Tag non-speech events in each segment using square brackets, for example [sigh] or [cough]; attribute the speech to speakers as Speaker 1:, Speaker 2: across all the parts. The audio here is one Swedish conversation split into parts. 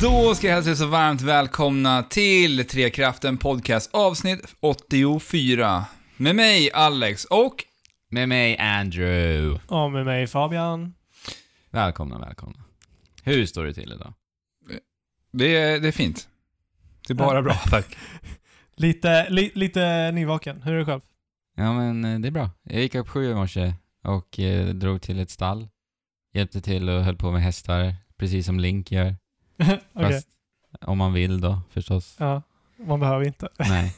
Speaker 1: Då ska jag hälsa er så varmt välkomna till Trekraften Podcast avsnitt 84. Med mig Alex och
Speaker 2: Med mig Andrew.
Speaker 3: Och med mig Fabian.
Speaker 2: Välkomna, välkomna. Hur står det till idag?
Speaker 1: det är, det är fint. Det är bara
Speaker 2: [laughs]
Speaker 1: bra tack.
Speaker 3: Lite, li, lite nyvaken. Hur är det själv? [laughs]
Speaker 2: Ja men eh, det är bra. Jag gick upp sju i morse och eh, drog till ett stall. Hjälpte till och höll på med hästar, precis som Link gör.
Speaker 3: Okej.
Speaker 2: Fast om man vill då [laughs] förstås.
Speaker 3: Ja, man behöver inte.
Speaker 2: Nej.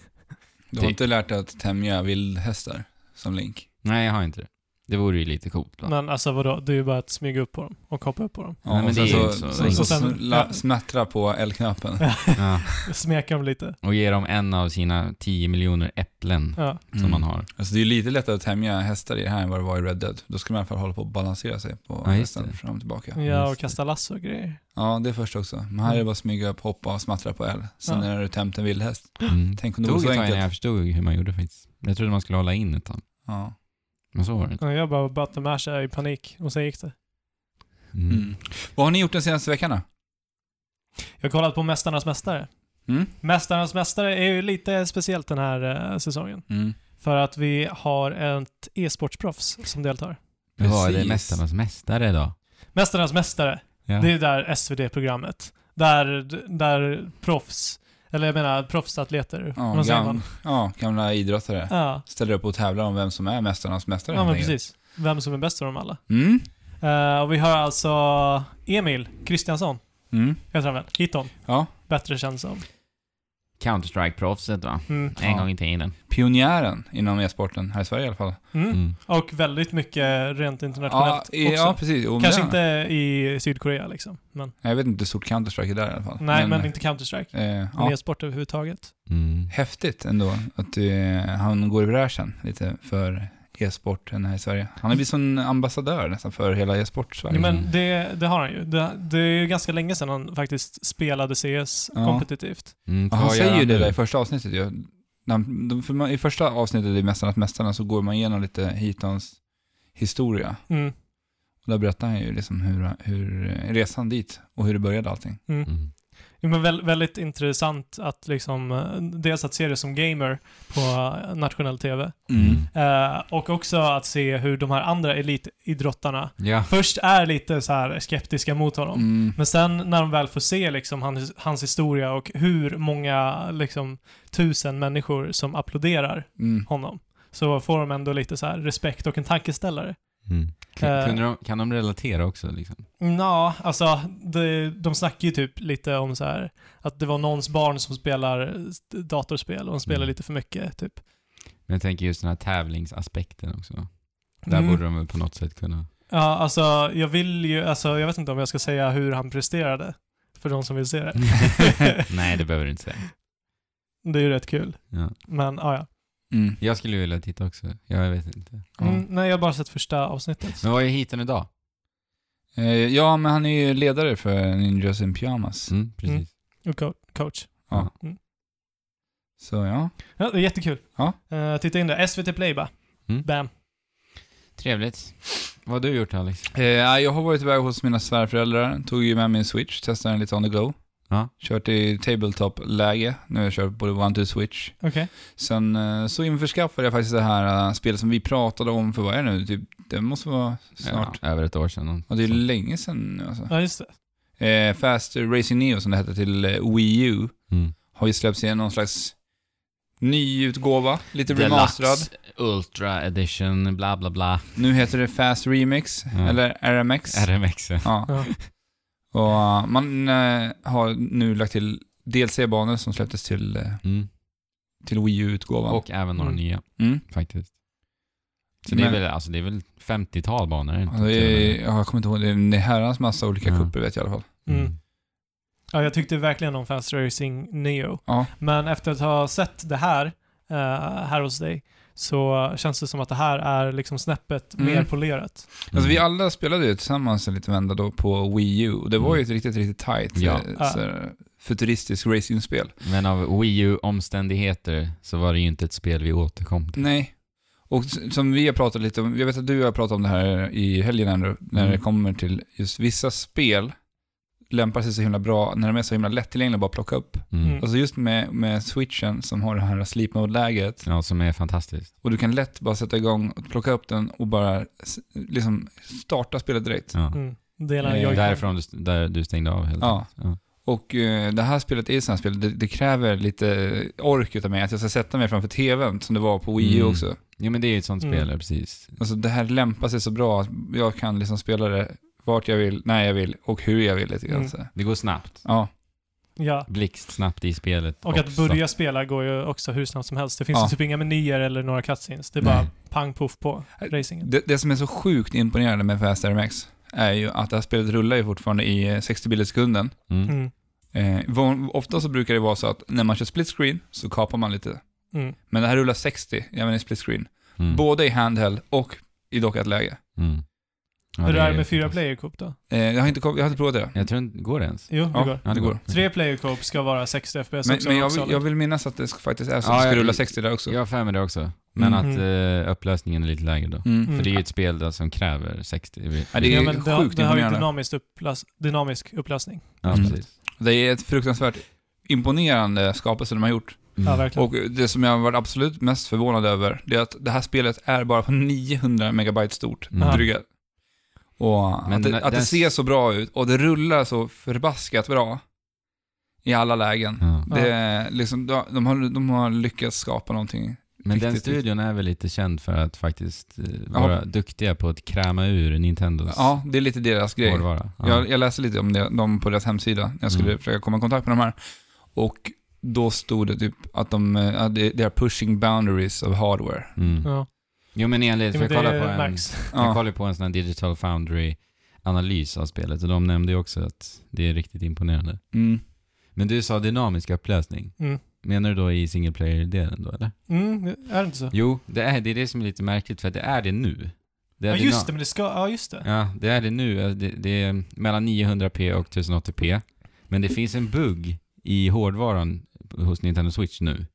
Speaker 1: Du har inte lärt dig att tämja vildhästar som Link?
Speaker 2: Nej, jag har inte det. Det vore ju lite coolt va?
Speaker 3: Men alltså vadå, det är ju bara att smyga upp på dem och hoppa upp på dem.
Speaker 1: Ja,
Speaker 2: Nej, men
Speaker 1: och sen
Speaker 2: det är
Speaker 1: så,
Speaker 2: ju
Speaker 1: så,
Speaker 2: så-
Speaker 1: så,
Speaker 3: Och sen-
Speaker 1: sla- smättra på L-knappen.
Speaker 2: Ja.
Speaker 3: Smeka dem lite.
Speaker 2: Och ge dem en av sina 10 miljoner äpplen
Speaker 3: Ja.
Speaker 2: som
Speaker 1: Mm.
Speaker 2: man har.
Speaker 1: Alltså det är ju lite lättare att tämja hästar i det här än vad det var i Red Dead. Då skulle man i alla fall hålla på att balansera sig på
Speaker 2: Ja, just
Speaker 1: hästen
Speaker 2: det.
Speaker 1: fram och tillbaka.
Speaker 3: ja, och
Speaker 2: just det.
Speaker 3: kasta lasso och grejer.
Speaker 1: Ja, det är först också. Men här är det bara smyga upp, hoppa och smattra på L. Sen
Speaker 3: Ja.
Speaker 1: när du tämt en vildhäst.
Speaker 2: Mm.
Speaker 1: Tänk om
Speaker 2: Det
Speaker 1: det var
Speaker 2: tog
Speaker 1: så
Speaker 2: ett tag
Speaker 1: enkelt.
Speaker 2: innan jag förstod hur man gjorde faktiskt. Jag trodde man skulle hålla in ett tag.
Speaker 1: Ja.
Speaker 2: Men så var det inte.
Speaker 3: Ja, jag bara batte med sig i panik och sen gick det.
Speaker 2: Mm.
Speaker 1: Mm. Vad har ni gjort den senaste veckan då?
Speaker 3: Jag har kollat på Mästarnas Mästare.
Speaker 1: Mm?
Speaker 3: Mästarnas Mästare är ju lite speciellt den här eh, säsongen.
Speaker 1: Mm.
Speaker 3: För att vi har ett e-sportsproffs som deltar.
Speaker 2: Men Vad är det
Speaker 1: Precis.
Speaker 2: Mästarnas Mästare då?
Speaker 3: Mästarnas Mästare,
Speaker 2: Ja.
Speaker 3: Det är ju där SVD-programmet. Där, där proffs, eller jag menar proffsatleter,
Speaker 1: Ja,
Speaker 3: vad säger
Speaker 1: gam-
Speaker 3: man?
Speaker 1: Ja, gamla idrottare.
Speaker 3: Ja,
Speaker 1: Ställer upp och tävlar om vem som är mästarnas mästare.
Speaker 3: ja men
Speaker 1: helt enkelt.
Speaker 3: precis. Vem som är bäst av dem alla.
Speaker 1: Mm?
Speaker 3: Eh, och vi har alltså Emil Kristiansson,
Speaker 1: Mm?
Speaker 3: heter han väl? Hiton.
Speaker 1: Ja.
Speaker 3: Bättre känd som.
Speaker 2: Counter-Strike-proffset va?
Speaker 3: Mm.
Speaker 2: En
Speaker 1: Ja.
Speaker 2: gång i tiden.
Speaker 1: Pionjären inom e-sporten, här i Sverige i alla fall.
Speaker 3: Mm.
Speaker 2: Mm.
Speaker 3: Och väldigt mycket rent
Speaker 1: Ja,
Speaker 3: internationellt
Speaker 1: i,
Speaker 3: också.
Speaker 1: ja, precis. Jo, men
Speaker 3: Kanske
Speaker 1: det-
Speaker 3: inte i Sydkorea liksom. Men,
Speaker 1: Jag vet inte hur stort Counter-Strike är där i alla fall.
Speaker 3: nej, men, inte Counter-Strike.
Speaker 1: Eh,
Speaker 3: Men
Speaker 1: ja.
Speaker 3: e-sport överhuvudtaget.
Speaker 2: Mm.
Speaker 1: Häftigt ändå att eh, han går i bräschen lite för e-sporten här i Sverige. Han har blivit som en ambassadör nästan för hela e-sport-Sverige.
Speaker 3: Ja,
Speaker 2: Mm.
Speaker 3: men det, det har han ju. Det, det är ju ganska länge sedan han faktiskt spelade CS
Speaker 1: Ja.
Speaker 3: kompetitivt.
Speaker 2: Mm.
Speaker 1: Ja,
Speaker 2: vad
Speaker 1: han
Speaker 2: gör
Speaker 1: säger ju det
Speaker 2: nu?
Speaker 1: där i första avsnittet ju. När, de, för man, I första avsnittet i Mästarnas Mästarna så går man igenom lite Hitons historia.
Speaker 3: Mm.
Speaker 1: Och där berättar han ju liksom hur, hur eh, resan dit och hur det började allting.
Speaker 2: Mm.
Speaker 3: Ja, men vä- väldigt intressant att liksom, eh, dels att se det som gamer på eh, nationell TV
Speaker 2: Mm.
Speaker 3: eh, och också att se hur de här andra elitidrottarna
Speaker 2: Ja.
Speaker 3: först är lite så här skeptiska mot honom.
Speaker 1: Mm.
Speaker 3: Men sen när de väl får se liksom hans, hans historia och hur många liksom, tusen människor som applåderar
Speaker 1: Mm.
Speaker 3: honom så får de ändå lite så här respekt och en tankeställare.
Speaker 2: Mm. K-
Speaker 3: Eh.
Speaker 2: Kunde de, kan de relatera också liksom?
Speaker 3: Ja, alltså det, de snackar ju typ lite om så här att det var någons barn som spelar eh, datorspel och de spelar
Speaker 2: Mm.
Speaker 3: lite för mycket typ.
Speaker 2: Men jag tänker just den här tävlingsaspekten också. Där
Speaker 3: Mm.
Speaker 2: borde de väl på något sätt kunna...
Speaker 3: Ja, alltså jag vill ju, alltså jag vet inte om jag ska säga hur han presterade för de som vill se det.
Speaker 2: [laughs]
Speaker 3: [laughs]
Speaker 2: Nej, det behöver du inte säga.
Speaker 3: Det är ju rätt kul.
Speaker 2: Ja.
Speaker 3: Men ah, ja.
Speaker 1: Mm.
Speaker 2: Jag skulle vilja titta också. Jag vet inte.
Speaker 1: Ja.
Speaker 3: Mm, nej, jag har bara sett första avsnittet.
Speaker 2: Men vad är hiten idag?
Speaker 1: Eh, ja, men han är ju ledare för Ninjas in Pyjamas.
Speaker 2: Mm, precis.
Speaker 3: Och co- coach.
Speaker 1: Ja.
Speaker 3: Mm.
Speaker 1: Så ja.
Speaker 3: Ja, det är jättekul.
Speaker 1: Ja.
Speaker 3: Eh, titta in det. SVT Play bara.
Speaker 2: Mm.
Speaker 3: Bam.
Speaker 2: Trevligt. Vad har du gjort Alex?
Speaker 1: Eh, jag har varit iväg hos mina svärföräldrar, tog ju med min switch, testade den lite on the go.
Speaker 2: Ja.
Speaker 1: Kört i tabletop-läge, nu har jag kört både one to switch.
Speaker 3: Okej.
Speaker 1: Sen eh, så införskaffade jag faktiskt det här eh, spelet som vi pratade om för vad är det nu? Typ, det måste vara snart.
Speaker 2: Ja, över ett år sedan.
Speaker 1: Och det är länge sedan nu alltså.
Speaker 3: Ja, just det.
Speaker 1: Eh, Fast Racing Neo som det hette till eh, Wii U
Speaker 2: Mm.
Speaker 1: har ju släppts i någon slags ny utgåva, lite remasterad.
Speaker 2: Deluxe, Ultra Edition, bla bla bla.
Speaker 1: Nu heter det Fast Remix,
Speaker 2: Ja.
Speaker 1: eller RMX.
Speaker 2: RMX.
Speaker 1: ja.
Speaker 3: Ja.
Speaker 1: Och eh, man eh, har nu lagt till DLC-banor som släpptes till, eh,
Speaker 2: Mm.
Speaker 1: till Wii U-utgåvan.
Speaker 2: Och även några
Speaker 3: Mm.
Speaker 2: nya
Speaker 1: mm.
Speaker 2: faktiskt. Så
Speaker 1: Men-
Speaker 2: det, är väl, alltså, det är väl 50-tal banor? är det inte?
Speaker 1: Ja, Alltså, det är,
Speaker 2: Till
Speaker 1: ja, jag kommer inte ihåg, det är en herrans massa olika
Speaker 2: Ja.
Speaker 1: kupper vet jag i alla fall.
Speaker 2: och med.
Speaker 3: Mm. Ja, jag tyckte verkligen om Fast Racing Neo.
Speaker 1: Ja.
Speaker 3: Men efter att ha sett det här, eh, här hos dig, så känns det som att det här är liksom snäppet
Speaker 1: Mm.
Speaker 3: mer polerat.
Speaker 1: Alltså
Speaker 2: Mm.
Speaker 1: vi alla spelade ju tillsammans en liten vända då på Wii U och det var ju ett riktigt, riktigt tight
Speaker 2: Mm. Ja.
Speaker 1: eh, så här, futuristiskt racingspel.
Speaker 2: Mm. Men av Wii U-omständigheter så var det ju inte ett spel vi återkom till.
Speaker 1: Nej. Och s- som vi har pratat lite om, jag vet att du har pratat om det här i helgen Andrew, när
Speaker 2: Mm.
Speaker 1: det kommer till just vissa spel lämpar sig så himla bra, när de är så himla lättillgängliga att bara plocka upp.
Speaker 2: Mm.
Speaker 1: Alltså just med, med switchen som har det här sleep mode-läget,
Speaker 2: Ja, som är fantastiskt.
Speaker 1: och du kan lätt bara sätta igång och plocka upp den och bara s- liksom starta spelet direkt.
Speaker 2: Ja.
Speaker 3: Mm. Delar
Speaker 1: Eh,
Speaker 3: jag
Speaker 2: Därifrån du, där du stängde av helt
Speaker 1: Ja.
Speaker 2: enkelt. Ja.
Speaker 1: Och eh, det här spelet är ju sådana spel, det, det kräver lite ork utav mig att jag ska sätta mig framför tvn som det var på Wii U
Speaker 2: Mm.
Speaker 1: också.
Speaker 2: Jo men det är ju ett sånt
Speaker 3: Mm.
Speaker 2: spel, ja, precis.
Speaker 1: Alltså det här lämpar sig så bra att jag kan liksom spela det vart jag vill, när jag vill och hur jag vill lite grann.
Speaker 3: Mm.
Speaker 1: så här.
Speaker 2: Det går snabbt.
Speaker 1: Ja,
Speaker 3: Ja.
Speaker 2: Blixtsnabbt i spelet
Speaker 3: Och att
Speaker 2: också.
Speaker 3: börja spela går ju också hur snabbt som helst. Det finns
Speaker 1: Ja.
Speaker 3: ju typ inga menyer eller några cutscenes. Det är
Speaker 1: Nej.
Speaker 3: bara pang poff på racingen.
Speaker 1: det, det som är så sjukt imponerande med Fast RMX är ju att det här spelet rullar ju fortfarande i eh, 60 bilder i sekunden.
Speaker 2: Mm.
Speaker 3: Mm.
Speaker 1: Eh, van- ofta så brukar det vara så att när man kör split screen så kapar man lite.
Speaker 3: Mm.
Speaker 1: Men det här rullar 60, även i split screen.
Speaker 2: Mm.
Speaker 1: Både i handheld och i dockat läge.
Speaker 2: Mm. Ja,
Speaker 3: Hur är det
Speaker 2: ju
Speaker 3: med fyra
Speaker 2: fantastiskt.
Speaker 3: player coop då?
Speaker 1: Eh, jag, har inte, kom- jag har inte provat det.
Speaker 2: Jag tror inte, går det ens?
Speaker 3: Jo, det går.
Speaker 2: Ja,
Speaker 1: det går.
Speaker 3: Tre player coop ska vara 60 FPS
Speaker 1: Men,
Speaker 3: också.
Speaker 1: men jag,
Speaker 3: också. liksom.
Speaker 1: vill, jag vill minnas att det ska- faktiskt är så
Speaker 2: Ja,
Speaker 1: att det ska
Speaker 2: jag-
Speaker 1: rulla 60 där också.
Speaker 2: Jag har för mig det också. Men
Speaker 1: Mm.
Speaker 2: att eh, upplösningen är lite lägre då.
Speaker 1: Mm.
Speaker 3: Mm.
Speaker 2: För det är ju ett spel då som kräver 60.
Speaker 1: Ja, det är
Speaker 3: ja,
Speaker 1: ju
Speaker 3: men det,
Speaker 1: sjukt
Speaker 3: det har ju
Speaker 1: imponerande.
Speaker 3: dynamiskt upplös, dynamisk upplösning.
Speaker 2: Ja,
Speaker 1: Mm.
Speaker 2: precis.
Speaker 1: Det är ett fruktansvärt imponerande skapelse de har gjort.
Speaker 3: Ja,
Speaker 2: Mm.
Speaker 3: verkligen.
Speaker 1: Och det som jag har varit absolut mest förvånad över, det är att det här spelet är bara på 900 megabyte stort,
Speaker 2: Mm.
Speaker 1: dryga. Och
Speaker 2: Men
Speaker 1: att det,
Speaker 2: den-
Speaker 1: att det
Speaker 2: den-
Speaker 1: ser så bra ut och det rullar så förbaskat bra i alla lägen.
Speaker 2: Ja.
Speaker 1: Det är liksom, de, de, har, de har lyckats skapa någonting.
Speaker 2: Men den
Speaker 1: Riktigt,
Speaker 2: studion är väl lite känd för att faktiskt eh, vara duktiga på att kräma ur Nintendos
Speaker 1: Ja, det är lite deras grej.
Speaker 2: hårdvara. Ja.
Speaker 1: Jag, jag läste lite om det, dem på deras hemsida när jag skulle
Speaker 2: Mm.
Speaker 1: försöka komma i kontakt med de här. Och då stod det typ att de, eh, att det- they are pushing boundaries of hardware.
Speaker 2: [laughs] Mm.
Speaker 3: Ja.
Speaker 2: Jo men enligt,
Speaker 3: Ja,
Speaker 2: för
Speaker 3: men
Speaker 2: jag
Speaker 3: det
Speaker 2: kollade på en,
Speaker 3: märks.
Speaker 2: jag kollade på en sån här Digital Foundry-analys av spelet och de nämnde ju också att det är riktigt imponerande.
Speaker 1: Mm.
Speaker 2: Men du sa dynamisk upplösning.
Speaker 3: Mm.
Speaker 2: Menar du då i single player-delen då eller?
Speaker 3: Mm, det- är det inte så?
Speaker 2: Jo, det är det, är det som är lite märkligt för att det är det nu. Det är
Speaker 3: Ja,
Speaker 2: dynam-
Speaker 3: just det, men det ska... Ja, just det.
Speaker 2: Ja, det är det nu. Alltså, Det, det är mellan 900p och 1080p. Men det finns en bugg i hårdvaran hos Nintendo Switch nu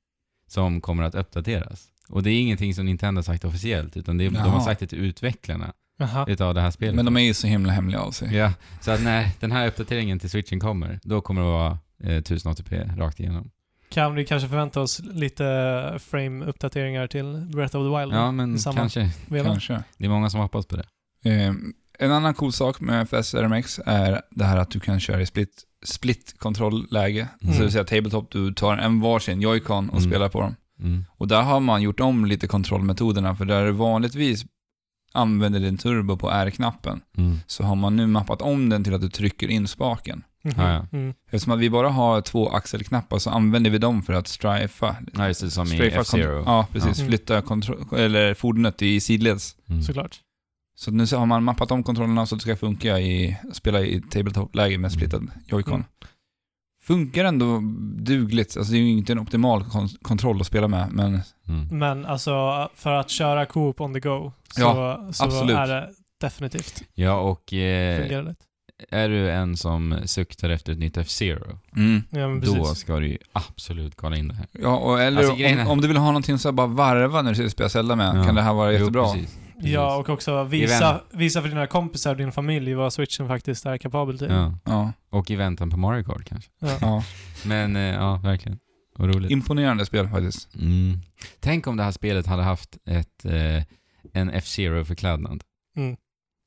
Speaker 2: som kommer att uppdateras. Och det är ingenting som Nintendo har sagt officiellt, utan det är, de har
Speaker 1: Jaha.
Speaker 2: sagt det till utvecklarna
Speaker 3: Jaha.
Speaker 2: utav det här spelet.
Speaker 1: Men de är ju så himla hemliga av sig.
Speaker 2: Ja, så att när den här uppdateringen till Switchen kommer, då kommer det vara eh, 1080p rakt igenom.
Speaker 3: Kan vi kanske förvänta oss lite frame-uppdateringar till Breath of the Wild?
Speaker 2: Ja, men
Speaker 3: samma.
Speaker 2: kanske.
Speaker 3: Vevan?
Speaker 1: Kanske.
Speaker 2: Det är många som hoppas på det.
Speaker 1: Eh, en annan cool sak med FS RMX är det här att du kan köra i split, split kontrollläge.
Speaker 2: Mm.
Speaker 1: Så det vill säga tabletop, du tar en varsin joy-con och
Speaker 2: Mm.
Speaker 1: spelar på dem.
Speaker 2: Mm.
Speaker 1: Och där har man gjort om lite kontrollmetoderna, för där du vanligtvis använder din turbo på R-knappen,
Speaker 2: Mm.
Speaker 1: så har man nu mappat om den till att du trycker in spaken.
Speaker 3: Mhm.
Speaker 2: Ja, ja.
Speaker 3: Mm.
Speaker 1: Eftersom att vi bara har två axelknappar så använder vi dem för att strifa.
Speaker 2: Ja, just det, som i
Speaker 1: Strifa
Speaker 2: F-Zero.
Speaker 1: kont- Ja, precis.
Speaker 3: Ja.
Speaker 1: Flytta kontro- eller fordonet i sidleds.
Speaker 2: Mm.
Speaker 3: Såklart.
Speaker 1: Så nu så har man mappat om kontrollerna så att det ska funka i, spela i tabletop-läge med splittad joy-con.
Speaker 3: Mm.
Speaker 1: Funkar ändå dugligt. Alltså det är ju inte en optimal kon- kontroll att spela med, men
Speaker 2: Mm.
Speaker 3: Men alltså, för att köra Coop on the go så, så
Speaker 1: absolut.
Speaker 3: är det definitivt
Speaker 2: Ja, och eh,
Speaker 3: fungerar det.
Speaker 2: Är du en som suktar efter ett nytt F-Zero,
Speaker 1: mm.
Speaker 3: Ja, men precis.
Speaker 2: då ska du ju absolut kolla in det här.
Speaker 1: Ja, och eller
Speaker 2: Alltså, grejen är-
Speaker 1: om, om du vill ha någonting så här bara varva när du sitter och spelar Zelda med,
Speaker 2: Ja.
Speaker 1: kan det här vara jättebra.
Speaker 2: Jo, precis. precis.
Speaker 3: ja, och också visa, visa för dina kompisar och din familj vad switchen faktiskt är kapabel till.
Speaker 2: ja.
Speaker 1: Ja,
Speaker 2: Och i väntan på Mario Kart kanske.
Speaker 1: ja.
Speaker 2: Men eh, ja, verkligen. Vad roligt.
Speaker 1: Imponerande spel faktiskt.
Speaker 2: Mm. Tänk om det här spelet hade haft ett, eh, en F-Zero-förklädnad.
Speaker 3: Mm.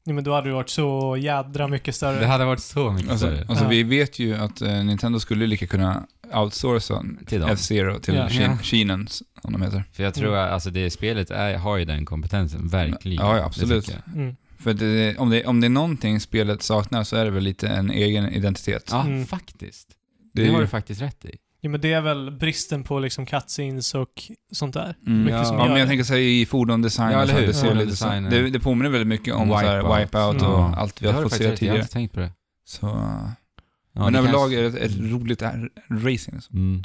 Speaker 3: Ja, men då hade du varit så jädra mycket större.
Speaker 2: Det hade varit så mycket
Speaker 1: Alltså,
Speaker 2: större.
Speaker 1: alltså
Speaker 3: Ja.
Speaker 1: vi vet ju att eh, Nintendo skulle lika kunna outsourca
Speaker 2: Till dem.
Speaker 1: F-Zero till
Speaker 3: Ja.
Speaker 1: Kin-
Speaker 2: Ja.
Speaker 1: Kinen, som de heter.
Speaker 2: För jag
Speaker 3: Mm.
Speaker 2: tror att alltså, det spelet är, har ju den kompetensen, verkligen.
Speaker 1: Ja, ja,
Speaker 2: Det
Speaker 1: absolut.
Speaker 2: tycker jag.
Speaker 3: Mm.
Speaker 1: För det, om, det, om det är någonting spelet saknar så är det väl lite en egen identitet.
Speaker 2: Ja,
Speaker 3: Mm.
Speaker 2: faktiskt.
Speaker 1: det
Speaker 2: Det,
Speaker 1: är
Speaker 2: har
Speaker 1: ju,
Speaker 2: du faktiskt rätt i.
Speaker 3: Ja, men det är väl bristen på liksom cutscenes och sånt där.
Speaker 1: mm,
Speaker 3: mycket
Speaker 1: ja.
Speaker 3: som
Speaker 1: ja,
Speaker 3: gör
Speaker 1: men jag
Speaker 3: det.
Speaker 1: tänker säga i fordondesign
Speaker 2: Ja,
Speaker 1: och
Speaker 2: eller
Speaker 1: så här,
Speaker 2: hur?
Speaker 1: det, ser
Speaker 2: Ja.
Speaker 1: lite så,
Speaker 2: Design,
Speaker 1: det, det påminner väldigt mycket om wipeout, så här,
Speaker 2: Wipeout.
Speaker 1: wipeout och
Speaker 2: Ja.
Speaker 1: allt vi
Speaker 2: Det
Speaker 1: har,
Speaker 2: har du
Speaker 1: fått
Speaker 2: faktiskt
Speaker 1: se
Speaker 2: rätt i. Jag har
Speaker 1: tidigare.
Speaker 2: inte tänkt på det.
Speaker 1: Så,
Speaker 2: Ja,
Speaker 1: men
Speaker 2: det
Speaker 1: överlag
Speaker 2: kanske-
Speaker 1: är det ett, ett roligt r- racing. liksom.
Speaker 2: Mm.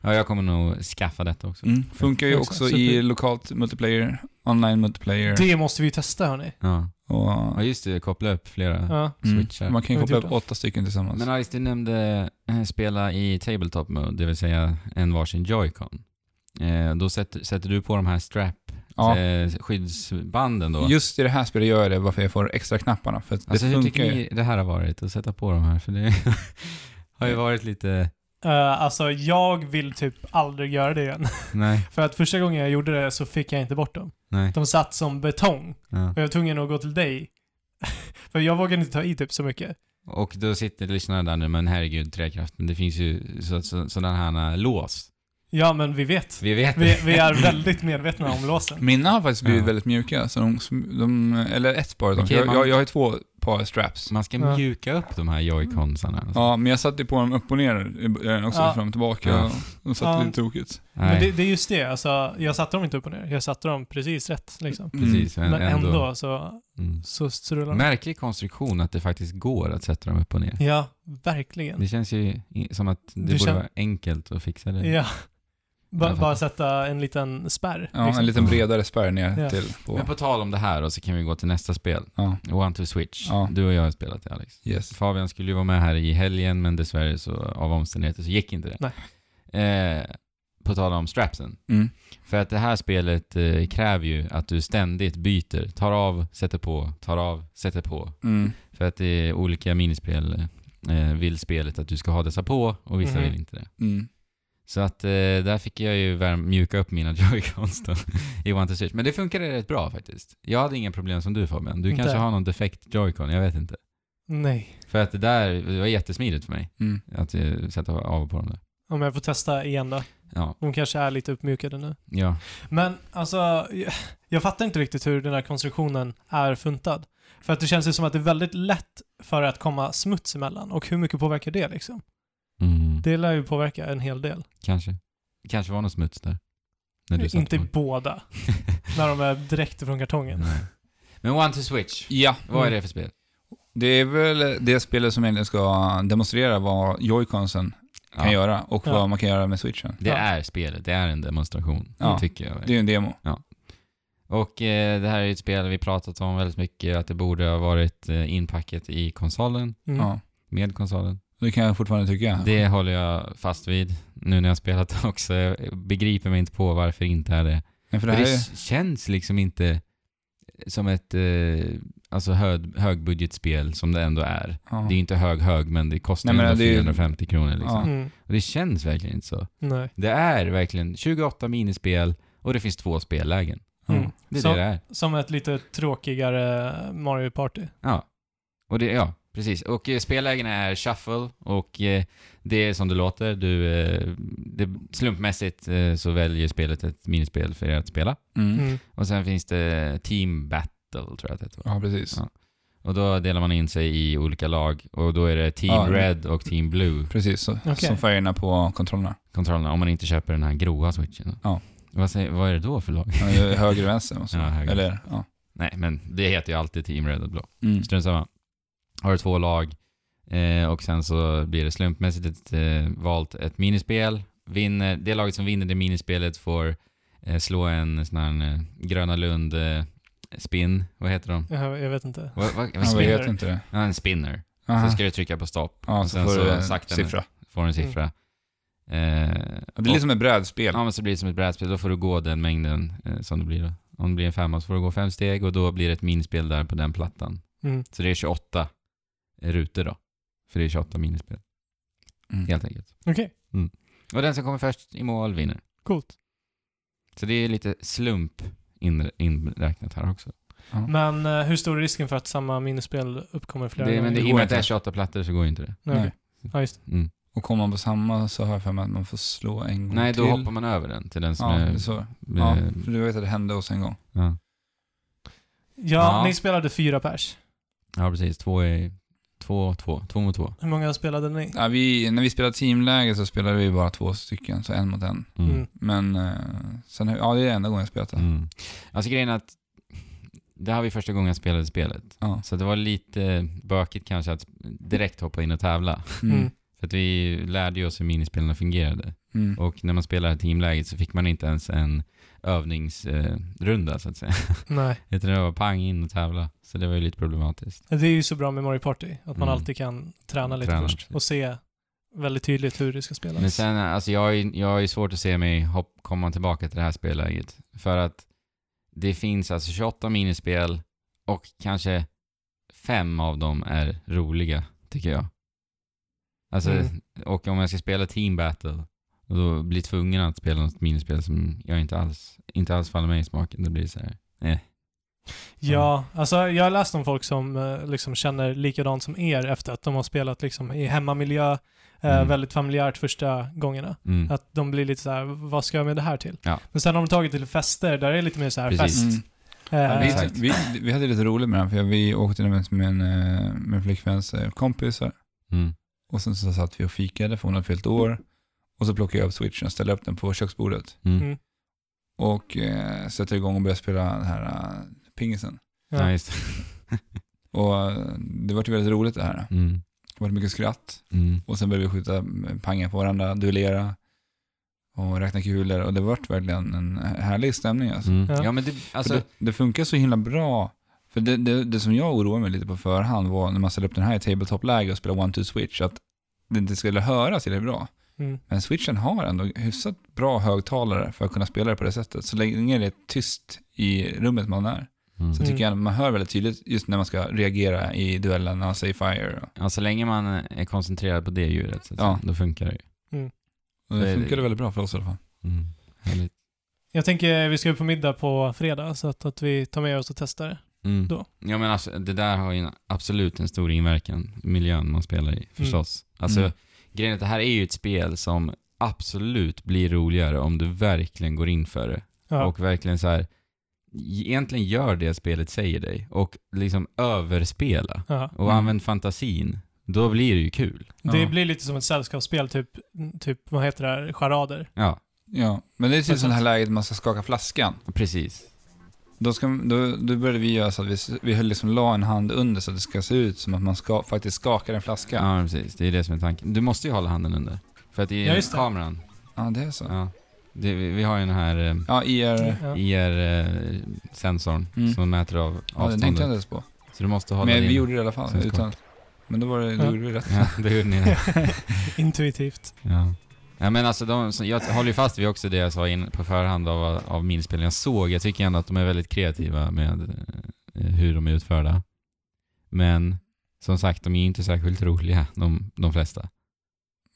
Speaker 2: Ja, jag kommer nog skaffa detta också.
Speaker 1: Mm. Funkar ju
Speaker 3: Ja,
Speaker 1: också
Speaker 3: super.
Speaker 1: i lokalt multiplayer, online multiplayer.
Speaker 3: Det måste vi ju testa hörni.
Speaker 2: Ja.
Speaker 1: Och,
Speaker 2: Ja just det, koppla upp flera
Speaker 3: Ja.
Speaker 1: mm.
Speaker 2: switchar.
Speaker 1: Man kan ju
Speaker 3: Jag
Speaker 1: koppla
Speaker 3: tyckte
Speaker 1: upp
Speaker 3: det.
Speaker 1: åtta stycken tillsammans.
Speaker 2: Men Ice, du nämnde eh, spela i tabletop mode, det vill säga en varsin joycon. Eh, då sätter, sätter du på de här strap
Speaker 1: Ja.
Speaker 2: eh, skyddsbanden då.
Speaker 1: Just i det här spelet gör jag det varför jag får extra knapparna. För att det
Speaker 2: alltså hur
Speaker 1: funkar
Speaker 2: tycker
Speaker 1: ju.
Speaker 2: ni det här har varit? Att sätta på de här? För det [laughs] har ju varit lite...
Speaker 3: Eh, alltså jag vill typ aldrig göra det igen. [laughs]
Speaker 2: Nej,
Speaker 3: För att första gången jag gjorde det så fick jag inte bort dem.
Speaker 2: nej.
Speaker 3: De satt som betong.
Speaker 2: Ja.
Speaker 3: Och jag var tvungen att gå till dig. [laughs] För jag vågade inte ta i typ så mycket.
Speaker 2: Och då sitter lyssnarna där nu, men herregud, träkraften, det finns ju så, så, sådana här lås.
Speaker 3: Ja, men vi vet.
Speaker 2: Vi vet
Speaker 3: Vi,
Speaker 2: det. [laughs]
Speaker 3: vi är väldigt medvetna om låsen.
Speaker 1: Mina har faktiskt blivit
Speaker 2: Ja.
Speaker 1: väldigt mjuka. Så de, sm- de, eller ett par av dem.
Speaker 2: Okej,
Speaker 1: jag,
Speaker 2: man-
Speaker 1: jag, jag har ju två par straps.
Speaker 2: Man ska
Speaker 3: Ja.
Speaker 2: mjuka upp de här joyconsarna. Alltså.
Speaker 1: Ja, men jag satte på dem upp och ner i början också,
Speaker 3: Ja.
Speaker 1: fram och tillbaka.
Speaker 2: Ja.
Speaker 1: Och de satt
Speaker 3: Ja.
Speaker 1: lite tokigt.
Speaker 2: Nej,
Speaker 3: Men det, det är just det, alltså, jag satte dem inte upp och ner. Jag satte dem precis rätt liksom.
Speaker 1: Mm.
Speaker 2: precis. Men,
Speaker 3: Men
Speaker 2: ändå.
Speaker 3: ändå så,
Speaker 2: Mm.
Speaker 3: så strular de.
Speaker 2: Märklig konstruktion att det faktiskt går att sätta dem upp och ner.
Speaker 3: Ja, verkligen.
Speaker 2: Det känns ju i- som att det
Speaker 3: Du
Speaker 2: borde
Speaker 3: känner-
Speaker 2: vara enkelt att fixa det.
Speaker 3: Ja. Ba,
Speaker 2: Jag
Speaker 3: bara
Speaker 2: fattar.
Speaker 3: sätta en liten spärr.
Speaker 1: Ja,
Speaker 3: liksom.
Speaker 1: en liten bredare spärr ner
Speaker 3: Ja.
Speaker 1: till. På,
Speaker 2: Men på tal om det här då, så kan vi gå till nästa spel.
Speaker 1: ja,
Speaker 2: One to switch.
Speaker 1: Ja.
Speaker 2: Du och jag har spelat det Alex.
Speaker 1: yes.
Speaker 2: Fabian skulle ju vara med här i helgen, men dessvärre så av omständigheter så gick inte det. Eh, på tal om strapsen.
Speaker 1: Mm.
Speaker 2: För att det här spelet eh, kräver ju att du ständigt byter. Tar av, sätter på, tar av, sätter på.
Speaker 1: Mm.
Speaker 2: För att det är olika minispel eh, vill spelet att du ska ha dessa på och vissa
Speaker 3: Mhm.
Speaker 2: vill inte det.
Speaker 1: Mm.
Speaker 2: Så att eh, där fick jag ju värm- mjuka upp mina [laughs] joycons då i One to Switch. Men det funkade rätt bra faktiskt. Jag hade inga problem som du Fabian. Du
Speaker 3: Inte?
Speaker 2: kanske har någon defekt joycon, jag vet inte.
Speaker 3: Nej.
Speaker 2: För att det där, det var jättesmidigt för mig.
Speaker 1: Mm.
Speaker 2: Att eh, sätta av och på dem där.
Speaker 3: Om jag får testa igen då.
Speaker 2: Ja,
Speaker 3: De kanske är lite uppmjukade nu.
Speaker 2: ja.
Speaker 3: Men alltså, jag, jag fattar inte riktigt hur den här konstruktionen är funtad. För att det känns ju som att det är väldigt lätt för att komma smuts emellan. Och hur mycket påverkar det liksom?
Speaker 2: Mm.
Speaker 3: Det lär ju påverka en hel del.
Speaker 2: Kanske. kanske var någon smuts där. När du satte
Speaker 3: Inte
Speaker 2: på.
Speaker 3: båda. när de är direkt från kartongen.
Speaker 2: Nej. Men One to Switch,
Speaker 1: Ja,
Speaker 2: vad är det för spel?
Speaker 1: det är väl det spelet som egentligen ska demonstrera vad joyconsen kan
Speaker 2: Ja,
Speaker 1: göra och
Speaker 3: Ja.
Speaker 1: vad man kan göra med switchen.
Speaker 2: Det
Speaker 3: Ja.
Speaker 2: är spelet, det är en demonstration,
Speaker 1: Ja.
Speaker 2: tycker jag.
Speaker 1: Det är ju en demo.
Speaker 2: Och eh, det här är ju ett spel vi pratat om väldigt mycket, att det borde ha varit eh, inpackat i konsolen,
Speaker 3: Mm.
Speaker 1: Ja.
Speaker 2: med konsolen.
Speaker 1: Det kan jag fortfarande tycka.
Speaker 2: Det håller jag fast vid nu när jag spelat [laughs] det också. Jag begriper mig inte på varför inte är det.
Speaker 1: Nej, för
Speaker 2: Det,
Speaker 1: det här
Speaker 2: det
Speaker 1: är,
Speaker 2: s- känns liksom inte som ett eh, alltså hög, högbudgetspel som det ändå är.
Speaker 1: ja.
Speaker 2: Det är ju inte hög-hög, men det kostar
Speaker 1: Nej, men
Speaker 2: ändå
Speaker 1: det är ju-
Speaker 2: 450 kronor liksom.
Speaker 1: Ja.
Speaker 3: Mm.
Speaker 2: Och det känns verkligen inte så.
Speaker 3: Nej.
Speaker 2: Det är verkligen 28 minispel och det finns två spellägen.
Speaker 3: Mm.
Speaker 2: Det är
Speaker 3: Så-
Speaker 2: det det är.
Speaker 3: Som ett lite tråkigare Mario Party.
Speaker 2: Ja. Och det, ja, precis. Och eh, spellägena är shuffle och eh, det är som det låter. Du, eh, det, slumpmässigt eh, så väljer spelet ett minispel för er att spela.
Speaker 1: Mm.
Speaker 3: Mm.
Speaker 2: Och sen finns det team battle, tror jag att det heter. va?
Speaker 1: Ja, precis.
Speaker 2: Ja. Och då delar man in sig i olika lag och då är det team
Speaker 1: Ja.
Speaker 2: red och team blue
Speaker 1: Precis, så,
Speaker 3: Okej.
Speaker 1: som färgerna på kontrollerna.
Speaker 2: kontrollerna om man inte köper den här gråa switchen.
Speaker 1: Ja.
Speaker 2: Vad, säger, vad är det då för lag?
Speaker 1: Ja, det är Höger och vänster. Och så.
Speaker 2: Ja, höger.
Speaker 1: Eller, ja.
Speaker 2: Nej, men det heter ju alltid team red och blå.
Speaker 1: Mm.
Speaker 2: Strunt samma. Har du två lag eh, och sen så blir det slumpmässigt ett, eh, valt ett minispel. Vinner, det laget som vinner det minispelet får eh, slå en sån här eh, Gröna Lund eh, spin. Vad heter de?
Speaker 3: Jag, jag vet inte.
Speaker 2: Vad, vad, vad
Speaker 1: Ja, vad
Speaker 2: spin?
Speaker 1: heter inte det?
Speaker 2: Ja, en spinner.
Speaker 1: Aha.
Speaker 2: Så ska du trycka på stopp,
Speaker 1: ja,
Speaker 2: och
Speaker 1: så
Speaker 2: sen
Speaker 1: får
Speaker 2: så
Speaker 1: du en
Speaker 2: sakta ner.
Speaker 1: siffra.
Speaker 2: får en siffra. Eh,
Speaker 1: Ja, det är liksom ett brädspel.
Speaker 2: Ja, men så blir det som ett brädspel. Då får du gå den mängden eh, som det blir då. Om det blir en femma så får du gå fem steg och då blir det ett minispel där på den plattan.
Speaker 3: Mm.
Speaker 2: Så det är 28 rutor då. För det är 28 minispel,
Speaker 1: Mm.
Speaker 2: helt enkelt.
Speaker 3: Okej,
Speaker 2: Och den som kommer först i mål vinner.
Speaker 3: coolt.
Speaker 2: Så det är lite slump in- inräknat här också.
Speaker 3: Men eh, hur stor är risken för att samma minispel uppkommer flera
Speaker 2: Det,
Speaker 3: gånger?
Speaker 2: men det,
Speaker 1: det
Speaker 2: i och
Speaker 1: går
Speaker 2: med att det är
Speaker 1: inte.
Speaker 2: 28 plattor så går ju inte det.
Speaker 3: Nej, okej.
Speaker 1: Nej.
Speaker 3: Ja, just det.
Speaker 2: Mm.
Speaker 1: Och kommer man på samma så har jag för mig att man får slå en gång
Speaker 2: Nej, då
Speaker 1: till.
Speaker 2: hoppar man över den till den som
Speaker 1: Ja,
Speaker 2: är...
Speaker 1: så. Ja,
Speaker 2: Ja.
Speaker 1: för du vet att det hände oss en gång.
Speaker 2: Ja.
Speaker 3: Ja,
Speaker 2: Ja.
Speaker 3: ni spelade fyra pers.
Speaker 2: ja, precis. Två är... Två, två. Två mot två.
Speaker 3: Hur många spelade ni?
Speaker 1: Ja, vi, när vi spelade teamläger så spelade vi bara två stycken, så en mot en.
Speaker 2: Mm.
Speaker 3: Mm.
Speaker 1: Men eh, sen, ja, det är enda gången jag spelat det.
Speaker 2: Mm. Alltså grejen är att det här var ju första gången jag spelade spelet.
Speaker 1: Ja.
Speaker 2: Så det var lite bökigt kanske att direkt hoppa in och tävla.
Speaker 1: Mm.
Speaker 3: Mm.
Speaker 2: För att vi lärde ju oss hur minispelarna fungerade.
Speaker 1: Mm.
Speaker 2: Och när man spelade teamläget så fick man inte ens en övningsrunda så att säga. [laughs]
Speaker 3: Nej.
Speaker 2: Utan det var pang in och tävla. Så det var ju lite problematiskt.
Speaker 3: Det är ju så bra med Mario Party, att
Speaker 2: Mm.
Speaker 3: man alltid kan träna lite
Speaker 2: Träna,
Speaker 3: först
Speaker 2: precis.
Speaker 3: och se väldigt tydligt hur det ska spelas.
Speaker 2: Men sen, alltså jag har ju jag har ju svårt att se mig hopp, komma tillbaka till det här spelläget. För att Det finns alltså 28 minispel och kanske fem av dem är roliga, tycker jag. Alltså,
Speaker 3: Mm.
Speaker 2: och om jag ska spela Team Battle, och då blir jag tvungen att spela något minispel som jag inte alls, inte alls faller mig i smaken. Då blir det så här.
Speaker 3: Ja,
Speaker 2: Mm.
Speaker 3: alltså jag har läst om folk som eh, liksom känner likadant som er efter att de har spelat liksom i hemmamiljö, eh,
Speaker 2: Mm.
Speaker 3: väldigt familjärt första gångerna.
Speaker 2: Mm.
Speaker 3: Att de blir lite så här: vad ska jag med det här till?
Speaker 2: Ja.
Speaker 3: Men sen har de tagit till fester, där är det lite mer så här
Speaker 2: Precis.
Speaker 3: fest.
Speaker 1: Mm.
Speaker 3: Eh,
Speaker 1: Vi,
Speaker 2: exakt.
Speaker 1: vi, vi hade lite roligt med den, för vi åkte nämligen med en, eh, med en flickväns eh, kompisar.
Speaker 2: Mm.
Speaker 1: Och sen så satt vi och fikade, för hon hade fyllt år. Och så plockade jag upp switchen och ställde upp den på köksbordet.
Speaker 2: Mm.
Speaker 3: Mm.
Speaker 1: Och eh, sätter igång och börjar spela den här eh, pingisen.
Speaker 3: Ja.
Speaker 2: Ja, just det.
Speaker 1: Och eh, det var ju väldigt roligt det här.
Speaker 2: Mm.
Speaker 1: Det var mycket skratt.
Speaker 2: Mm.
Speaker 1: Och sen började vi skjuta pangar på varandra, duellera och räkna kulor. Och det vart verkligen en härlig stämning alltså.
Speaker 2: Mm.
Speaker 3: Ja.
Speaker 2: Ja, men det, alltså,
Speaker 1: För det, det funkar så himla bra. För det, det, det som jag oroade mig lite på förhand var när man ställde upp den här i tabletop-läge och spelade one-two-switch, att det inte skulle höras i det bra.
Speaker 3: Mm.
Speaker 1: Men switchen har ändå hyfsat bra högtalare för att kunna spela det på det sättet. Så länge det är tyst i rummet man är,
Speaker 2: mm.
Speaker 1: så tycker jag
Speaker 3: Mm.
Speaker 1: man hör väldigt tydligt just när man ska reagera i duellen, när man säger fire.
Speaker 2: Ja, alltså, så länge man är koncentrerad på det djuret, så att,
Speaker 1: Ja.
Speaker 2: säga, då funkar det ju.
Speaker 1: Och
Speaker 2: Det
Speaker 1: det
Speaker 2: är-
Speaker 1: funkade väldigt bra för oss i alla fall.
Speaker 2: Mm. Härligt.
Speaker 3: Jag tänker eh, vi ska ju på middag på fredag, så att, att vi tar med oss och testar det.
Speaker 2: Mm.
Speaker 3: Då.
Speaker 2: Ja, men alltså, det där har ju en, absolut en stor inverkan, miljön man spelar i, förstås. Alltså,
Speaker 1: Mm.
Speaker 2: grejen är att det här är ju ett spel som absolut blir roligare om du verkligen går in för det.
Speaker 3: Ja.
Speaker 2: Och verkligen så här, egentligen gör det spelet säger dig och liksom överspela.
Speaker 3: Ja.
Speaker 2: Och
Speaker 1: Mm.
Speaker 2: använd fantasin. Då blir det ju kul.
Speaker 3: Det
Speaker 1: Ja.
Speaker 3: blir lite som ett sällskapsspel, typ, typ vad heter det här, charader.
Speaker 2: Ja,
Speaker 1: Ja, men det är typ sådana här läget man ska skaka flaskan.
Speaker 2: precis.
Speaker 1: Då, ska, då, då började vi göra så att vi, s- vi höll liksom la en hand under så att det ska se ut som att man ska, faktiskt skakar en flaska. Ja,
Speaker 2: Ja. precis. Det är det som är tanken. Du måste ju hålla handen under. För att det
Speaker 3: Ja,
Speaker 2: är
Speaker 3: just det.
Speaker 2: kameran.
Speaker 1: det är så.
Speaker 2: Ja. Det, vi, vi har ju den här eh, E
Speaker 1: Ja, IR...
Speaker 3: Ja.
Speaker 2: IR-sensorn
Speaker 1: Mm.
Speaker 2: som mäter
Speaker 1: Ja,
Speaker 2: av
Speaker 1: det tänkte jag
Speaker 2: avståndet.
Speaker 1: inte ens på.
Speaker 2: så du måste hålla
Speaker 1: Men
Speaker 2: din...
Speaker 1: vi gjorde det i alla fall.
Speaker 2: Sen ska-
Speaker 1: Utan, men då var det, då
Speaker 3: Ja.
Speaker 1: gjorde vi rätt.
Speaker 2: [laughs] Ja, [laughs] det gjorde ni.
Speaker 3: Intuitivt.
Speaker 2: ja. ja, men alltså de, som- jag håller ju fast vid också det jag sa in på förhand av, av minispelen jag såg. Jag tycker ändå att de är väldigt kreativa med eh, hur de är utförda. Men som sagt, de är ju inte särskilt roliga, de, de flesta.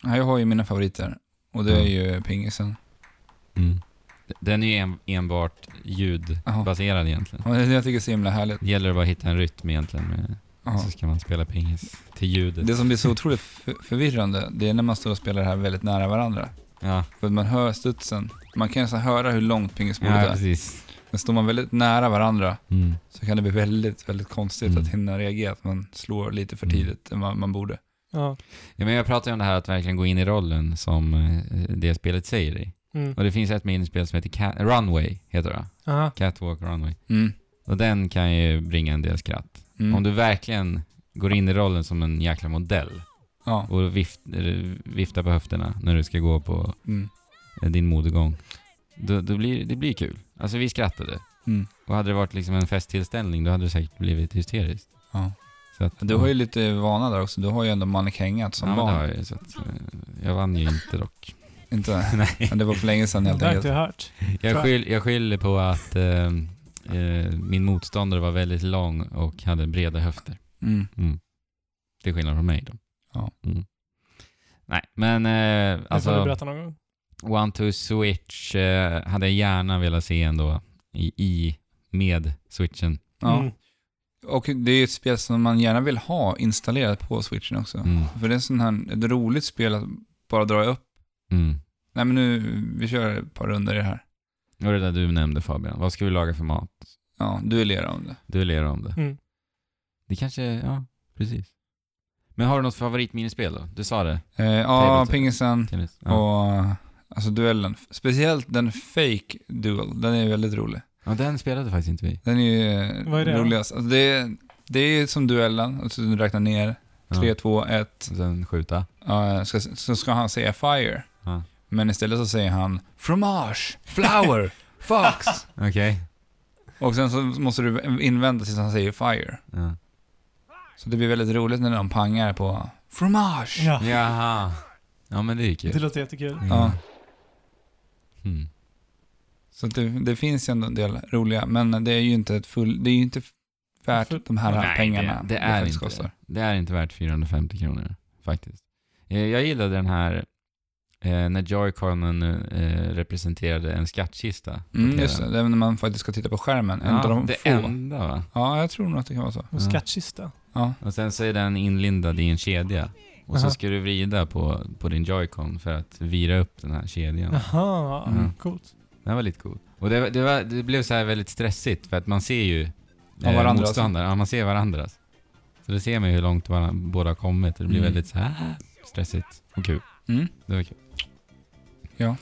Speaker 1: Ja, jag har ju mina favoriter. Och det är
Speaker 2: Mm.
Speaker 1: ju pingisen. Mm.
Speaker 2: Den är ju en, enbart ljudbaserad egentligen.
Speaker 1: Ja, det är det jag tycker är så himla härligt.
Speaker 2: Det gäller bara att hitta en rytm egentligen, med,
Speaker 1: Ja.
Speaker 2: så ska man spela pingis till ljudet.
Speaker 1: Det som blir så otroligt f- förvirrande, det är när man står och spelar det här väldigt nära varandra.
Speaker 2: Ja,
Speaker 1: För att man hör studsen. Man kan nästan höra hur långt pingisbordet
Speaker 2: ja
Speaker 1: är.
Speaker 2: precis.
Speaker 1: Men står man väldigt nära varandra
Speaker 2: Mm.
Speaker 1: så kan det bli väldigt, väldigt konstigt
Speaker 2: Mm.
Speaker 1: att hinna reagera. Att man slår lite för
Speaker 2: Mm.
Speaker 1: tidigt än vad man borde.
Speaker 3: Ja.
Speaker 2: Ja, men jag pratar ju om det här att verkligen gå in i rollen som eh, det spelet säger dig.
Speaker 3: Mm.
Speaker 2: Och det finns ett minispel som heter Ca- Runway, heter det va?
Speaker 3: Aha.
Speaker 2: Catwalk Runway.
Speaker 1: Mm.
Speaker 2: Och den kan ju bringa en del skratt.
Speaker 1: Mm.
Speaker 2: Om du verkligen går in i rollen som en jäkla modell
Speaker 1: Ja.
Speaker 2: och vift, eller viftar på höfterna när du ska gå på
Speaker 1: Mm.
Speaker 2: eh, din modegång, då, då blir det blir kul. Alltså vi skrattade.
Speaker 1: Mm.
Speaker 2: Och hade det varit liksom en festtillställning, då hade det säkert blivit hysteriskt.
Speaker 1: Ja.
Speaker 2: Så att,
Speaker 1: Du har ju lite vana där också. Du har ju ändå mannekängat som
Speaker 2: ja, men det
Speaker 1: barn.
Speaker 2: har jag ju, så att, eh, jag vann ju inte dock.
Speaker 1: [laughs] Inte?
Speaker 2: [laughs] Nej.
Speaker 1: Men det var för länge sedan
Speaker 3: Det
Speaker 1: helt
Speaker 3: har
Speaker 1: enkelt.
Speaker 3: inte jag hört.
Speaker 2: Jag, skyll, jag skyller på att eh, eh, min motståndare var väldigt lång och hade breda höfter.
Speaker 1: Mm.
Speaker 2: Mm. Det är skillnad från mig då.
Speaker 1: Ja.
Speaker 2: Mm. Nej, men eh,
Speaker 3: Det får du
Speaker 2: alltså
Speaker 3: berätta någon gång.
Speaker 2: One to Switch eh, hade jag gärna velat se ändå i, i med switchen.
Speaker 1: Ja.
Speaker 3: Mm.
Speaker 1: Och det är ju ett spel som man gärna vill ha installerat på switchen också.
Speaker 2: Mm.
Speaker 1: För det är en sån här, ett roligt spel att bara dra upp.
Speaker 2: Mm.
Speaker 1: Nej men nu, vi kör ett par runder i det här.
Speaker 2: Och det där du nämnde Fabian, vad ska vi laga för mat?
Speaker 1: Ja, duellera om det.
Speaker 2: Duellera om det.
Speaker 3: Mm.
Speaker 2: Det kanske, ja, precis. Men har du något favoritminispel då? Du sa det.
Speaker 1: Eh, ja,
Speaker 2: Tabletop.
Speaker 1: pingisen [laughs]
Speaker 2: Tennis. Ja.
Speaker 1: och alltså duellen. Speciellt den fake duel, den är ju väldigt rolig.
Speaker 2: ja, den spelade faktiskt inte vi.
Speaker 1: Den är ju eh,
Speaker 3: Vad är det då?
Speaker 1: roligast. Alltså det, är- det är ju som duellen, alltså du räknar ner,
Speaker 2: Ja.
Speaker 1: tre två ett
Speaker 2: Och sen skjuta.
Speaker 1: ja, ska, så ska han säga fire.
Speaker 2: Ja.
Speaker 1: Men istället så säger han fromage,
Speaker 3: [laughs]
Speaker 1: flower, fox.
Speaker 2: Okej.
Speaker 1: Och sen så måste du invänta tills han säger fire.
Speaker 2: Ja.
Speaker 1: Så det blir väldigt roligt när de pangar på fromage.
Speaker 3: Ja.
Speaker 2: Jaha. Ja Hmm. men det är ju kul.
Speaker 3: Det låter jättekul.
Speaker 1: Ja.
Speaker 2: Mm.
Speaker 1: Så att det, det finns ju ändå en del roliga, men det är ju inte, ett full, det är ju inte värt
Speaker 3: Full-
Speaker 1: de här
Speaker 2: Nej,
Speaker 1: pengarna
Speaker 2: Det, det, är
Speaker 1: faktiskt
Speaker 2: inte,
Speaker 1: kostar.
Speaker 2: det är inte värt 450 kronor faktiskt. Eh, Jag gillade den här eh, när Joy-Conen eh, representerade en skattkista. på
Speaker 1: Mm,
Speaker 2: TV:n.
Speaker 1: just det, det är när man faktiskt ska titta på skärmen. en av
Speaker 2: Ja,
Speaker 1: de
Speaker 2: det
Speaker 1: få.
Speaker 2: enda va?
Speaker 1: Ja, jag tror nog att det kan vara så.
Speaker 3: Och
Speaker 2: Ja.
Speaker 3: skattkista.
Speaker 1: Ja.
Speaker 2: Och sen så är den inlindad i en kedja. Och så
Speaker 3: Aha.
Speaker 2: ska du vrida på, på din Joy-Con för att vira upp den här kedjan.
Speaker 3: Jaha,
Speaker 2: Mm.
Speaker 3: coolt.
Speaker 2: Den var lite cool. Och det, var- det, var, det blev så här väldigt stressigt för att man ser ju eh,
Speaker 1: Ja, varandras.
Speaker 3: alltså.
Speaker 2: motståndare. Ja, man ser varandras. Så då ser man ju hur långt varandra, båda har kommit. Det blir
Speaker 1: Mm.
Speaker 2: väldigt så här "Ah, stressigt och kul. [laughs]
Speaker 1: Mm.
Speaker 2: Det var kul.
Speaker 3: Ja,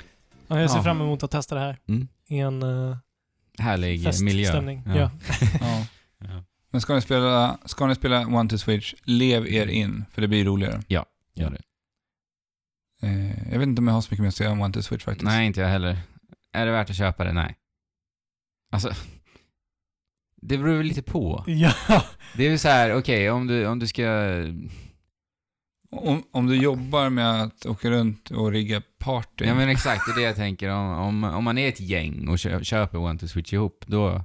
Speaker 3: jag ser
Speaker 2: Ja.
Speaker 3: fram emot att testa det här
Speaker 2: Mm.
Speaker 3: i en uh,
Speaker 2: Härlig miljö.
Speaker 3: feststämning. Ja.
Speaker 1: Ja.
Speaker 2: Ja.
Speaker 1: Men ska ni spela, ska ni spela One to Switch, lev er in, för det blir roligare.
Speaker 2: Gör det.
Speaker 1: Eh, jag vet inte om jag har så mycket mer att säga om One to Switch faktiskt.
Speaker 2: Nej, inte jag heller. Är det värt att köpa det? Nej. Alltså, [laughs] det beror väl lite på.
Speaker 3: [laughs] Ja.
Speaker 2: Det är väl så här, okej, om, du, om du ska...
Speaker 1: Om, om du jobbar med att åka runt och rigga party.
Speaker 2: Ja men exakt, det är det jag tänker. Om, om, om man är ett gäng och kö- köper One to Switch ihop, då,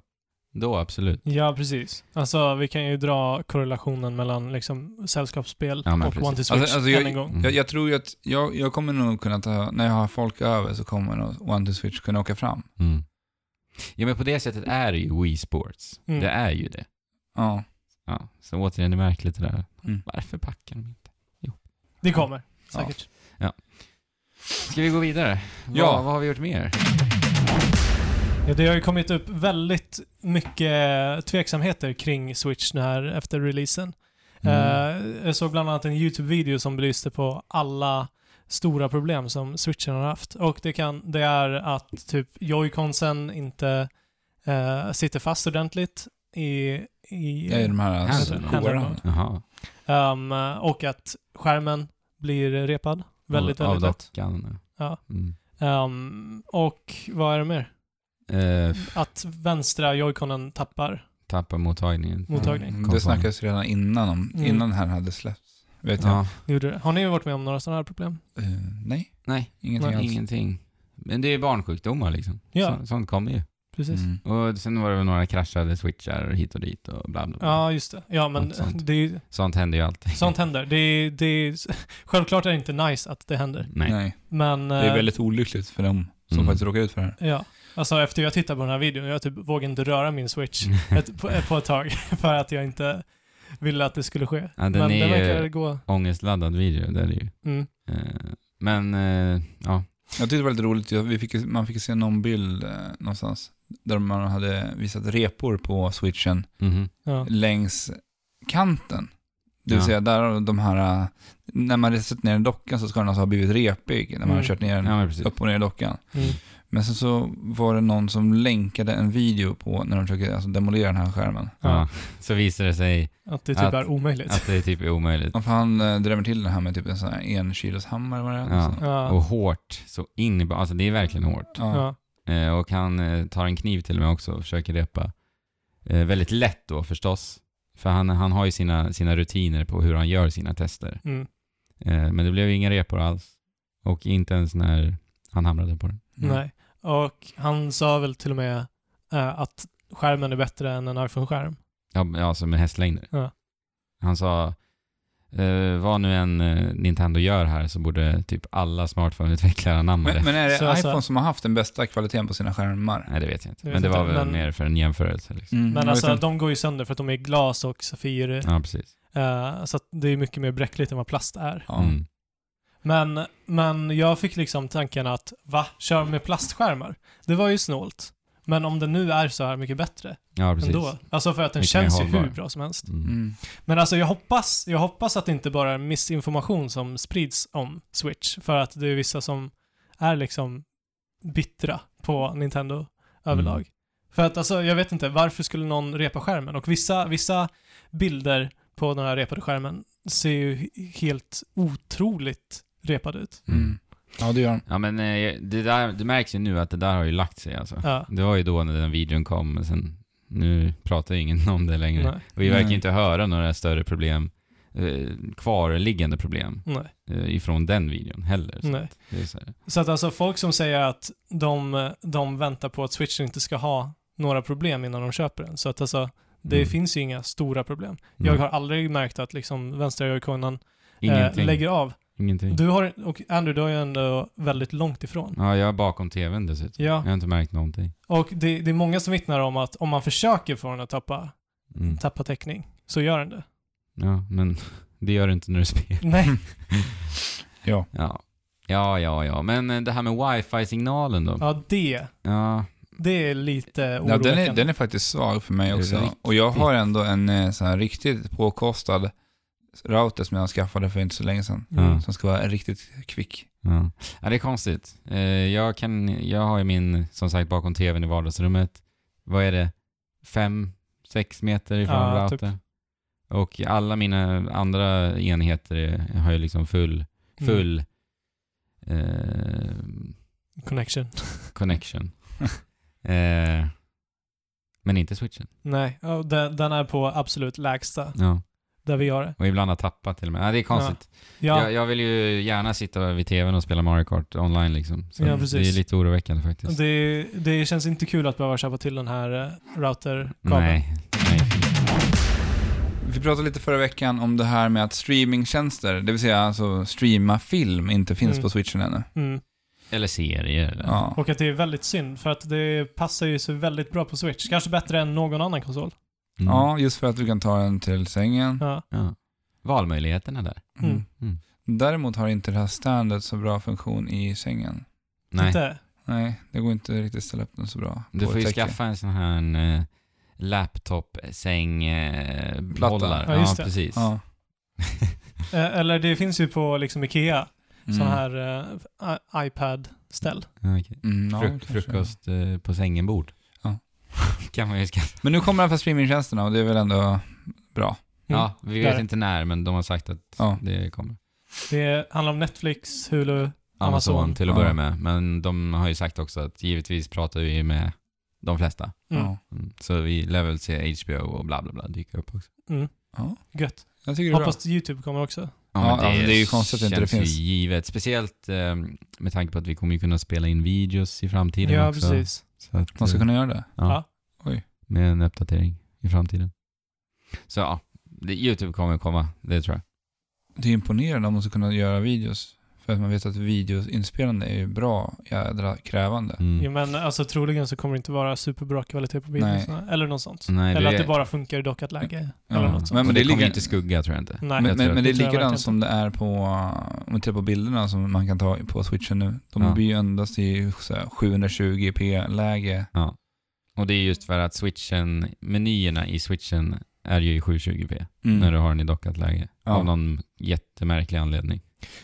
Speaker 2: då absolut.
Speaker 3: ja, precis. Alltså, vi kan ju dra korrelationen mellan liksom, sällskapsspel
Speaker 2: Ja, men
Speaker 3: och
Speaker 2: precis.
Speaker 3: One to Switch
Speaker 1: Alltså- alltså, jag-
Speaker 3: än en gång.
Speaker 2: Mm.
Speaker 1: jag, jag tror ju att jag, jag kommer nog kunna ta, när jag har folk över så kommer nog One to Switch kunna åka fram.
Speaker 2: Mm. Ja men på det sättet är det ju Wii Sports.
Speaker 3: Mm.
Speaker 2: Det är ju det.
Speaker 1: Ja.
Speaker 2: Ja, så återigen, det är märkligt det där.
Speaker 1: Mm.
Speaker 2: Varför packar de inte?
Speaker 3: Det kommer, säkert.
Speaker 2: Ska vi gå vidare?
Speaker 1: Ja.
Speaker 2: Vad, vad har vi gjort mer?
Speaker 3: Ja, det har ju kommit upp väldigt mycket tveksamheter kring Switch nu här efter releasen.
Speaker 1: Mm.
Speaker 2: Mm.
Speaker 3: Eh, jag såg bland annat en YouTube-video som belyste på alla stora problem som switchen har haft. Och det, kan, det är att typ joyconsen inte eh, sitter fast ordentligt i... i
Speaker 1: Det är ju de här alltså,
Speaker 2: Handle.
Speaker 1: kårarna.
Speaker 3: Handle.
Speaker 2: Jaha.
Speaker 3: ehm, och att skärmen blir repad väldigt,
Speaker 2: Av-
Speaker 3: väldigt lätt.
Speaker 2: Avdockan.
Speaker 3: Ja.
Speaker 2: Mm.
Speaker 3: Ehm, och vad är det mer?
Speaker 2: Eh, f-
Speaker 3: Att vänstra joyconen tappar
Speaker 2: tappa mottagningen.
Speaker 3: mottagning.
Speaker 1: Mm, Det snackades redan innan om,
Speaker 3: Mm.
Speaker 1: innan den här hade släppts. Vet jag.
Speaker 2: Ja.
Speaker 3: Gjorde det. Har ni varit med om några sådana här problem?
Speaker 1: Eh, nej,
Speaker 2: Nej,
Speaker 1: ingenting
Speaker 2: Nej,
Speaker 1: alls.
Speaker 2: ingenting. Men det är barnsjukdomar liksom.
Speaker 3: Ja.
Speaker 2: Så, sånt kommer ju.
Speaker 3: Precis.
Speaker 1: Mm.
Speaker 2: Och sen var det väl några kraschade switchar hit och dit och bla bla bla.
Speaker 3: Ja, just det. Ja, men
Speaker 2: Något sånt.
Speaker 3: det är ju
Speaker 2: Sånt händer ju alltid. [laughs]
Speaker 3: Sånt händer. Det, är- det, är- [laughs] självklart är det inte nice att det händer.
Speaker 2: Nej.
Speaker 1: Nej.
Speaker 3: Men...
Speaker 1: det är
Speaker 3: eh,
Speaker 1: väldigt olyckligt för dem som
Speaker 2: Mm.
Speaker 1: faktiskt råkar ut för det här.
Speaker 3: Ja. Alltså efter jag tittade på den här videon, jag typ vågade inte röra
Speaker 2: [laughs]
Speaker 3: min switch ett, på, på ett tag. [laughs] För att jag inte ville att det skulle ske.
Speaker 2: Ja, den
Speaker 3: men
Speaker 2: är
Speaker 3: det
Speaker 2: ju-
Speaker 3: verkar gå...
Speaker 2: Ångestladdad video, det är det ju.
Speaker 3: Mm.
Speaker 2: Eh, Men, eh, ja.
Speaker 1: Jag tyckte det var lite roligt, jag- vi fick, ju- man fick ju se någon bild eh, någonstans där man hade visat repor på switchen
Speaker 2: Mhm.
Speaker 3: Ja.
Speaker 1: längs kanten. Det vill
Speaker 2: Ja.
Speaker 1: säga där har de här, eh, när man sätter ner en dockan så ska den alltså ha blivit repig när man har
Speaker 3: Mm.
Speaker 1: kört ner den
Speaker 2: Ja men precis.
Speaker 1: upp och ner i dockan.
Speaker 3: Mm.
Speaker 1: Men sen så var det någon som länkade en video på när de försöker alltså, demolera den här skärmen.
Speaker 2: Ja. Så visar det sig
Speaker 3: Att det typ
Speaker 2: Att-
Speaker 3: är omöjligt.
Speaker 2: att det typ är omöjligt.
Speaker 1: Ja, för han eh, drämmer till den här med typ en sån här enkiloshammare var det?
Speaker 2: Ja.
Speaker 1: Så-
Speaker 3: [laughs] ja.
Speaker 2: Och hårt, så in i ba- Alltså det är verkligen hårt.
Speaker 1: Ja.
Speaker 3: Ja.
Speaker 2: Eh, Och han eh, tar en kniv till och med också och försöker repa. Eh, Väldigt lätt då förstås. För han, han har ju sina, sina rutiner på hur han gör sina tester.
Speaker 3: Mm.
Speaker 2: Eh, Men det blev ju inga repor alls. Och inte ens när han hamrade på den.
Speaker 1: Mm.
Speaker 3: Nej. Och han sa väl till och med eh, att skärmen är bättre än en iPhone-skärm.
Speaker 2: Ja, men alltså med hästlängder.
Speaker 3: Ja.
Speaker 2: Han sa, eh, vad nu än eh, Nintendo gör här så borde typ alla smartphone-utvecklare anamma det.
Speaker 1: Men, men är det
Speaker 3: Så, alltså- så-
Speaker 1: iPhone som har haft den bästa kvaliteten på sina skärmar?
Speaker 2: Nej, det vet jag inte.
Speaker 3: Jag
Speaker 2: men
Speaker 3: vet
Speaker 2: det
Speaker 3: inte,
Speaker 2: var väl
Speaker 3: men-
Speaker 2: mer för en jämförelse. Liksom.
Speaker 1: Mm, jag
Speaker 3: Men
Speaker 1: vet
Speaker 3: alltså
Speaker 1: inte.
Speaker 3: de går ju sönder för att de är glas och safir.
Speaker 2: Ja, precis.
Speaker 3: eh, så att det är mycket mer bräckligt än vad plast är.
Speaker 1: ja.
Speaker 2: Mm.
Speaker 3: Men, men jag fick liksom tanken att va, kör med plastskärmar? Det var ju snålt. Men om den nu är så här mycket bättre
Speaker 2: Ja, precis.
Speaker 3: ändå. Alltså för att den
Speaker 2: Mycket
Speaker 3: känns
Speaker 2: mer
Speaker 3: ju
Speaker 2: hållbar.
Speaker 3: hur bra som helst.
Speaker 2: Mm.
Speaker 1: Mm.
Speaker 3: Men alltså jag hoppas, jag hoppas att det inte bara är missinformation som sprids om Switch. För att det är vissa som är liksom bittra på Nintendo överlag.
Speaker 2: Mm.
Speaker 3: För att alltså, jag vet inte, varför skulle någon repa skärmen? Och vissa, vissa bilder på den här repade skärmen ser ju he- helt otroligt repade ut.
Speaker 1: Mm. Ja, det gör de.
Speaker 2: Ja, men eh, det, där, det märks ju nu att det där har ju lagt sig alltså.
Speaker 3: Ja.
Speaker 2: Det var ju då när den videon kom, men sen nu pratar ju ingen [laughs] om det längre.
Speaker 3: Nej.
Speaker 2: Och vi verkar
Speaker 1: Nej.
Speaker 2: inte höra några större problem eh, kvarliggande problem
Speaker 3: Nej.
Speaker 2: eh, ifrån den videon heller. Så
Speaker 3: Nej.
Speaker 2: det är så här.
Speaker 3: Så att alltså folk som säger att de, de väntar på att switchen inte ska ha några problem innan de köper den. Så att alltså, det
Speaker 2: Mm.
Speaker 3: finns ju inga stora problem.
Speaker 2: Mm.
Speaker 3: Jag har aldrig märkt att liksom vänstra ögonkonan eh,
Speaker 2: Ingenting.
Speaker 3: lägger av.
Speaker 2: Ingenting.
Speaker 3: Du har, och Andrew, du har ju ändå väldigt långt ifrån.
Speaker 2: Ja, jag är bakom tvn dessutom.
Speaker 3: Ja,
Speaker 2: Jag har inte märkt någonting.
Speaker 3: och det, det är många som vittnar om att om man försöker få den att tappa,
Speaker 2: Mm.
Speaker 3: tappa täckning, så gör den det.
Speaker 2: Ja, men [laughs] det gör det inte när du spelar.
Speaker 3: Nej.
Speaker 1: Ja.
Speaker 2: Ja. ja, ja, ja. Men eh, det här med wifi-signalen då?
Speaker 3: Ja, det,
Speaker 2: Ja.
Speaker 3: det är lite
Speaker 1: Ja,
Speaker 3: oroväckande.
Speaker 1: den, är, den är faktiskt svag för mig
Speaker 2: Är det
Speaker 1: också.
Speaker 2: riktigt?
Speaker 1: Och jag har ändå en eh, sån här riktigt påkostad router som jag skaffade för inte så länge sedan.
Speaker 3: Mm.
Speaker 2: Ja.
Speaker 1: Som ska vara riktigt kvick.
Speaker 2: Ja. ja, det är konstigt. Eh, Jag, kan, jag har ju min, som sagt, bakom tvn i vardagsrummet. Vad är det? Fem, sex meter ifrån
Speaker 3: Ja, typ.
Speaker 2: routern. Och alla mina andra enheter är- har ju liksom full,
Speaker 3: Mm.
Speaker 2: full eh,
Speaker 3: Mm. Connection.
Speaker 1: [laughs]
Speaker 2: connection. eh, men inte switchen.
Speaker 3: Nej, ja, den, den är på absolut lägsta
Speaker 2: Ja.
Speaker 3: där vi har det.
Speaker 2: Och ibland har tappat till och med. Ja, det är konstigt.
Speaker 3: Ja,
Speaker 2: Jag, jag vill ju gärna sitta vid tvn och spela Mario Kart online liksom. Så
Speaker 3: Ja,
Speaker 2: det
Speaker 3: precis.
Speaker 2: är lite oroväckande faktiskt.
Speaker 3: det, det känns inte kul att behöva köpa till den här eh, routerkabeln.
Speaker 2: Nej, nej.
Speaker 1: Vi pratade lite förra veckan om det här med att streamingtjänster, det vill säga alltså streama film, inte finns
Speaker 3: Mm.
Speaker 1: på switchen ännu.
Speaker 3: Mm.
Speaker 2: Eller serier. Eller?
Speaker 1: Ja.
Speaker 3: Och att det är väldigt synd, för att det passar ju så väldigt bra på Switch. Kanske bättre än någon annan konsol.
Speaker 2: Mm.
Speaker 1: ja, just för att du kan ta den till sängen.
Speaker 3: Ja.
Speaker 2: Ja. Valmöjligheterna där.
Speaker 1: Mm.
Speaker 2: Mm.
Speaker 1: Däremot har inte det här standet så bra funktion i sängen.
Speaker 2: Nej,
Speaker 3: Inte?
Speaker 1: Nej, det går inte riktigt att ställa upp den så bra. på
Speaker 2: du får ju
Speaker 1: ett täcke.
Speaker 2: skaffa en sån här en, eh,
Speaker 1: Platta.
Speaker 2: laptop-säng-bollar.
Speaker 3: Ja,
Speaker 2: ja,
Speaker 3: just det.
Speaker 2: precis.
Speaker 1: Ja.
Speaker 3: Eh, Eller det finns ju på liksom Ikea,
Speaker 1: Mm.
Speaker 3: sån här eh, i- iPad-ställ.
Speaker 2: Ja, okej.
Speaker 1: Mm, ja,
Speaker 2: Fruk-
Speaker 1: kanske.
Speaker 2: frukost eh, på sängen-bord.
Speaker 1: Ja.
Speaker 2: [laughs] kan man ju skaffa.
Speaker 1: Men nu kommer den för streamingtjänsterna och det är väl ändå bra.
Speaker 3: Mm.
Speaker 2: Ja, vi vet
Speaker 3: Där.
Speaker 2: inte när, men de har sagt att
Speaker 3: Mm.
Speaker 1: Ja.
Speaker 2: det kommer.
Speaker 3: Det handlar om Netflix, Hulu.
Speaker 2: Amazon,
Speaker 3: Amazon.
Speaker 2: till att
Speaker 1: Ja.
Speaker 2: börja med. Men de har ju sagt också att givetvis pratar vi med de flesta.
Speaker 3: Mm.
Speaker 1: Ja.
Speaker 2: Mm. Så vi lär väl se HBO och bla bla bla dyka upp också.
Speaker 3: Mm.
Speaker 1: Ja.
Speaker 3: Gött.
Speaker 1: Jag tycker det är bra.
Speaker 3: Hoppas YouTube kommer också.
Speaker 1: Ja, alltså, det är ju konstigt att inte det
Speaker 2: känns ju
Speaker 1: finns.
Speaker 2: givet. Speciellt eh, med tanke på att vi kommer ju kunna spela in videos i framtiden
Speaker 3: Ja,
Speaker 2: också.
Speaker 3: precis.
Speaker 2: Så att,
Speaker 1: Man ska
Speaker 2: eh,
Speaker 1: kunna göra det.
Speaker 2: ja,
Speaker 3: Ja.
Speaker 1: Oj.
Speaker 2: Med en uppdatering i framtiden. Så ja, det, YouTube kommer komma, det tror jag.
Speaker 1: Det är imponerande om man ska kunna göra videos. För att man vet att videoinspelande är ju bra jädra krävande.
Speaker 2: Mm.
Speaker 3: Ja, men alltså troligen så kommer det inte vara superbra kvalitet på videorna. Eller något sånt.
Speaker 2: Nej,
Speaker 3: eller
Speaker 2: det-
Speaker 3: att det bara funkar i dockat läge.
Speaker 1: Ja.
Speaker 3: Eller något sånt.
Speaker 1: Men-
Speaker 2: Men,
Speaker 1: men
Speaker 2: det,
Speaker 1: det
Speaker 2: kommer
Speaker 1: ligger-
Speaker 2: inte skugga tror jag inte.
Speaker 3: Nej.
Speaker 1: men,
Speaker 2: jag tror
Speaker 1: men, men det är
Speaker 3: det tror jag verkligen
Speaker 1: likadant som det är på, om vi tittar på bilderna som man kan ta på switchen nu. De
Speaker 2: Ja.
Speaker 1: blir ju endast i så här 720p-läge.
Speaker 2: Och det är just för att switchen, menyerna i switchen är ju i 720p
Speaker 1: Mm.
Speaker 2: när du har den i dockat läge.
Speaker 1: Ja.
Speaker 2: Av någon jättemärklig anledning.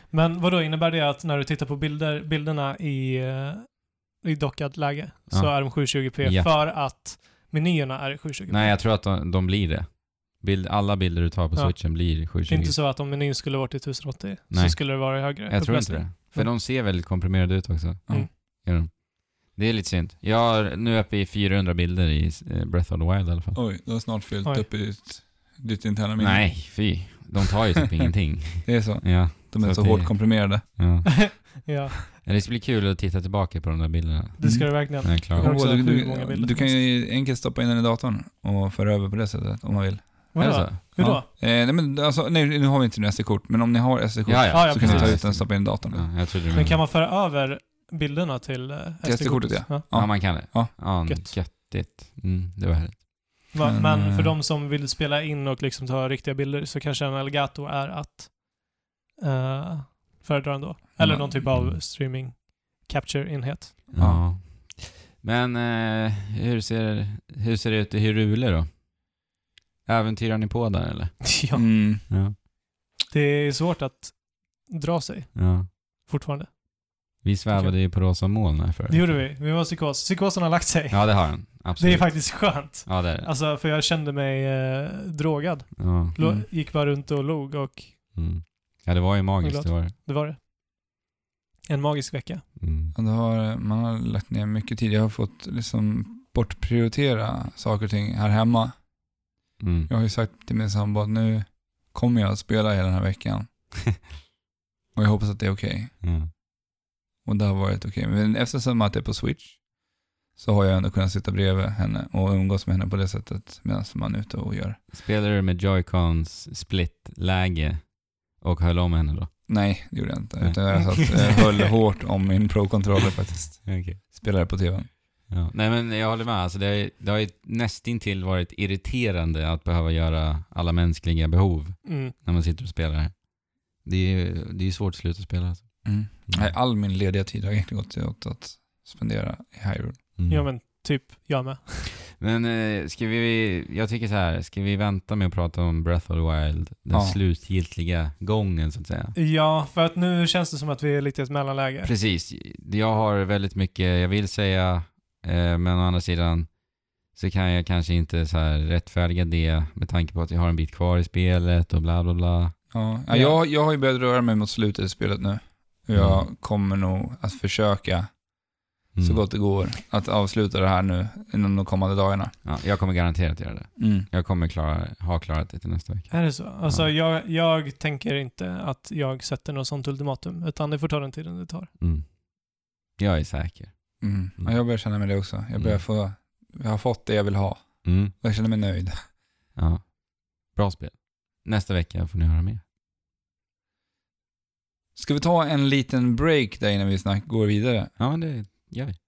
Speaker 3: Men vad då innebär det att när du tittar på bilder, bilderna i, eh, i dockat läge så
Speaker 2: Ja.
Speaker 3: är de 720p
Speaker 2: Ja.
Speaker 3: för att menyerna är 720p?
Speaker 2: Nej, jag tror att de, de blir det. Bild, alla bilder du tar på
Speaker 3: Ja.
Speaker 2: switchen blir
Speaker 3: det är
Speaker 2: 720p.
Speaker 3: inte så att om menyn skulle varit i 1080 så
Speaker 2: Nej.
Speaker 3: skulle det vara i högre
Speaker 2: Jag tror inte
Speaker 3: upplösning.
Speaker 2: det. För de ser väldigt komprimerade ut också.
Speaker 1: Mm.
Speaker 2: Gör de. Det är lite synd. Jag har nu uppe i 400 bilder i eh, Breath of the Wild i alla fall.
Speaker 1: Oj, du har snart fyllt
Speaker 3: Oj.
Speaker 1: upp i ditt, ditt interna minne.
Speaker 2: Nej, fy. De tar ju typ [laughs] ingenting.
Speaker 1: Det är så.
Speaker 2: Ja,
Speaker 1: De är så,
Speaker 2: Så det-
Speaker 1: hårt komprimerade.
Speaker 2: ja.
Speaker 3: Ja,
Speaker 2: Men Det ska bli kul att titta tillbaka på de där bilderna.
Speaker 3: det ska
Speaker 1: Mm.
Speaker 3: det verkligen.
Speaker 2: När jag är klar.
Speaker 3: Jag har
Speaker 1: Åh,
Speaker 3: också
Speaker 1: du,
Speaker 3: hur många
Speaker 1: du,
Speaker 3: bilder
Speaker 1: du
Speaker 3: som
Speaker 1: kan ju enkelt stoppa in den i datorn och föra över på det sättet om man vill.
Speaker 2: Är
Speaker 3: Vadå?
Speaker 2: det så?
Speaker 3: Hur då?
Speaker 1: Ja. Eh, nej, men alltså, nej, nu har vi inte nu SD-kort, men om ni har SD-kort
Speaker 2: Ja,
Speaker 3: Ja,
Speaker 2: ja.
Speaker 3: ja,
Speaker 1: så kan ni ta
Speaker 3: precis.
Speaker 1: ut den och stoppa in i datorn.
Speaker 2: Ja, jag trodde du
Speaker 3: Men kan
Speaker 2: menade.
Speaker 3: man föra över bilderna till eh,
Speaker 1: Till SD-kortet, ja.
Speaker 2: Ja, man kan det.
Speaker 1: Ja.
Speaker 3: Gött.
Speaker 2: Göttigt. Mm, det var härligt.
Speaker 3: Va,
Speaker 1: Men,
Speaker 3: men för
Speaker 1: eh,
Speaker 3: de som vill spela in och liksom ta riktiga bilder så kanske en Elgato är att uh, föredra ändå. Eller
Speaker 1: Ja.
Speaker 3: någon typ av streaming capture-enhet. [laughs]
Speaker 2: Ja. Men eh, hur, ser, hur ser det ut i Hirule då? Äventyrar ni på där eller?
Speaker 3: ja,
Speaker 1: Mm.
Speaker 2: Ja.
Speaker 3: det är svårt att dra sig
Speaker 2: ja.
Speaker 3: fortfarande.
Speaker 2: Vi svävade ju på rosa moln här förut.
Speaker 3: Det gjorde vi. Vi var psykos. Psykosen har lagt sig.
Speaker 2: Ja, det har den.
Speaker 3: det
Speaker 2: Absolut.
Speaker 3: är faktiskt skönt.
Speaker 2: Ja, det är det.
Speaker 3: Alltså, för jag kände mig eh, drogad.
Speaker 2: Ja.
Speaker 3: Lo-
Speaker 1: Mm.
Speaker 3: Gick bara runt och log och
Speaker 2: Mm. ja, det var ju magiskt.
Speaker 3: Jag
Speaker 2: Det
Speaker 3: är
Speaker 2: var det.
Speaker 3: det var det. En magisk vecka.
Speaker 2: Mm.
Speaker 1: Ja, det har, eh, man har lagt ner mycket tid. Jag har fått liksom bortprioritera saker och ting här hemma.
Speaker 2: Mm.
Speaker 1: Jag har ju sagt till min sambo att nu kommer jag att spela hela den här
Speaker 2: [laughs]
Speaker 1: veckan. och jag hoppas att det är okej.
Speaker 2: Ja.
Speaker 1: Och det har varit okej. Men eftersom att det är på Switch så har jag ändå kunnat sitta bredvid henne och umgås med henne på det sättet medan man är ute och gör.
Speaker 2: Spelar du med Joy-Cons split-läge och höll om henne då?
Speaker 1: Nej, det gjorde jag inte.
Speaker 2: Nej.
Speaker 1: Utan jag satt, eh, [laughs] höll hårt om min Pro-controller faktiskt.
Speaker 2: Okej.
Speaker 1: Spelade på tvn.
Speaker 2: Ja. Nej men jag håller med. Alltså det, har ju- det har ju nästintill varit irriterande att behöva göra alla mänskliga behov
Speaker 3: Mm.
Speaker 2: när man sitter och spelar här. Det är ju det är ju svårt att sluta spela. Alltså.
Speaker 1: Mm. Nej, all min lediga tid har egentligen gått till åt att spendera i Hyrule.
Speaker 2: Mm.
Speaker 3: Ja men typ jag med.
Speaker 2: Men eh, ska vi, jag tycker så här, ska vi vänta med att prata om Breath of the Wild, den
Speaker 1: Ja.
Speaker 2: slutgiltiga gången så att säga?
Speaker 3: Ja, för att nu känns det som att vi är lite i ett mellanläge.
Speaker 2: Precis, jag har väldigt mycket jag vill säga, eh, men å andra sidan så kan jag kanske inte så här rättfärdiga det med tanke på att jag har en bit kvar i spelet och bla bla bla.
Speaker 1: Ja.
Speaker 3: Ja.
Speaker 1: Ja, jag, jag har ju börjat röra mig mot slutet i spelet nu. Och Jag kommer nog att försöka
Speaker 2: Mm.
Speaker 1: så gott det går att avsluta det här nu inom de kommande dagarna.
Speaker 2: Ja, jag kommer garanterat göra det.
Speaker 1: Mm.
Speaker 2: Jag kommer klara, ha klarat det till nästa vecka.
Speaker 3: Är det så? Alltså jag, jag tänker inte att jag sätter något sånt ultimatum, utan det får ta den tiden det tar.
Speaker 2: Mm. Jag är säker.
Speaker 1: Mm. Ja, jag börjar känna mig det också. Jag börjar
Speaker 2: Mm.
Speaker 1: få, jag har fått det jag vill ha.
Speaker 2: Mm.
Speaker 1: Och jag känner mig nöjd.
Speaker 2: Ja. Bra spel. Nästa vecka får ni höra mer.
Speaker 1: Ska vi ta en liten break där innan vi snack går vidare?
Speaker 2: Ja, men det gör vi.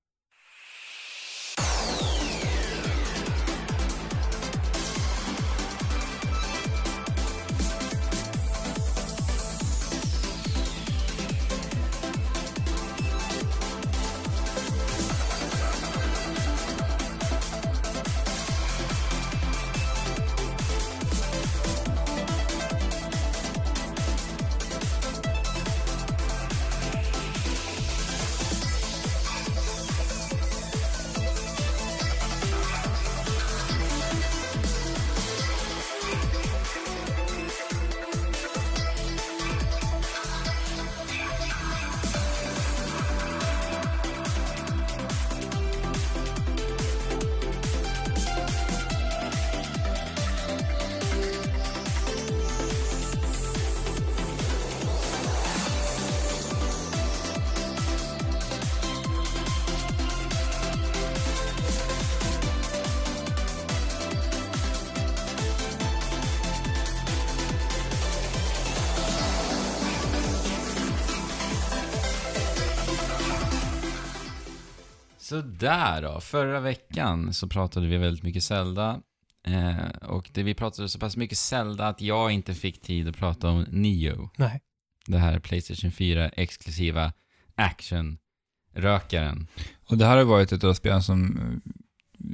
Speaker 2: Så där då. Förra veckan så pratade vi väldigt mycket Zelda. Eh, och det vi pratade så pass mycket Zelda att jag inte fick tid att prata om Nio.
Speaker 3: Nej.
Speaker 2: Det här Playstation 4-exklusiva action-rökaren.
Speaker 1: Och det här har varit ett av spelen som, eh,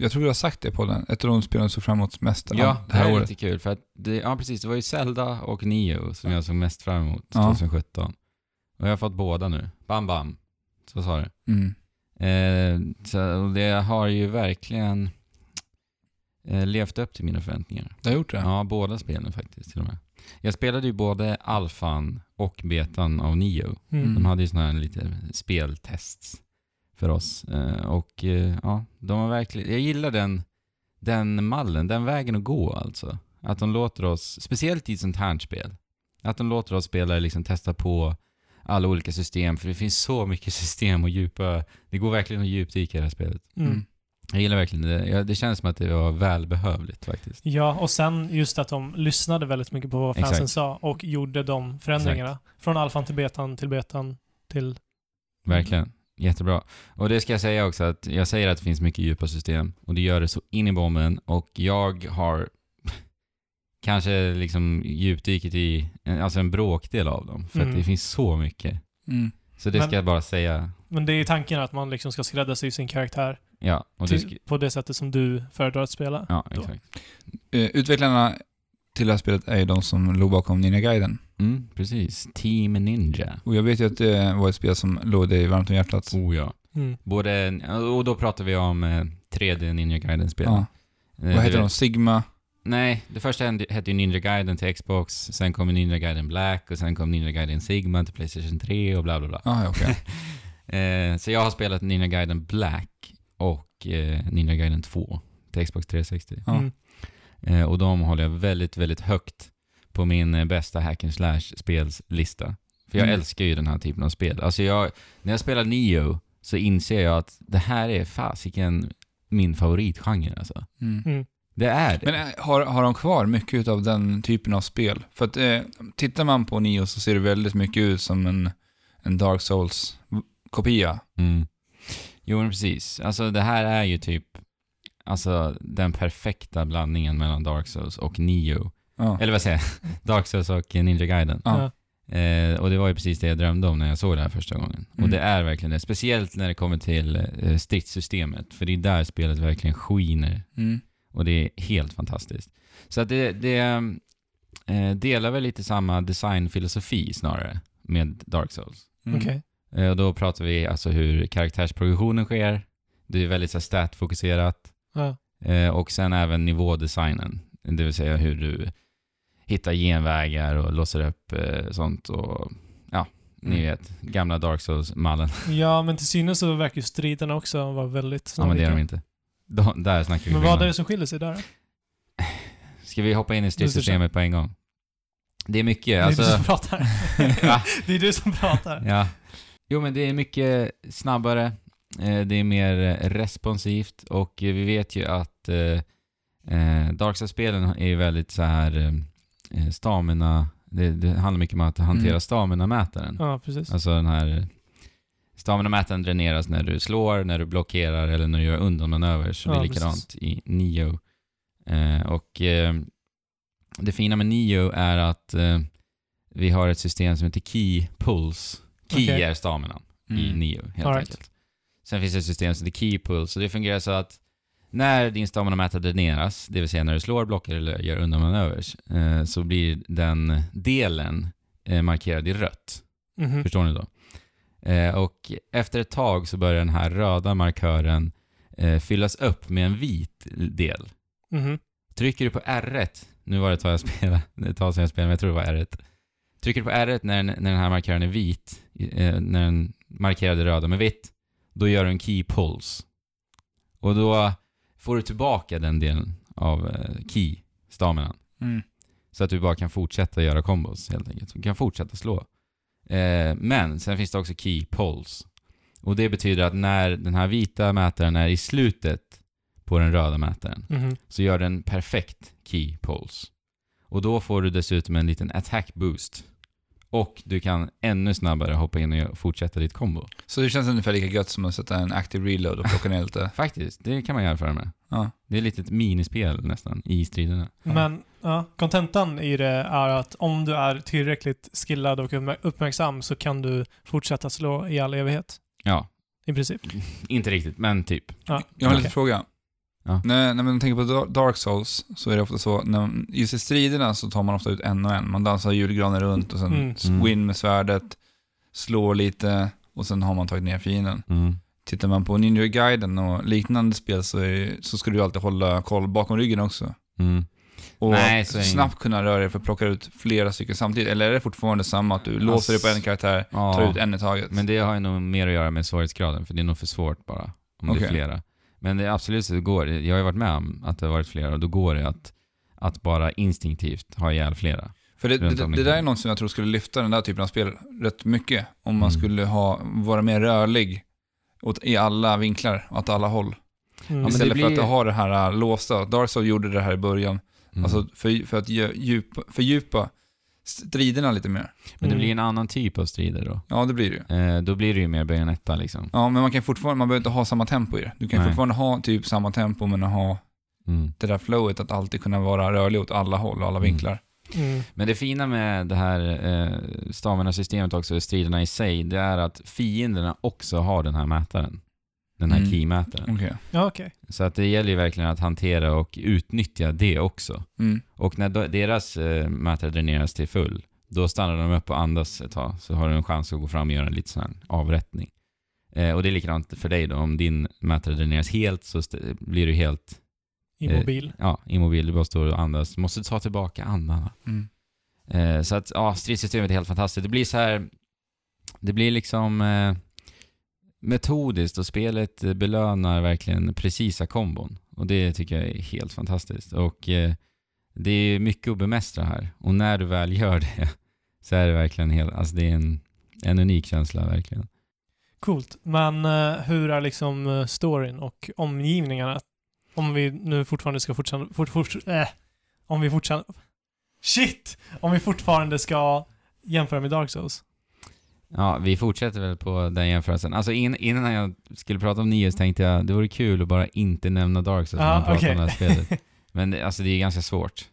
Speaker 1: jag tror vi har sagt det på den, ett av de spelen som såg fram emot mest
Speaker 2: Ja,
Speaker 1: det här
Speaker 2: är
Speaker 1: året.
Speaker 2: lite kul. För att det, ja, precis. Det var ju Zelda och Nio som
Speaker 1: Ja.
Speaker 2: jag såg mest fram emot
Speaker 1: Ja.
Speaker 2: 2017. Och jag har fått båda nu. Bam, bam. Så sa det.
Speaker 1: Mm.
Speaker 2: Eh, så och det har ju verkligen eh, levt upp till mina förväntningar.
Speaker 1: Det har gjort det?
Speaker 2: Ja, båda spelen faktiskt till och med. Jag spelade ju både alfan och betan av Nio.
Speaker 3: Mm.
Speaker 2: De hade ju sådana här lite speltests för oss. Eh, och eh, ja, de har verkligen... Jag gillar den, den mallen, den vägen att gå alltså. Att de låter oss, speciellt i ett sånt här spel, att de låter oss spelare liksom testa på alla olika system, för det finns så mycket [laughs] system och djupa... Det går verkligen att djupdyka i det här spelet.
Speaker 3: Mm.
Speaker 2: Jag gillar verkligen det. Jag- Det känns som att det var välbehövligt faktiskt.
Speaker 3: Ja, och sen just att de lyssnade väldigt mycket på vad fansen
Speaker 2: Exakt.
Speaker 3: sa och gjorde de förändringarna. Från alfan till betan, till betan, till...
Speaker 2: Verkligen. Jättebra. Och det ska jag säga också att jag säger att det finns mycket djupa system och det gör det så in i bomben och jag har [laughs] kanske liksom djupdykit i en, alltså en bråkdel av dem för
Speaker 3: Mm.
Speaker 2: att det finns så mycket.
Speaker 1: Mm.
Speaker 2: Så det
Speaker 3: Men-
Speaker 2: ska jag bara säga.
Speaker 3: Men det är tanken att man liksom ska skräddarsy sin karaktär
Speaker 2: Ja, och det ska,
Speaker 3: till, på det sättet som du föredrar att spela.
Speaker 2: ja exakt.
Speaker 1: Eh, Utvecklarna till det här spelet är ju de som låg bakom Ninja-guiden.
Speaker 2: Mm, precis. Team Ninja.
Speaker 1: Och jag vet ju att det var ett spel som låg dig varmt om hjärtat.
Speaker 2: Oh ja.
Speaker 3: Mm.
Speaker 2: Både, och då pratar vi om eh, 3D Ninja Gaiden-spel.
Speaker 1: Ja.
Speaker 2: Eh,
Speaker 1: Vad heter
Speaker 2: det-
Speaker 1: de? Sigma?
Speaker 2: Nej, det första hände- hette ju Ninja Gaiden till Xbox, sen kom Ninja Gaiden Black och sen kom Ninja Gaiden Sigma till Playstation 3 och bla bla bla.
Speaker 1: Ah, ja, okej.
Speaker 2: Eh, så jag har spelat Ninja Gaiden Black och eh, Ninja Gaiden 2 till Xbox 360.
Speaker 1: Ja.
Speaker 3: Mm.
Speaker 2: Eh, och de håller jag väldigt, väldigt högt på min eh, bästa hack and slash spelslista. För jag
Speaker 1: Mm.
Speaker 2: älskar ju den här typen av spel. Alltså jag, när jag spelar Neo så inser jag att det här är fasiken min favoritgenre alltså.
Speaker 1: Mm.
Speaker 2: Det är det.
Speaker 1: Men eh, har, har de kvar mycket av den typen av spel? För att eh, tittar man på Nio så ser det väldigt mycket ut som en, en Dark Souls-kopia.
Speaker 2: Mm. Jo, men precis. Alltså det här är ju typ alltså, den perfekta blandningen mellan Dark Souls och Neo.
Speaker 1: Ja.
Speaker 2: Eller vad säger jag? [laughs] Dark Souls och Ninja Gaiden.
Speaker 1: Ja.
Speaker 3: Ja.
Speaker 2: Eh, och det var ju precis det jag drömde om när jag såg det här första gången.
Speaker 1: Mm.
Speaker 2: Och det är verkligen det. Speciellt när det kommer till eh, stridssystemet. För det är där spelet verkligen skiner.
Speaker 1: Mm.
Speaker 2: Och det är helt fantastiskt. Så att det, det eh, delar väl lite samma designfilosofi snarare med Dark Souls.
Speaker 1: Mm.
Speaker 3: Okej.
Speaker 2: Eh, Och då pratar vi alltså hur karaktärsprogressionen sker. Det är väldigt så här, statfokuserat.
Speaker 3: Ja.
Speaker 2: Eh, Och sen även nivådesignen. Det vill säga hur du hittar genvägar och låser upp eh, sånt och ja, ni
Speaker 1: Mm.
Speaker 2: vet, gamla Dark Souls-mallen.
Speaker 3: ja, men till synes så verkar ju striderna också vara väldigt
Speaker 2: Ja, men det är
Speaker 3: snarlika.
Speaker 2: de inte. De, där snackar vi
Speaker 3: Men vad är
Speaker 2: skillnad.
Speaker 3: det som skiljer sig där? då?
Speaker 2: Ska vi hoppa in i stridssystemet på en gång? Det är mycket, alltså... [laughs]
Speaker 3: Det är du som pratar.
Speaker 2: Va?
Speaker 3: det är du som pratar.
Speaker 2: Ja. Jo, men det är mycket snabbare, eh, det är mer eh, responsivt och eh, vi vet ju att eh, eh, Dark Souls-spelen är ju väldigt så här eh, stamina, det, det handlar mycket om att hantera
Speaker 1: Mm.
Speaker 2: stamina-mätaren.
Speaker 3: Ja, precis.
Speaker 2: Alltså den här stamina-mätaren dräneras när du slår, när du blockerar eller när du gör undanmanöver. Så det
Speaker 3: Ja,
Speaker 2: är likadant i Nio. Eh, och eh, det fina med Nio är att eh, vi har ett system som heter Key Pulse. Key
Speaker 3: Okej.
Speaker 2: är staminan i
Speaker 1: Mm.
Speaker 2: Nio helt
Speaker 3: All right.
Speaker 2: enkelt. Sen finns det ett system som heter Key Pulse och det fungerar så att när din stamina-mätare dräneras, det vill säga när du slår, blockerar eller gör undanmanövers, eh, så blir den delen eh, markerad i rött.
Speaker 3: Mhm.
Speaker 2: Förstår ni då? Eh, och efter ett tag så börjar den här röda markören eh, fyllas upp med en vit del.
Speaker 3: Mhm.
Speaker 2: Trycker du på R1, nu var det ett tag, jag spelade, [laughs] ett tag sedan jag spelade, men jag tror det var R1. Trycker du på R1 när, den- när den här markören är vit, eh, när den markerade röda med vitt, då gör du en key pulse. Och då får du tillbaka den delen av eh, key, staminan.
Speaker 1: Mm.
Speaker 2: Så att du bara kan fortsätta göra combos helt enkelt. Du kan fortsätta slå. Eh, men sen finns det också key polls. Och det betyder att när den här vita mätaren är i slutet på den röda mätaren
Speaker 3: Mhm.
Speaker 2: så gör den perfekt key polls. Och då får du dessutom en liten attack boost. Och du kan ännu snabbare hoppa in och fortsätta ditt combo.
Speaker 1: Så det känns ungefär lika gött som att sätta en active reload och plocka ner lite.
Speaker 2: Faktiskt, det kan man jämföra med.
Speaker 1: Ja.
Speaker 2: Det är lite ett minispel nästan i striderna.
Speaker 3: Men ja, kontentan i det är att om du är tillräckligt skillad och uppmär- uppmärksam så kan du fortsätta slå i all evighet.
Speaker 2: Ja, [laughs]
Speaker 3: I princip.
Speaker 2: inte riktigt, men typ.
Speaker 3: Ja.
Speaker 1: Jag har en
Speaker 3: Okej.
Speaker 1: liten fråga.
Speaker 2: Ja.
Speaker 1: När, när man tänker på Dar- Dark Souls så är det ofta så, när, just i striderna så tar man ofta ut en och en. Man dansar julgranen runt och sen
Speaker 3: Mm.
Speaker 1: s- går in med svärdet, slår lite och sen har man tagit ner fienden. Tittar man på Ninja Gaiden och liknande spel så, är, så ska du alltid hålla koll bakom ryggen också.
Speaker 2: Mm.
Speaker 1: Och
Speaker 2: Nej, så är det
Speaker 1: snabbt kunna röra dig för att plocka ut flera stycken samtidigt. Eller är det fortfarande samma att du låser dig på en karaktär,
Speaker 2: Ja.
Speaker 1: tar ut en i taget?
Speaker 2: Men det har ju nog mer att göra med svårighetsgraden, för det är nog för svårt bara. Om det är
Speaker 1: Okej.
Speaker 2: flera. Men det är absolut så det går. Jag har ju varit med om att det har varit flera och då går det att, att bara instinktivt ha ihjäl flera.
Speaker 1: För det,
Speaker 2: Runt
Speaker 1: det,
Speaker 2: om i
Speaker 1: det där är
Speaker 2: världen.
Speaker 1: något som jag tror skulle lyfta den där typen av spel rätt mycket. Om man
Speaker 2: Mm.
Speaker 1: skulle ha, vara mer rörlig åt, i alla vinklar, åt alla håll.
Speaker 3: Mm.
Speaker 2: men det
Speaker 1: Istället för
Speaker 2: blir-
Speaker 1: att ha det här äh, låsta. Dark Souls gjorde det här i början.
Speaker 2: Mm.
Speaker 1: Alltså för, för att ge- djupa, fördjupa striderna lite mer.
Speaker 2: Men det
Speaker 3: Mm.
Speaker 2: blir en annan typ av strider då.
Speaker 1: Ja, det blir det ju.
Speaker 2: Eh, då blir det ju mer Bayonetta liksom.
Speaker 1: Ja, men man kan fortfarande, man behöver inte ha samma tempo i det. Du kan
Speaker 2: Nej.
Speaker 1: fortfarande ha typ samma tempo men ha
Speaker 2: Mm.
Speaker 1: det där flowet att alltid kunna vara rörlig åt alla håll och alla vinklar.
Speaker 3: Mm.
Speaker 2: Men det fina med det här eh, stamina-systemet också, och striderna i sig, det är att fienderna också har den här mätaren. Den här
Speaker 1: Mm.
Speaker 2: key-mätaren.
Speaker 1: Okej.
Speaker 3: Ja, okej.
Speaker 2: Så att det gäller ju verkligen att hantera och utnyttja det också.
Speaker 1: Mm.
Speaker 2: Och när de- deras eh, mätare dräneras till full, då stannar de upp och andas ett tag. Så har du en chans att gå fram och göra en liten sån här avrättning. Eh, och det är likadant för dig då. Om din mätare dräneras helt så st- blir du helt Eh.
Speaker 3: Immobil.
Speaker 2: ja, immobil. Du bara står och andas. Måste ta tillbaka andan.
Speaker 1: Mm.
Speaker 2: Eh, så att ja, stridssystemet är helt fantastiskt. Det blir så här, det blir liksom eh, metodiskt och spelet eh, belönar verkligen precisa kombon. Och det tycker jag är helt fantastiskt. Och eh, det är mycket att bemästra här. Och när du väl gör det [laughs] så är det verkligen helt, alltså det är en, en unik känsla verkligen.
Speaker 3: Coolt. Men eh, hur är liksom eh, storyn och omgivningarna? Om vi nu fortfarande ska fortsätta... Fort, fort, eh, om vi fortsätter... Shit! Om vi fortfarande ska jämföra med Dark Souls.
Speaker 2: Ja, vi fortsätter väl på den jämförelsen. Alltså in, innan jag skulle prata om Nius tänkte jag det vore kul att bara inte nämna Dark Souls när
Speaker 3: Ja,
Speaker 2: man pratar
Speaker 3: okej.
Speaker 2: om det här spelet. Men det, alltså det är ganska svårt.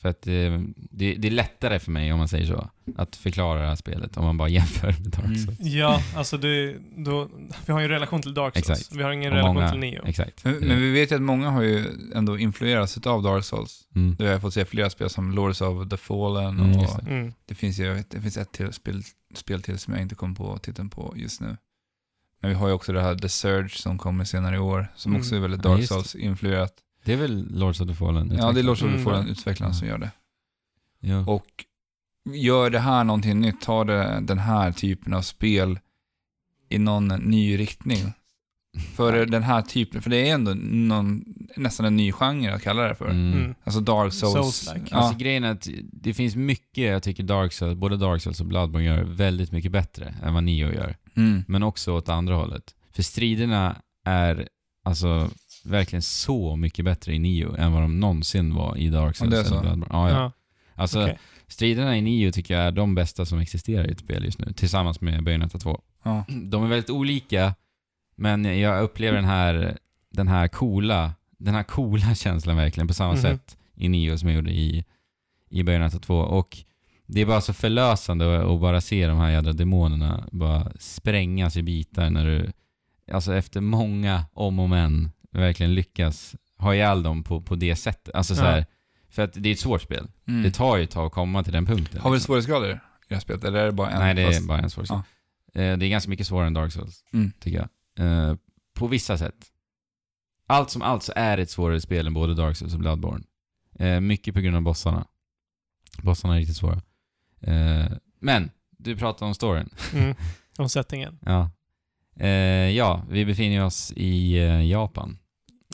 Speaker 2: För att eh, det, det är lättare för mig, om man säger så, att förklara det här spelet om man bara [laughs] jämför med Dark
Speaker 1: Mm.
Speaker 2: Souls.
Speaker 3: Ja, alltså det... Då, vi har ju en relation till Dark Souls.
Speaker 2: Exakt.
Speaker 3: Vi har ingen
Speaker 2: Och
Speaker 3: relation
Speaker 2: många-
Speaker 3: till Neo.
Speaker 2: Exakt.
Speaker 1: Men, men vi vet ju att många har ju ändå influerats av Dark Souls.
Speaker 2: Mm.
Speaker 1: Du har fått se flera spel som Lords of the Fallen
Speaker 2: Mm,
Speaker 1: och
Speaker 2: just det.
Speaker 3: Mm.
Speaker 1: det finns ju jag vet, det finns ett till spel, spel till som jag inte kom på titeln på just nu. Men vi har ju också det här The Surge som kommer senare i år, som
Speaker 3: Mm.
Speaker 1: också är väldigt
Speaker 2: Ja,
Speaker 1: Dark
Speaker 2: just det.
Speaker 1: Souls-influerat.
Speaker 2: Det är väl Lords of the Fallen?
Speaker 1: Ja, det är Lords of the
Speaker 3: Mm.
Speaker 1: Fallen, utvecklaren som gör det.
Speaker 2: Ja.
Speaker 1: Och gör det här någonting nytt, tar det, den här typen av spel i någon ny riktning. För
Speaker 3: Mm.
Speaker 1: den här typen, för det är ändå någon, nästan en ny genre att kalla det för.
Speaker 2: Mm.
Speaker 3: Mm.
Speaker 1: Alltså Dark Souls.
Speaker 3: Souls-like.
Speaker 1: ja,
Speaker 2: Alltså grejen är att det finns mycket jag tycker Dark Souls, både Dark Souls och Bloodborne gör väldigt mycket bättre än vad Neo gör.
Speaker 1: mm,
Speaker 2: Men också åt andra hållet. För striderna är alltså verkligen så mycket bättre i Neo än vad de någonsin var i Dark
Speaker 1: Ja, det är
Speaker 2: Souls
Speaker 1: så.
Speaker 2: eller Bloodborne. Ja, ja.
Speaker 3: Ja,
Speaker 2: Alltså
Speaker 3: okej.
Speaker 2: striderna i Neo tycker jag är de bästa som existerar i ett spel just nu. Tillsammans med Bayonetta 2.
Speaker 1: ja.
Speaker 2: [clears throat] De är väldigt olika, men jag upplever den här, den här coola, den här coola [laughs] känslan verkligen på samma
Speaker 3: Mhm.
Speaker 2: sätt i Neo som jag gjorde i, i Bayonetta 2. Och det är bara så förlösande att- att bara se de här jädra demonerna bara sprängas i bitar när du, alltså efter många om och men, verkligen lyckas ha ihjäl dem på, på det sättet. Alltså så
Speaker 3: Ja.
Speaker 2: här, för att det är ett svårt spel.
Speaker 1: Mm.
Speaker 2: Det tar ju ett tag att komma till den punkten.
Speaker 1: har vi
Speaker 2: liksom.
Speaker 1: svårighetsgrader i det här spelet? Eller är det bara en?
Speaker 2: Nej, det är
Speaker 1: fast-
Speaker 2: bara en svår sak. Eh, Det är ganska mycket svårare än Dark Souls
Speaker 1: Mm.
Speaker 2: tycker jag. Eh, på vissa sätt. Allt som allt så är det ett svårare spel än både Dark Souls och Bloodborne. Eh, mycket på grund av bossarna. Bossarna är riktigt svåra. Eh, men, du pratade om storyn.
Speaker 3: Mm. Om settingen.
Speaker 2: Ja. Eh, ja, vi befinner oss i eh, Japan.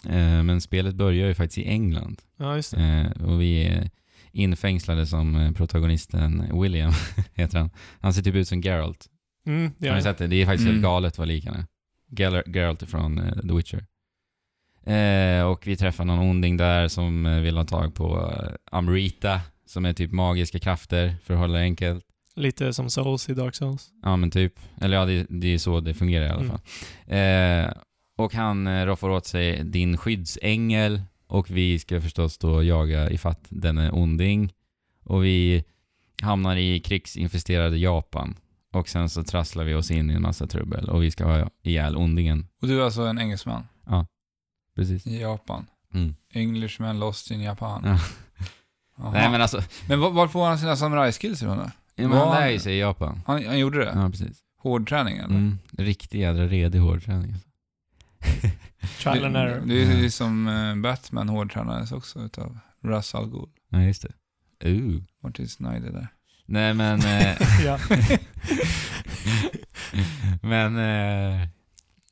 Speaker 2: Eh, men spelet börjar ju faktiskt i England.
Speaker 3: Ja, just det.
Speaker 2: Eh, och vi är infängslade som eh, protagonisten William, [laughs] heter han. Han ser typ ut som Geralt.
Speaker 3: Mm,
Speaker 2: Har
Speaker 3: det gör
Speaker 2: ni
Speaker 3: det.
Speaker 2: sett det? Det är faktiskt helt
Speaker 1: Mm.
Speaker 2: galet vad lik han är. Gal- Geralt från eh, The Witcher. Eh, och vi träffar någon onding där som eh, vill ha tag på eh, Amrita, som är typ magiska krafter, för att hålla det enkelt.
Speaker 3: Lite som Souls i Dark Souls.
Speaker 2: Ja men typ. Eller ja, det, det är så det fungerar i alla
Speaker 3: Mm.
Speaker 2: fall. Eh, och han eh, roffar åt sig din skyddsängel och vi ska förstås då jaga ifatt denne onding. Och vi hamnar i krigsinfesterade Japan. Och sen så trasslar vi oss in i en massa trubbel och vi ska ha ihjäl ondingen.
Speaker 1: Och du är alltså en engelsman
Speaker 2: Precis.
Speaker 1: i Japan?
Speaker 2: Mm.
Speaker 1: Englishman lost in Japan?
Speaker 2: Ja.
Speaker 1: Jaha.
Speaker 2: [laughs] Nej men alltså,
Speaker 1: Men var, var får han sina samurajskills ifrån då?
Speaker 2: men
Speaker 1: Vad-
Speaker 2: han lär ju sig i Japan.
Speaker 1: Han, han gjorde det?
Speaker 2: Ja precis.
Speaker 1: Hård träning eller?
Speaker 2: Mm. Riktig jädra redig hårdträning.
Speaker 3: Trial and
Speaker 1: Det-
Speaker 3: error. [laughs]
Speaker 1: Det är ju som eh, Batman hårdtränades också utav Russ Al Ghul.
Speaker 2: [laughs] Ja just det. Ooh.
Speaker 1: Martin Snyder där.
Speaker 2: Uh. Nej men... Eh,
Speaker 3: ja.
Speaker 2: [laughs] Men eh,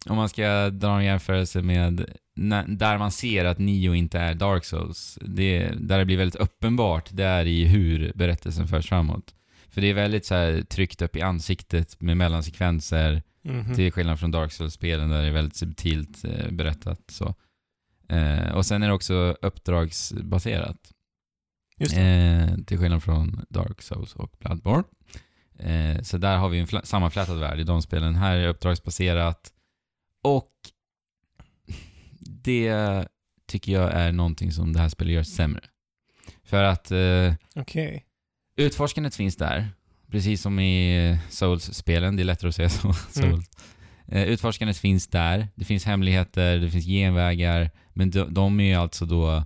Speaker 2: om man ska dra en jämförelse med na- där man ser att Nio inte är Dark Souls, det, där det blir väldigt uppenbart, det är i hur berättelsen förs framåt. För det är väldigt så här, tryckt upp i ansiktet med mellansekvenser,
Speaker 3: Mhm.
Speaker 2: till skillnad från Dark Souls-spelen där det är väldigt subtilt eh, berättat. Så. Eh, och sen är det också uppdragsbaserat.
Speaker 3: Just det.
Speaker 2: Eh, till skillnad från Dark Souls och Bloodborne. Eh, så där har vi en fla- sammanflätad värld i de spelen. Här är det uppdragsbaserat. Och det tycker jag är någonting som det här spelet gör sämre. För att eh,
Speaker 3: Okej.
Speaker 2: utforskandet finns där, precis som i eh, Souls-spelen. Det är lättare att säga så. [laughs]
Speaker 3: Mm.
Speaker 2: Souls. Eh, utforskandet finns där. Det finns hemligheter, det finns genvägar. Men de, de är ju alltså då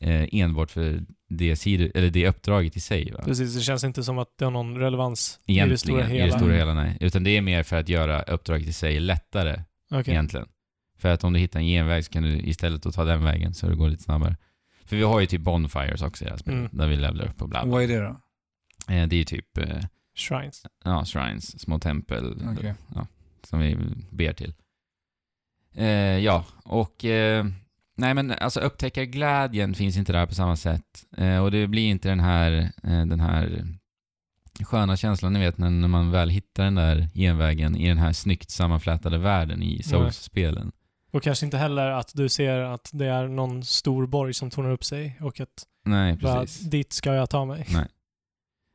Speaker 2: eh, enbart för det, sido, eller det uppdraget i sig. Va?
Speaker 3: Precis, det känns inte som att det har någon relevans
Speaker 2: Egentligen,
Speaker 3: i det stora hela.
Speaker 2: I det stora hela nej. Utan det är mer för att göra uppdraget i sig lättare
Speaker 3: Okej.
Speaker 2: egentligen. För att om du hittar en genväg så kan du istället då ta den vägen så det går lite snabbare. För vi har ju typ Bonfires också i det här spelet,
Speaker 3: Mm.
Speaker 2: där vi levlar upp och bla bla.
Speaker 1: Vad är det då?
Speaker 2: Eh, det är ju typ eh,
Speaker 3: Shrines.
Speaker 2: ja, shrines, små tempel
Speaker 1: Okej.
Speaker 2: ja, som vi ber till. Eh, ja, och eh, Nej men alltså upptäckarglädjen finns inte där på samma sätt. Eh, och det blir inte den här, eh, den här sköna känslan ni vet när, när man väl hittar den där genvägen i den här snyggt sammanflätade världen i Souls-spelen.
Speaker 3: Och kanske inte heller att du ser att det är någon stor borg som tornar upp sig och att
Speaker 2: Nej,
Speaker 3: bara,
Speaker 2: precis.
Speaker 3: dit ska jag ta mig.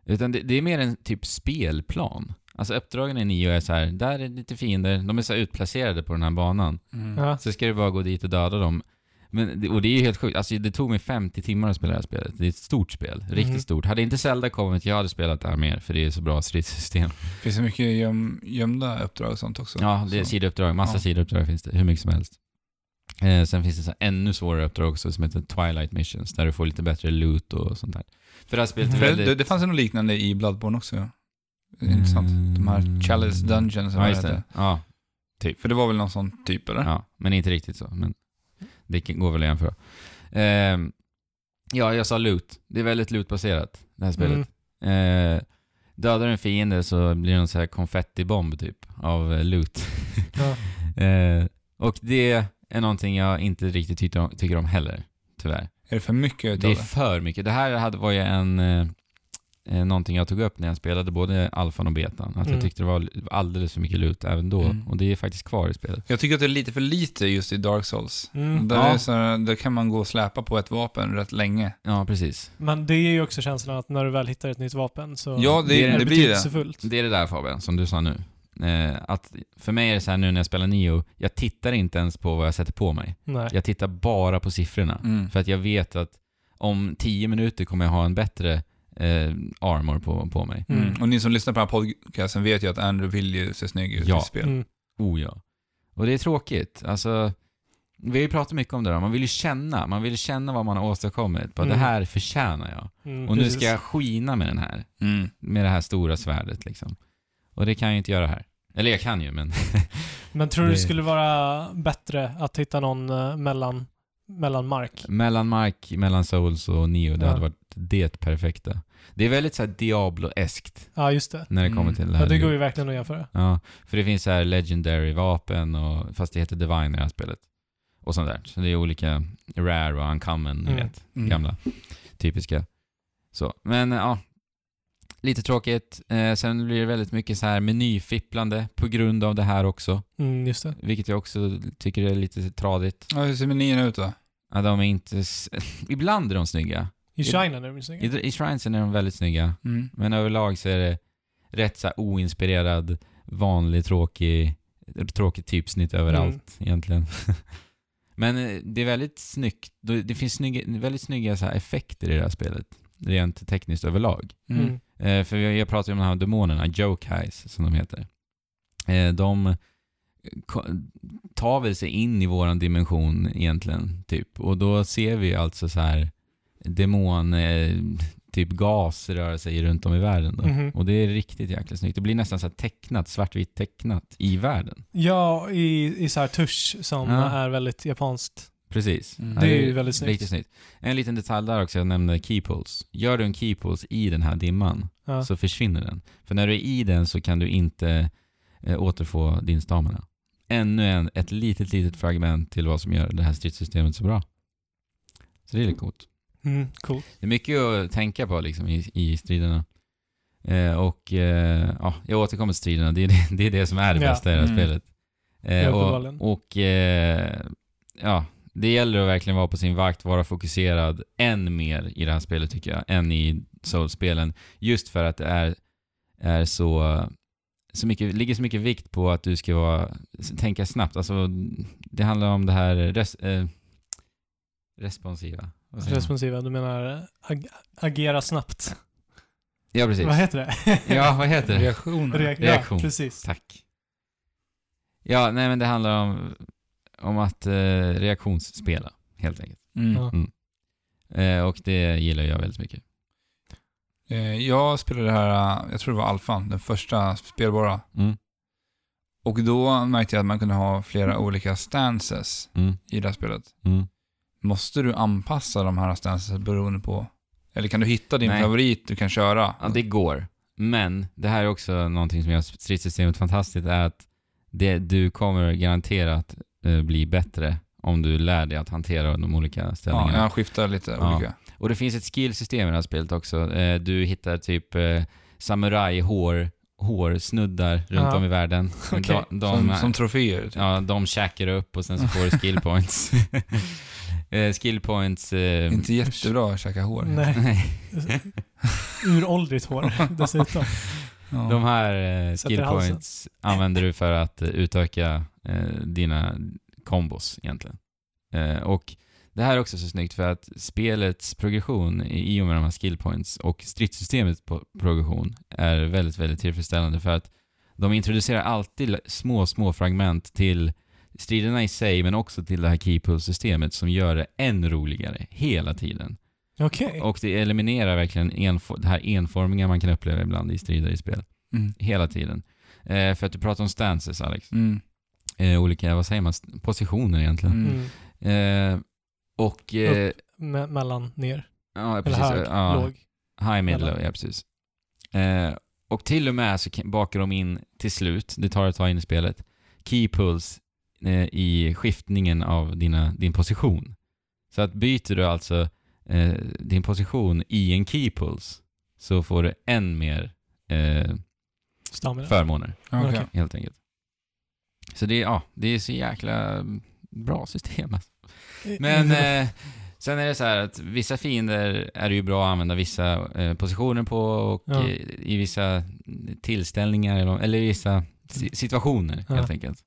Speaker 2: Utan det, det är mer en typ spelplan. Alltså uppdragen i Nio är så här, där är lite fiender, de är så här utplacerade på den här banan.
Speaker 1: Mm.
Speaker 3: Ja.
Speaker 2: Så ska du bara gå dit och döda dem. Men, det- och det är ju helt sjukt, alltså det tog mig 50 timmar att spela det här spelet. Det är ett stort spel, riktigt
Speaker 3: Mhm.
Speaker 2: stort. Hade inte Zelda kommit, jag hade spelat det här mer, för det är så bra stridssystem.
Speaker 1: Finns det mycket göm, gömda uppdrag och sånt också?
Speaker 2: Ja, det är
Speaker 1: Så-
Speaker 2: sidouppdrag, massa
Speaker 1: Ja.
Speaker 2: sidouppdrag finns det, hur mycket som helst. Eh, sen finns det så här ännu svårare uppdrag också som heter Twilight Missions, där du får lite bättre loot och sånt där. För det här spelet är
Speaker 1: För
Speaker 2: väldigt...
Speaker 1: det, det fanns ju något liknande i Bloodborne också. ja. Det är Intressant. De här Chalice Dungeons, eller
Speaker 2: Mm. Ja,
Speaker 1: vad
Speaker 2: just det.
Speaker 1: heter.
Speaker 2: Ja,
Speaker 1: För det var väl någon sån typ, eller?
Speaker 2: Ja, men inte riktigt så. Men det kan- går väl igen för. Ehm, ja, jag sa loot. Det är väldigt lootbaserat, det här
Speaker 3: Mm.
Speaker 2: spelet. Eh, dödar du en fiende så blir det en sån här konfettibomb typ av eh, loot. [laughs]
Speaker 3: Ja.
Speaker 2: Eh, och det är någonting jag inte riktigt tycker om, tycker om heller, tyvärr.
Speaker 1: Är det för mycket
Speaker 2: Det
Speaker 1: utav
Speaker 2: är
Speaker 1: det?
Speaker 2: för mycket. Det här hade, var ju en, eh, eh, någonting jag tog upp när jag spelade både alfan och betan. Att jag
Speaker 3: Mm.
Speaker 2: tyckte det var alldeles för mycket loot även då.
Speaker 1: Mm.
Speaker 2: Och det är faktiskt kvar i spelet.
Speaker 1: Jag tycker att det är lite för lite just i Dark Souls.
Speaker 3: Mm.
Speaker 1: Där,
Speaker 2: Ja.
Speaker 1: är så, här- där kan man gå och släpa på ett vapen rätt länge.
Speaker 2: Ja, precis.
Speaker 3: Men det ger ju också känslan att när du väl hittar ett nytt vapen så
Speaker 1: Ja, det,
Speaker 2: det
Speaker 1: det,
Speaker 2: är
Speaker 3: är
Speaker 1: blir det.
Speaker 3: betydelsefullt.
Speaker 2: Det är det där Fabian, som du sa nu. Eh, att för mig är det så här nu när jag spelar Nio, jag tittar inte ens på vad jag sätter på mig.
Speaker 3: Nej.
Speaker 2: Jag tittar bara på siffrorna.
Speaker 1: Mm.
Speaker 2: För att jag vet att om tio minuter kommer jag ha en bättre eh, armor på, på mig.
Speaker 1: Mm.
Speaker 3: Mm.
Speaker 1: Och ni som lyssnar på den här podcasten vet ju att Andrew vill ju se snygg ut
Speaker 2: Ja.
Speaker 1: i spel.
Speaker 3: Mm.
Speaker 2: Oh ja. Och det är tråkigt. Alltså, vi har ju pratat mycket om det där. Man vill ju känna. Man vill känna vad man har åstadkommit. Bara,
Speaker 3: Mm.
Speaker 2: Det här förtjänar jag.
Speaker 3: Mm,
Speaker 2: Och nu
Speaker 3: precis.
Speaker 2: ska jag skina med den här.
Speaker 1: Mm.
Speaker 2: Med det här stora svärdet liksom. Och det kan jag ju inte göra här. Eller jag kan ju, men...
Speaker 3: Men tror du
Speaker 2: Det-
Speaker 3: det skulle vara bättre att hitta någon eh, mellan, mellan mark?
Speaker 2: Mellan Mark, mellan Souls och Neo, det
Speaker 3: Ja.
Speaker 2: hade varit det perfekta. Det är väldigt så här Diablo-eskt
Speaker 3: Ja, just det.
Speaker 2: när det
Speaker 1: Mm.
Speaker 2: kommer till det här.
Speaker 3: Ja, det går ju verkligen att jämföra.
Speaker 2: Ja, för det finns så här legendary-vapen och, fast det heter Divine i det här spelet. Och sånt där. Så det är olika rare och uncommon, ni
Speaker 3: Mm.
Speaker 2: vet. Gamla. Typiska. Så, men ja. Lite tråkigt. Eh, sen blir det väldigt mycket så här menyfipplande på grund av det här också.
Speaker 3: Mm, just det.
Speaker 2: Vilket jag också tycker är lite tradigt.
Speaker 1: Ja, hur ser menyerna ut då?
Speaker 2: Ja, de är inte... s- [laughs] Ibland är de snygga.
Speaker 3: I China nu, minns jag.
Speaker 2: I, I Shrinesen är de väldigt snygga,
Speaker 1: Mm.
Speaker 2: men överlag så är det rätt så här oinspirerad, vanlig, tråkig, tråkigt typsnitt överallt egentligen. [laughs] men eh, det är väldigt snyggt, det det finns snygga, väldigt snygga så här effekter i det här spelet, rent tekniskt överlag.
Speaker 1: Mm.
Speaker 3: Mm.
Speaker 2: Eh, för jag, jag pratade ju om de här demonerna, Joke Eyes som de heter. Eh, de ko- tar väl sig in i våran dimension egentligen, typ. Och då ser vi alltså så här demon, eh, typ gas röra sig runt om i världen då.
Speaker 3: Mhm.
Speaker 2: Och det är riktigt jäkla snyggt. Det blir nästan så här tecknat, svartvitt tecknat i världen.
Speaker 3: Ja, i, i så här tusch som
Speaker 2: Ja.
Speaker 3: är väldigt japanskt.
Speaker 2: Precis.
Speaker 1: Mm.
Speaker 2: Ja,
Speaker 1: Det
Speaker 3: är ju väldigt snyggt.
Speaker 2: Riktigt snyggt. En liten detalj där också, jag nämnde keypoles. Gör du en keypoles i den här dimman
Speaker 3: Ja.
Speaker 2: så försvinner den. För när du är i den så kan du inte eh, återfå din stamina. Ännu en, ett litet, litet fragment till vad som gör det här stridssystemet så bra. Så det är lite coolt.
Speaker 3: Mm, cool.
Speaker 2: Det är mycket att tänka på liksom, i, i striderna. Eh, och eh, ja, jag återkommer till striderna. Det är det, det, är det som är det
Speaker 3: Ja.
Speaker 2: bästa i det här
Speaker 1: Mm.
Speaker 2: spelet. Eh,
Speaker 3: Ja, uppenbarligen.
Speaker 2: och och eh, ja, det gäller att verkligen vara på sin vakt, vara fokuserad än mer i det här spelet tycker jag, än i Souls-spelen. Just för att det är, är så, så mycket, ligger så mycket vikt på att du ska vara, tänka snabbt. Alltså, det handlar om det här res, eh, responsiva. Vad säger man?
Speaker 3: Responsiva, du menar eh, ag agera snabbt.
Speaker 2: Ja, precis.
Speaker 3: Vad heter det?
Speaker 2: [laughs] Ja,
Speaker 3: [laughs]
Speaker 2: vad heter det?
Speaker 1: Reaktioner.
Speaker 3: Reak
Speaker 2: Reaktion.
Speaker 3: Ja, precis.
Speaker 2: Tack. Ja, nej men det handlar om, om att eh, reaktionsspela, helt enkelt.
Speaker 1: Mm.
Speaker 3: Ja.
Speaker 2: Eh, och det gillar jag väldigt mycket.
Speaker 1: Eh, Jag spelade det här, eh, jag tror det var alfan, den första spelbara.
Speaker 2: Mm.
Speaker 1: Och då märkte jag att man kunde ha flera olika stances
Speaker 2: Mm.
Speaker 1: i det här spelet.
Speaker 2: Mm.
Speaker 1: Måste du anpassa de här stances beroende på? Eller kan du hitta din
Speaker 2: Nej.
Speaker 1: favorit du kan köra?
Speaker 2: Ja, det går. Men det här är också någonting som gör stridssystemet fantastiskt, är att det, du kommer garanterat eh, bli bättre Om du lär dig att hantera de olika
Speaker 1: Ja,
Speaker 2: ställningarna.
Speaker 1: han skiftar lite
Speaker 2: Ja.
Speaker 1: olika.
Speaker 2: Och det finns ett skillsystem i det här spelet också. Eh, Du hittar typ eh, samurajhår, hårsnuddar runt
Speaker 3: Ja.
Speaker 2: om
Speaker 1: [laughs]
Speaker 2: i världen.
Speaker 3: Okej.
Speaker 2: De, de,
Speaker 1: Som, som troféer. typ.
Speaker 2: ja, de käkar upp och sen så får du
Speaker 1: [laughs]
Speaker 2: skill points. [laughs] Eh, skill points... eh,
Speaker 1: Inte jättebra att käka hår.
Speaker 3: Nej,
Speaker 2: [laughs] nej.
Speaker 3: [laughs] uråldrigt hår
Speaker 2: [laughs]
Speaker 3: dessutom.
Speaker 1: Ja.
Speaker 2: De här eh,
Speaker 3: Sätter i
Speaker 2: skill
Speaker 3: halsen.
Speaker 2: points använder du för att eh, utöka eh, dina kombos egentligen. Eh, och det här är också så snyggt för att spelets progression i i och med de här skill points och stridssystemets po- progression är väldigt, väldigt tillfredsställande för att de introducerar alltid l- små, små fragment till striderna i sig men också till det här keypool-systemet som gör det än roligare hela tiden.
Speaker 3: Okej.
Speaker 2: Och det eliminerar verkligen enfo- det här enformiga man kan uppleva ibland i strider i spel
Speaker 1: Mm.
Speaker 2: hela tiden. Eh, för att du pratar om stances Alex.
Speaker 1: Mm.
Speaker 2: Eh, olika, vad säger man, st- positioner egentligen.
Speaker 1: Mm.
Speaker 3: Mm.
Speaker 2: Eh, och... Eh,
Speaker 3: Me- mellan, ner,
Speaker 2: ja,
Speaker 3: eller
Speaker 2: precis.
Speaker 3: hög,
Speaker 2: ja,
Speaker 3: låg.
Speaker 2: High, mid,
Speaker 3: Mellan.
Speaker 2: low, ja precis. Eh, och till och med så kan- bakar de in till slut, det tar ett tag in i spelet, key pulls eh, i skiftningen av dina, din position. Så att byter du alltså eh, din position i en key pulls så får du än mer eh,
Speaker 3: Stamina.
Speaker 2: förmåner.
Speaker 1: Okej.
Speaker 3: Okej.
Speaker 2: helt enkelt. Så det, är- ja, det är så jäkla bra system. Alltså. Men
Speaker 3: Mm.
Speaker 2: eh, sen är det så här att vissa fiender är det ju bra att använda vissa eh, positioner på och
Speaker 3: Ja.
Speaker 2: eh, i vissa tillställningar eller, eller i vissa si- situationer
Speaker 3: Mm. Ja.
Speaker 2: helt enkelt.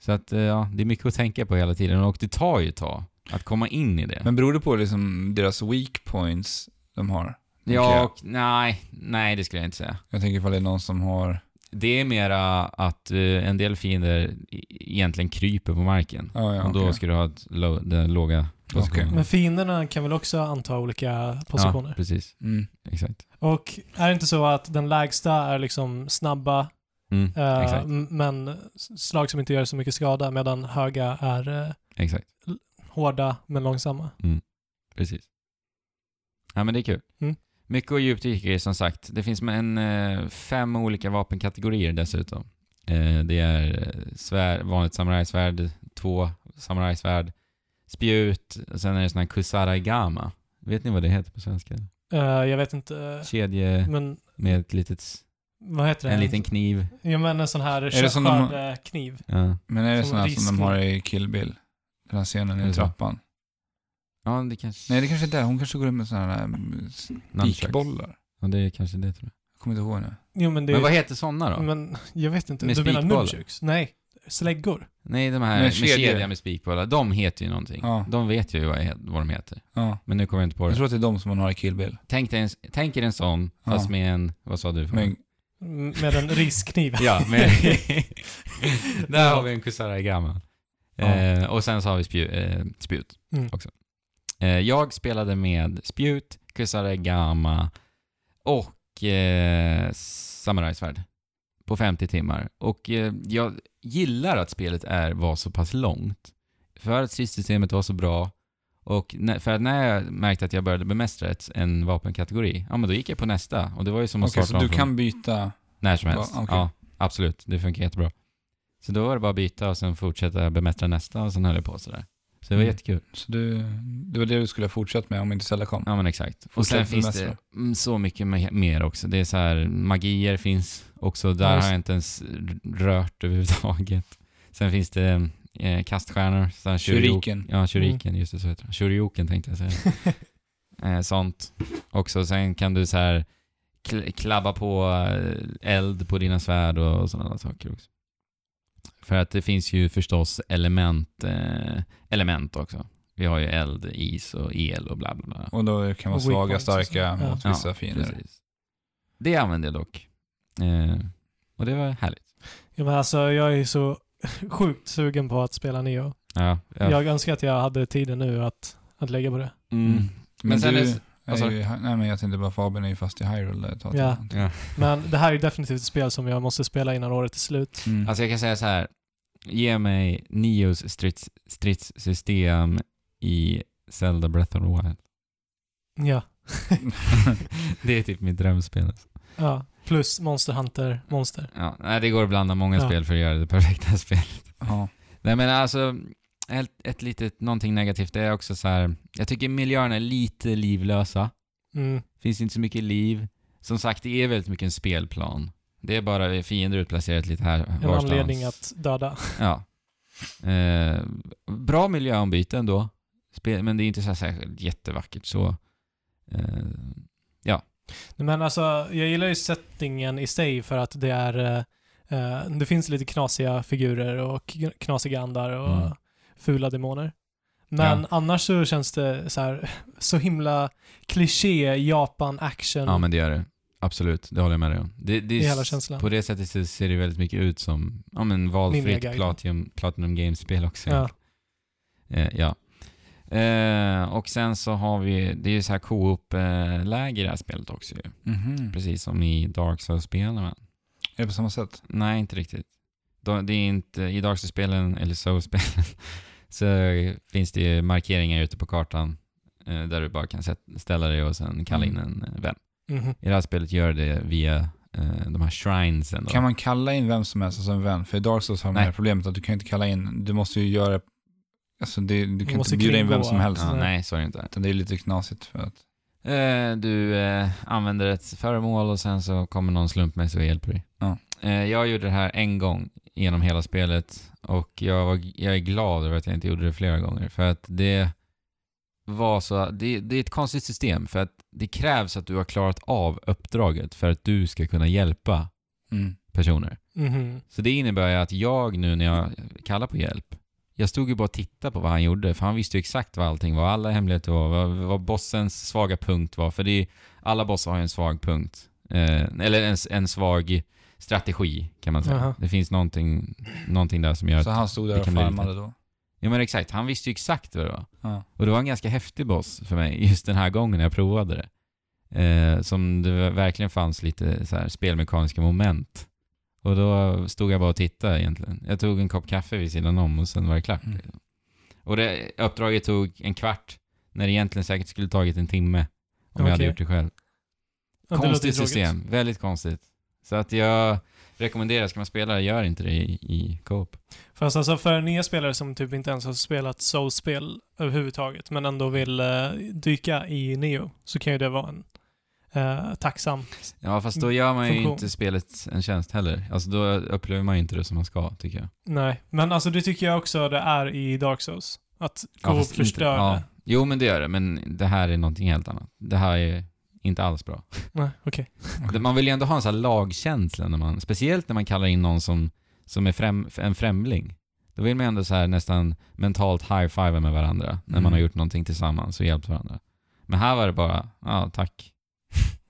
Speaker 2: Så att eh, ja, det är mycket att tänka på hela tiden och det tar ju ett tag att komma in i det.
Speaker 1: Men beror det på liksom deras weak points de har?
Speaker 2: ja,
Speaker 1: okej.
Speaker 2: och, nej, nej, det skulle jag inte säga.
Speaker 1: Jag tänker ifall det är någon som har...
Speaker 2: Det är mera att eh, en del fiender e- egentligen kryper på marken.
Speaker 1: Ja, ja,
Speaker 2: Och då
Speaker 1: okej.
Speaker 2: ska du ha ett lo- den låga positionen.
Speaker 1: Okej.
Speaker 3: Men fienderna kan väl också anta olika
Speaker 2: Ja,
Speaker 3: positioner?
Speaker 2: precis.
Speaker 1: mm.
Speaker 2: Exakt.
Speaker 3: Och är det inte så att den lägsta är liksom snabba,
Speaker 2: Mm,
Speaker 3: eh,
Speaker 2: exakt.
Speaker 3: m- men s- slag som inte gör så mycket skada, medan höga är eh,
Speaker 2: exakt.
Speaker 3: hårda men långsamma?
Speaker 2: Precis. Ja, men det är kul.
Speaker 3: Mm.
Speaker 2: Mycket och djupt dyker i, som sagt. Det finns med en, eh, fem olika vapenkategorier dessutom. Eh, Det är eh, svär, vanligt samurajsvärd, två samurajsvärd, spjut, och sen är det sån här kusaragama. Vet ni vad det heter på svenska?
Speaker 3: Eh, jag vet inte,
Speaker 2: [laughs]
Speaker 3: eh,
Speaker 2: Kedje
Speaker 3: men
Speaker 2: med ett litet,
Speaker 3: vad heter det?
Speaker 2: en liten kniv.
Speaker 3: Ja men en sån här
Speaker 1: det som de har-
Speaker 3: skördkniv.
Speaker 2: Ja,
Speaker 1: Men är det
Speaker 3: Som
Speaker 1: sådana som de
Speaker 3: riskning.
Speaker 1: har i Kill Bill? Den här scenen
Speaker 2: Är
Speaker 1: i
Speaker 2: det så?
Speaker 1: trappan.
Speaker 2: ja det kanske...
Speaker 1: Nej, det kanske inte är. Hon kanske går in med sådana här mm,
Speaker 2: Nunchucks.
Speaker 1: spikbollar.
Speaker 2: Ja, det är kanske det tror jag.
Speaker 1: Jag kommer inte ihåg nu.
Speaker 3: Jo men det
Speaker 2: Men
Speaker 3: Mm.
Speaker 2: vad heter sådana då?
Speaker 3: Men jag vet inte.
Speaker 2: Med
Speaker 3: du menar
Speaker 2: spikbollar?
Speaker 3: nunchucks? Nej, släggor.
Speaker 2: Nej, de här
Speaker 1: Men
Speaker 2: med
Speaker 1: kedjor.
Speaker 2: kedja med spikbollar, de heter ju någonting.
Speaker 1: Ja.
Speaker 2: De vet ju vad, he- vad de heter.
Speaker 1: Ja.
Speaker 2: Men nu kommer jag inte på det.
Speaker 1: Jag tror att det är de som man har i Kill Bill.
Speaker 2: Tänk, dig en, tänk er en sån,
Speaker 1: Ja.
Speaker 2: fast med en... Vad sa du? För
Speaker 1: Men,
Speaker 3: M-
Speaker 2: [laughs]
Speaker 3: Med en riskniv.
Speaker 2: Ja,
Speaker 1: [laughs]
Speaker 2: men... där har vi en kusara i gammal.
Speaker 1: Ja.
Speaker 2: Eh, och sen så har vi spju, eh, spjut
Speaker 3: Mm.
Speaker 2: också. Eh, jag spelade med spjut, kusara i gamma och eh, samurajsvärd på 50 timmar. Och eh, jag gillar att spelet är, var så pass långt. För att stridssystemet var så bra och när, för att när jag märkte att jag började bemästra ett, en vapenkategori, ja men då gick jag på nästa. Och det var ju som att
Speaker 1: Okej,
Speaker 2: starta
Speaker 1: så
Speaker 2: om
Speaker 1: du
Speaker 2: från-
Speaker 1: kan byta...
Speaker 2: när som helst.
Speaker 1: Va- okej.
Speaker 2: Ja, absolut. Det funkar jättebra. Så då var det bara att byta och sen fortsätta bemästra nästa och sen höll jag på sådär. Så det var
Speaker 1: Mm.
Speaker 2: jättekul.
Speaker 1: Så du, det var det du skulle ha fortsatt med om inte Sella kom?
Speaker 2: Ja men exakt. Och
Speaker 1: Fortsätta
Speaker 2: sen finns det
Speaker 1: bemästra.
Speaker 2: mm, så mycket me- mer också. Det är så här, magier finns också.
Speaker 3: Ja,
Speaker 2: Där
Speaker 3: just-
Speaker 2: har jag inte ens rört överhuvudtaget. Sen finns det eh, kaststjärnor, så här shurioken.
Speaker 1: Shuriken.
Speaker 2: Ja, shuriken,
Speaker 3: Mm.
Speaker 2: just det, så heter det. Shurioken tänkte jag säga. eh, sånt också. Sen kan du så här kl- klabba på eh, eld på dina svärd och, och sådana saker också. För att det finns ju förstås element, eh, element också. Vi har ju eld, is och el och bla bla bla.
Speaker 1: Och då kan vara
Speaker 3: Och
Speaker 1: svaga,
Speaker 3: weak points och så.
Speaker 1: starka
Speaker 3: Ja.
Speaker 1: mot
Speaker 2: Ja,
Speaker 1: vissa fiender.
Speaker 2: Precis. Det använde jag dock. Eh, och det var härligt.
Speaker 3: [laughs] Ja, men alltså, jag är så [laughs] sjukt sugen på att spela Neo.
Speaker 2: Ja, ja.
Speaker 3: Jag önskar att jag hade tiden nu att, att lägga på det.
Speaker 2: Mm.
Speaker 1: Men,
Speaker 2: Men sen
Speaker 1: du,
Speaker 2: är det- vad sa
Speaker 1: är ju, nej men jag tänkte bara Fabian är ju fast i Hyrule ett tag.
Speaker 3: Ja.
Speaker 2: Ja.
Speaker 3: Men det här är definitivt ett spel som jag måste spela innan året är slut.
Speaker 1: Mm.
Speaker 2: Alltså jag kan säga så här. Ge mig Nios strids, stridssystem i Zelda Breath of the Wild.
Speaker 3: Ja.
Speaker 2: [laughs] det är typ mitt drömspel. Alltså.
Speaker 3: ja. Plus Monster Hunter Monster.
Speaker 2: Ja, nej, det går att blanda många [laughs]
Speaker 3: Ja.
Speaker 2: spel för att göra det perfekta spelet.
Speaker 1: ja.
Speaker 2: Nej men alltså, ett, ett litet, någonting negativt, det är också så här, jag tycker miljöerna är lite livlösa.
Speaker 3: Mm.
Speaker 2: Finns inte så mycket liv. Som sagt, det är väldigt mycket en spelplan. Det är bara fiender utplacerat lite här
Speaker 3: En anledning att döda. [laughs]
Speaker 2: Ja. Eh, bra miljöombyte ändå. Spe- men det är inte så här särskilt jättevackert så. Eh,
Speaker 3: Men alltså, jag gillar ju settingen i sig för att det är... eh, eh, det finns lite knasiga figurer och kn- knasiga andar och
Speaker 2: Mm.
Speaker 3: fula demoner. Men
Speaker 2: Ja.
Speaker 3: annars så känns det så här, [laughs] så himla kliché Japan-action.
Speaker 2: Ja men det gör det. Absolut, det håller jag med dig om. Det, det,
Speaker 3: Det är hela känslan.
Speaker 2: På det sättet så ser det väldigt mycket ut som ja, men valfritt
Speaker 3: Ninja Gaiden.
Speaker 2: Platinum, Platinum Games-spel också.
Speaker 3: Ja.
Speaker 2: Eh, ja. Eh, och sen så har vi, det är ju så här co-op-läge i det här spelet också ju.
Speaker 1: Mhm.
Speaker 2: Precis som i Dark Souls-spelen va?
Speaker 1: Är det på samma sätt?
Speaker 2: Nej, inte riktigt. De, det är inte, I Dark Souls-spelen, eller Souls-spelen, [laughs] så finns det ju markeringar ute på kartan eh, där du bara kan sätt, ställa dig och sen kalla in en eh, vän.
Speaker 3: Mhm.
Speaker 2: I det här spelet gör det via eh, de här shrinesen. Då.
Speaker 1: Kan man kalla in vem som helst som vän? För i Dark Souls har man
Speaker 2: Nej.
Speaker 1: det här problemet att du kan inte kalla in, du måste ju göra, alltså det, du kan
Speaker 3: måste
Speaker 1: inte bjuda in vem
Speaker 3: kringgå.
Speaker 1: som helst.
Speaker 2: ja, nej, så är det inte.
Speaker 1: Utan det är lite knasigt för att,
Speaker 2: Eh, du eh, använder ett föremål och sen så kommer någon slumpmässigt och hjälper dig.
Speaker 1: Ja.
Speaker 2: Eh, jag gjorde det här en gång genom hela spelet och jag, var, jag är glad över att jag inte gjorde det flera gånger för att det var så, det, det är ett konstigt system för att det krävs att du har klarat av uppdraget för att du ska kunna hjälpa
Speaker 1: mm.
Speaker 2: personer.
Speaker 3: Mhm.
Speaker 2: Så det innebär ju att jag nu när jag kallar på hjälp, jag stod ju bara och tittade på vad han gjorde, för han visste ju exakt vad allting var, alla hemligheter var, vad, vad bossens svaga punkt var, för det är, ju- alla bossar har ju en svag punkt. Eh, eller en, en svag strategi, kan man säga.
Speaker 3: Jaha.
Speaker 2: Det finns någonting, någonting där som gör
Speaker 1: Så
Speaker 2: att...
Speaker 1: han stod där
Speaker 2: det
Speaker 1: och
Speaker 2: kan bli lite-
Speaker 1: farmade då.
Speaker 2: Ja men exakt, han visste ju exakt vad det var.
Speaker 1: Ja.
Speaker 2: Och det var en ganska häftig boss för mig just den här gången när jag provade det. Eh, som det verkligen fanns lite så här spelmekaniska moment. Och då stod jag bara och tittade egentligen. Jag tog en kopp kaffe vid sidan om och sen var det klart.
Speaker 1: Mm.
Speaker 2: Och det, uppdraget tog en kvart när det egentligen säkert skulle tagit en timme om jag hade
Speaker 3: Okej.
Speaker 2: gjort det själv.
Speaker 3: Ja, det låter ju
Speaker 2: Konstigt
Speaker 3: tråkigt.
Speaker 2: system, väldigt konstigt. Så att jag rekommenderar, ska man spela det, gör inte det i, i Coop.
Speaker 3: Fast alltså för nya spelare som typ inte ens har spelat Souls-spel överhuvudtaget men ändå vill eh, dyka i Neo så kan ju det vara en eh, tacksam.
Speaker 2: Ja, fast då gör man ju
Speaker 3: Mm. Funktion.
Speaker 2: inte spelet en tjänst heller. Alltså då upplever man ju inte det som man ska, tycker jag.
Speaker 3: Nej, men alltså det tycker jag också det är i Dark Souls. Att gå
Speaker 2: Ja,
Speaker 3: och
Speaker 2: fast inte-
Speaker 3: förstöra.
Speaker 2: ja. Jo, men det gör det, men det här är någonting helt annat. Det här är inte alls bra.
Speaker 3: Nej, okej.
Speaker 2: Det- Man vill ju ändå ha en sån här lagkänsla, när man, speciellt när man kallar in någon som, som är främ, en främling. Då vill man ju ändå så här nästan mentalt high-fiva med varandra, när
Speaker 1: Mm.
Speaker 2: man har gjort någonting tillsammans och hjälpt varandra. Men här var det bara, ja tack.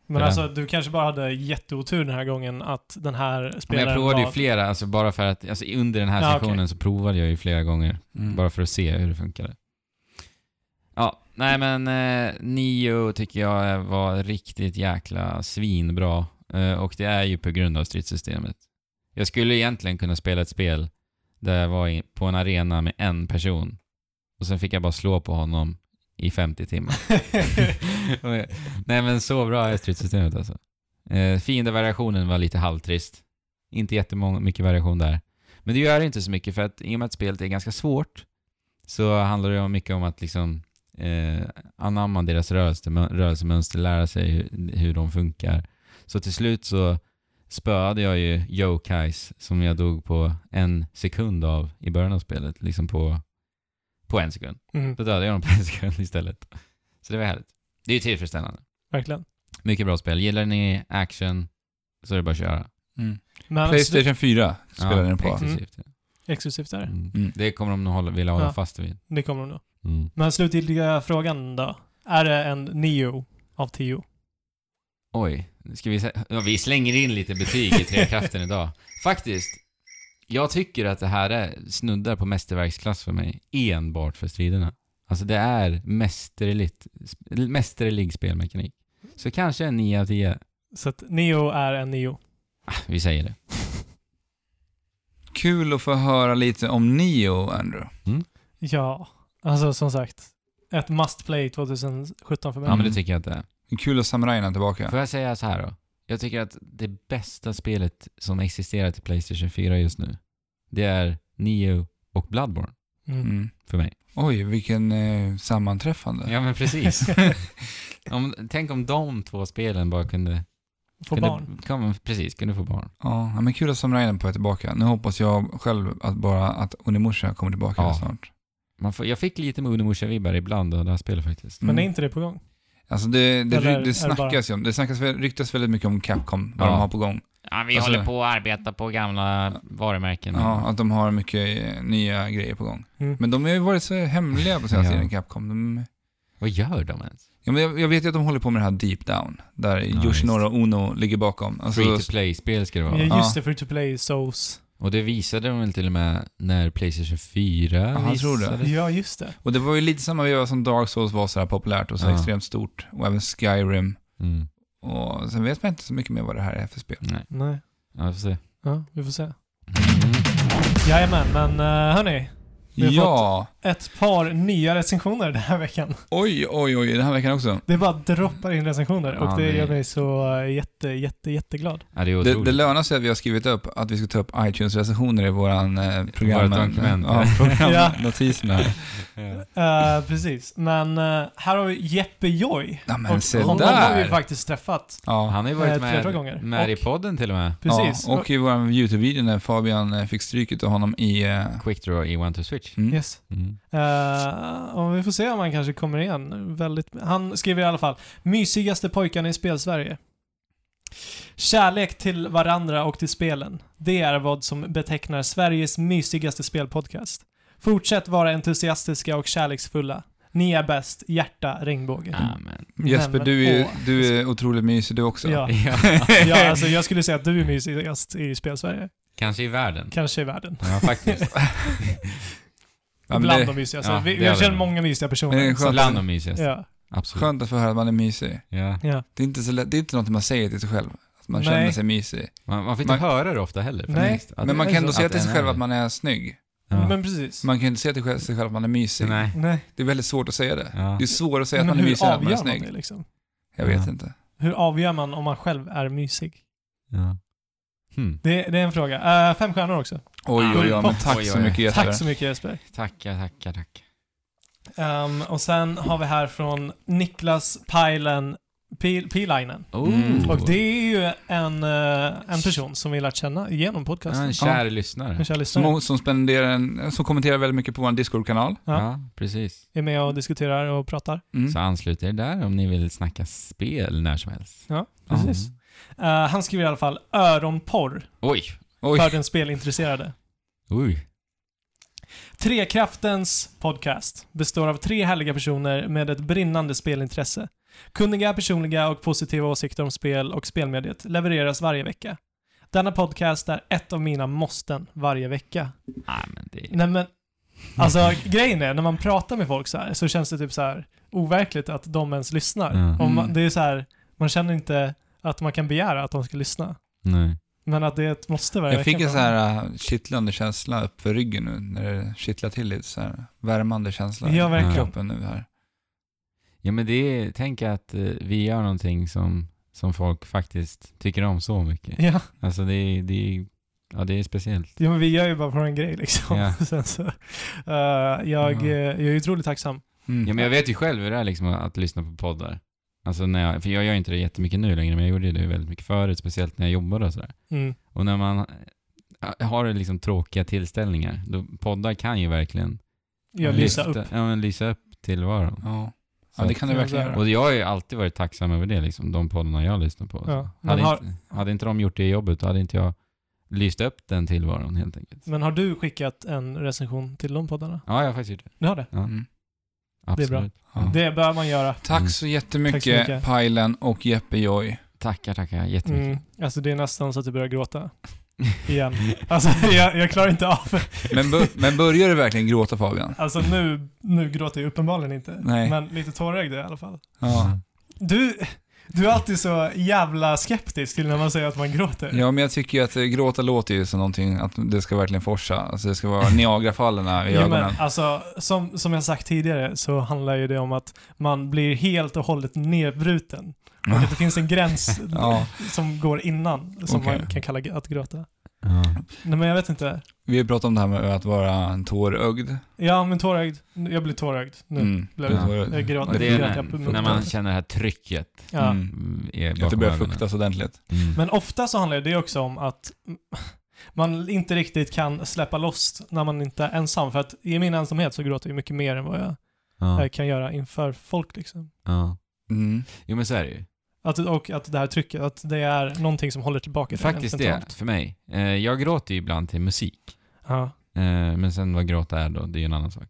Speaker 3: Men
Speaker 2: Ja.
Speaker 3: alltså du kanske bara hade jätteotur den här gången att den här
Speaker 2: Men
Speaker 3: spelaren
Speaker 2: jag provade ju
Speaker 3: var-
Speaker 2: flera, alltså bara för att, alltså under den här
Speaker 3: Ja,
Speaker 2: sessionen så provade jag ju flera gånger.
Speaker 1: Mm.
Speaker 2: Bara för att se hur det funkade. Ja, nej men eh, Nio tycker jag var riktigt jäkla svinbra. Eh, och det är ju på grund av stridssystemet. Jag skulle egentligen kunna spela ett spel där jag var i, på en arena med en person. Och sen fick jag bara slå på honom i 50 timmar. nej men så bra är stridssystemet alltså. Eh, fiendevariationen var lite halvtrist. Inte jättemycket variation där. Men det gör inte så mycket för att i och med att spelet är ganska svårt så handlar det om mycket om att liksom eh, anamma deras rörelse, rörelsemönster, lära sig hur, hur de funkar. Så till slut så spöade jag ju Yokais som jag dog på en sekund av i början av spelet. Liksom på, på en sekund.
Speaker 3: Mm,
Speaker 2: Då dödade jag dem på en [laughs] sekund istället. Så det var härligt. Det är ju tillfredsställande.
Speaker 3: verkligen.
Speaker 2: Mycket bra spel. Gillar ni action så är det bara att köra.
Speaker 1: Mm.
Speaker 3: Men exklusivt
Speaker 1: Playstation 4 spelade den på.
Speaker 2: exklusivt.
Speaker 3: exklusivt där.
Speaker 2: Mm.
Speaker 1: Mm.
Speaker 2: Det kommer de nog hålla, vilja hålla
Speaker 3: Ja.
Speaker 2: fast vid.
Speaker 3: Det kommer de nog.
Speaker 2: Mm.
Speaker 3: Men slutgiltiga frågan då. Är det en Neo av 10?
Speaker 2: Oj, ska vi, sä- ja, vi slänger in lite betyg i Trekraften idag. Faktiskt, jag tycker att det här är, snuddar på mästerverksklass för mig, enbart för striderna. Alltså det är mästerligt, sp- mästerlig spelmekanik. Så kanske en 9 av 10.
Speaker 3: Så att Neo är en Neo.
Speaker 2: Ah, vi säger det.
Speaker 1: Kul att få höra lite om Neo, Andrew.
Speaker 3: Ja, alltså som sagt. Ett must play 2017 för mig.
Speaker 2: Ja men det tycker jag att det är.
Speaker 1: Kul att samurajerna är tillbaka.
Speaker 2: Får jag säga så här då? Jag tycker att det bästa spelet som existerar till Playstation 4 just nu, det är Nio och Bloodborne.
Speaker 3: Mm.
Speaker 1: Mm.
Speaker 2: för mig.
Speaker 1: Oj, vilken eh, sammanträffande.
Speaker 2: Ja, men precis. om, tänk om de två spelen bara kunde...
Speaker 3: Få
Speaker 2: kunde,
Speaker 3: barn.
Speaker 2: Ja, men precis, kunde få barn.
Speaker 1: Ja, ja, men kul att Sam Raiden är på väg tillbaka. Nu hoppas jag själv att bara att Onimusha kommer tillbaka
Speaker 2: Ja.
Speaker 1: snart.
Speaker 2: Man får, jag fick lite Munemusha-vibbar ibland av det här spelet faktiskt.
Speaker 1: Mm.
Speaker 3: Men är inte det på gång?
Speaker 1: Alltså det, det,
Speaker 3: Eller
Speaker 1: det,
Speaker 3: är det
Speaker 1: snackas ju om, det snackas, väl- ryktas väldigt mycket om Capcom, vad
Speaker 2: Ja.
Speaker 1: de har på gång.
Speaker 2: Ja, vi
Speaker 1: Alltså-
Speaker 2: håller på att arbeta på gamla varumärken.
Speaker 1: Ja, att de har mycket eh, nya grejer på gång.
Speaker 3: Mm.
Speaker 1: Men de har ju varit så hemliga på senaste
Speaker 2: Ja.
Speaker 1: tiden, Capcom. De,
Speaker 2: Vad gör de ens?
Speaker 1: ja, men jag, jag vet ju att de håller på med det här Deep Down, där
Speaker 2: Ja,
Speaker 1: Yoshinori Ono ligger bakom. Alltså,
Speaker 2: Free to play-spel ska det vara.
Speaker 3: Ja, just
Speaker 1: Ja.
Speaker 3: det, free to play, Souls.
Speaker 2: Och det visade de väl till och med när Playstation 4
Speaker 1: Ja, jag tror det.
Speaker 2: visades.
Speaker 3: Ja, just det.
Speaker 1: och det var ju lite samma veva som Dark Souls var så här populärt och så
Speaker 2: Ja.
Speaker 1: extremt stort. Och även Skyrim.
Speaker 2: Mm.
Speaker 1: Och sen vet man inte så mycket mer vad det här är för spel.
Speaker 2: Nej,
Speaker 3: Nej.
Speaker 2: ja, vi får se.
Speaker 3: Ja, vi får se.
Speaker 2: Mm.
Speaker 3: Jajamän, men eh, hörni. Vi har
Speaker 1: Ja!
Speaker 3: Ett par nya recensioner den här veckan.
Speaker 1: Oj, oj, oj, den här veckan också.
Speaker 3: Det bara droppar in recensioner och
Speaker 2: Ja,
Speaker 3: det
Speaker 2: nej.
Speaker 3: gör mig så eh, jätte, jätte, jätteglad.
Speaker 2: Ja, det är
Speaker 1: Det,
Speaker 2: otroligt.
Speaker 1: det lönar sig att vi har skrivit upp att vi ska ta upp iTunes-recensioner i våran eh, program.
Speaker 2: Vårat dokument. [laughs]
Speaker 1: Ja,
Speaker 3: Ja. [laughs]
Speaker 1: programnotiserna.
Speaker 2: Ja.
Speaker 3: Eh, precis, men eh, här har vi Jeppe Joy.
Speaker 1: Ja, men
Speaker 3: och
Speaker 1: se
Speaker 3: honom har vi
Speaker 1: där!
Speaker 3: faktiskt träffat.
Speaker 1: Ja,
Speaker 2: Han har ju
Speaker 3: Eh,
Speaker 2: varit
Speaker 3: flera
Speaker 2: med,
Speaker 3: gånger.
Speaker 2: med i
Speaker 3: Och-
Speaker 2: podden till och med.
Speaker 3: Precis.
Speaker 1: Ja, och i vår YouTube-video när Fabian eh, fick stryket av honom i... eh,
Speaker 2: Quick Draw i One to Switch.
Speaker 1: Mm.
Speaker 3: Yes.
Speaker 2: Mm.
Speaker 3: Eh, och vi får se om han kanske kommer igen. Väldigt, han skriver i alla fall “Mysigaste pojkarna i spelsverige”. Kärlek till varandra och till spelen. Det är vad som betecknar Sveriges mysigaste spelpodcast. Fortsätt vara entusiastiska och kärleksfulla. Ni är bäst, hjärta
Speaker 1: [laughs]
Speaker 3: regnbågen.
Speaker 2: Ja, men.
Speaker 1: Jesper,
Speaker 3: men
Speaker 1: du är,
Speaker 3: åh.
Speaker 1: du är otroligt mysig du också.
Speaker 3: Ja, ja, alltså jag skulle säga att du är mysigast i spelsverige.
Speaker 2: Kanske i världen.
Speaker 3: Kanske i världen.
Speaker 2: Ja, [laughs] faktiskt.
Speaker 1: Ja, men
Speaker 3: Bland
Speaker 1: det-
Speaker 3: de mysigaste.
Speaker 2: ja,
Speaker 3: vi,
Speaker 2: det är
Speaker 3: jag känner
Speaker 2: det.
Speaker 3: många mysiga personer.
Speaker 1: Men det är
Speaker 2: Så
Speaker 1: skönt,
Speaker 2: Bland de mysigaste.
Speaker 3: ja,
Speaker 2: Absolut.
Speaker 1: skönt att få höra att man är mysig.
Speaker 2: Ja.
Speaker 3: ja.
Speaker 1: Det är inte, så lätt, det är inte något man säger till sig själv, att man
Speaker 3: Nej.
Speaker 1: känner sig mysig.
Speaker 2: Man, man får inte
Speaker 1: Man-
Speaker 2: höra det ofta heller.
Speaker 3: Nej.
Speaker 2: faktiskt. Att-
Speaker 1: Men man
Speaker 3: är
Speaker 1: kan ändå
Speaker 3: så.
Speaker 1: säga
Speaker 2: Att
Speaker 1: till sig
Speaker 2: den
Speaker 1: själv
Speaker 2: är-
Speaker 1: att man är snygg.
Speaker 2: Ja.
Speaker 3: Men precis.
Speaker 1: Man kan inte säga till sig sig själv att man är mysig.
Speaker 2: Nej.
Speaker 3: Nej.
Speaker 1: Det är väldigt svårt att säga det.
Speaker 2: Ja.
Speaker 1: Det är svårt att säga att
Speaker 3: Men
Speaker 1: man är
Speaker 3: hur
Speaker 1: mysig när man är
Speaker 3: avgör man det
Speaker 1: snygg.
Speaker 3: liksom?
Speaker 1: Jag vet
Speaker 2: Ja.
Speaker 1: inte.
Speaker 3: Hur avgör man om man själv är mysig?
Speaker 2: Ja. Hmm.
Speaker 3: Det, det är en fråga. Eh, fem stjärnor också.
Speaker 1: Oj, oj, oj,
Speaker 3: Oj,
Speaker 1: men tack
Speaker 2: oj,
Speaker 1: så
Speaker 2: oj.
Speaker 1: mycket Jesper.
Speaker 3: Tack så mycket Jesper.
Speaker 2: Tackar, tackar, tackar.
Speaker 3: Ehm, och sen har vi här från Niklas Pilen Pil, Pilainen.
Speaker 2: Oh.
Speaker 1: Mm.
Speaker 3: Och det är ju en, eh, en person som vi lärt känna genom
Speaker 2: Ja,
Speaker 3: podcasten.
Speaker 2: en kär lyssnare.
Speaker 3: Alltså, En kär lyssnare.
Speaker 1: Som, som, spenderar en, som kommenterar väldigt mycket på vår Discord-kanal.
Speaker 3: Ja.
Speaker 2: Ja. precis.
Speaker 3: Är med och diskuterar och pratar.
Speaker 1: Mm.
Speaker 2: Så anslut er där om ni vill snacka spel när som helst.
Speaker 3: Ja, precis.
Speaker 2: Mm.
Speaker 3: Eh, han skriver i alla fall öronporr
Speaker 2: Oj.
Speaker 1: Oj,
Speaker 3: för den spelintresserade.
Speaker 2: Oj.
Speaker 3: Trekraftens podcast består av tre härliga personer med ett brinnande spelintresse. Kunniga, personliga och positiva åsikter om spel och spelmediet levereras varje vecka. Denna podcast är ett av mina måsten varje vecka.
Speaker 2: Nej, men det...
Speaker 3: Nej men,
Speaker 1: [laughs]
Speaker 3: alltså grejen är, när man pratar med folk så här så känns det typ så här overkligt att de ens lyssnar.
Speaker 1: Mm.
Speaker 2: Ja.
Speaker 3: Och man, det är så här, man känner inte att man kan begära att de ska lyssna.
Speaker 2: Nej.
Speaker 3: Men att det är ett måste varje
Speaker 1: jag
Speaker 3: vecka.
Speaker 1: fick en
Speaker 3: för
Speaker 1: så
Speaker 3: dem.
Speaker 1: här äh, kittlande känsla upp för ryggen nu när det kittlar till lite så här. Värmande känsla
Speaker 3: Ja,
Speaker 1: i
Speaker 3: verkligen.
Speaker 1: kroppen nu här.
Speaker 2: Ja, men det är... Tänk att eh, vi gör någonting som, som folk faktiskt tycker om så mycket.
Speaker 3: Ja,
Speaker 2: Alltså det är... Det är ja, det är speciellt.
Speaker 3: Ja, men vi gör ju bara vår grej liksom.
Speaker 2: Ja.
Speaker 3: [laughs] Sen så, eh, jag,
Speaker 1: Ja.
Speaker 3: eh, jag är otroligt tacksam.
Speaker 1: Mm.
Speaker 2: Ja, men jag vet ju själv hur det är liksom att lyssna på poddar. Alltså när jag... För jag gör inte det jättemycket nu längre, men jag gjorde det väldigt mycket förut, speciellt när jag jobbade och sådär.
Speaker 3: Mm.
Speaker 2: Och när man eh, har liksom tråkiga tillställningar, då poddar kan ju verkligen
Speaker 3: Jag lyser
Speaker 2: lyfta-
Speaker 3: upp.
Speaker 2: Ja, men lysa upp tillvaron.
Speaker 1: Ja.
Speaker 2: Så
Speaker 1: ja, det
Speaker 2: att-
Speaker 1: kan det verkligen göra.
Speaker 2: Och jag har ju alltid varit tacksam över det, liksom, de poddarna jag lyssnar på. Alltså.
Speaker 3: Ja, men
Speaker 2: hade,
Speaker 3: har-
Speaker 2: inte, hade inte de gjort det jobbet, då hade inte jag lyst upp den tillvaron helt enkelt.
Speaker 3: Men har du skickat en recension till de poddarna?
Speaker 2: Ja, jag har faktiskt gjort det.
Speaker 3: Du har det?
Speaker 1: Mm.
Speaker 2: Absolut.
Speaker 3: bra.
Speaker 1: Ja.
Speaker 3: Det bör man göra.
Speaker 1: Tack
Speaker 2: Mm.
Speaker 1: så jättemycket,
Speaker 3: Tack så mycket.
Speaker 1: Pajlen och Jeppe Joy.
Speaker 2: Tackar, tackar jättemycket.
Speaker 3: Mm. Alltså det är nästan så att du börjar gråta. Igen. Alltså [laughs] jag, jag klarar inte av
Speaker 1: Men, bör, [laughs] men börjar du verkligen gråta Fabian?
Speaker 3: Alltså nu, nu gråter jag uppenbarligen inte.
Speaker 1: Nej.
Speaker 3: Men lite tårögd i alla fall.
Speaker 1: Ja.
Speaker 3: Du, du är alltid så jävla skeptisk till när man säger att man gråter.
Speaker 1: ja, men jag tycker ju att eh, gråta låter ju som någonting, att det ska verkligen forsa. Alltså det ska vara Niagarafallen här i
Speaker 3: Jo,
Speaker 1: ögonen.
Speaker 3: men, alltså, som, som jag sagt tidigare så handlar ju det om att man blir helt och hållet nedbruten. Och att det finns en gräns
Speaker 1: [laughs] Ja.
Speaker 3: som går innan som
Speaker 1: Okej.
Speaker 3: man kan kalla att gråta.
Speaker 2: Ja.
Speaker 3: Nej men jag vet inte.
Speaker 1: Vi har ju pratat om det här med att vara en tårögd.
Speaker 3: Ja men tårögd. Jag blir tårögd nu.
Speaker 1: Mm.
Speaker 3: blev
Speaker 1: Ja.
Speaker 2: det.
Speaker 1: Tårögd.
Speaker 3: Jag gråter.
Speaker 1: Det
Speaker 2: Det är
Speaker 3: Jag
Speaker 2: när,
Speaker 3: grät på munnen.
Speaker 2: när man känner det här trycket.
Speaker 3: Ja.
Speaker 1: Mm.
Speaker 2: mm, är
Speaker 1: Att det
Speaker 2: bakom
Speaker 1: börjar
Speaker 2: ögonen.
Speaker 1: fuktas ordentligt.
Speaker 2: Mm.
Speaker 3: Men ofta så handlar det också om att [laughs] man inte riktigt kan släppa loss när man inte är ensam. För att i min ensamhet så gråter jag mycket mer än vad jag
Speaker 2: ja,
Speaker 3: eh, kan göra inför folk. Liksom.
Speaker 2: ja.
Speaker 1: Mm.
Speaker 2: Jo men så är det ju.
Speaker 3: Att, och att det här trycket, att det är någonting som håller tillbaka
Speaker 2: Faktiskt det, för mig. Eh, Jag gråter ju ibland till musik.
Speaker 3: Ja.
Speaker 2: Eh, Men sen vad gråta är då, det är ju en annan sak.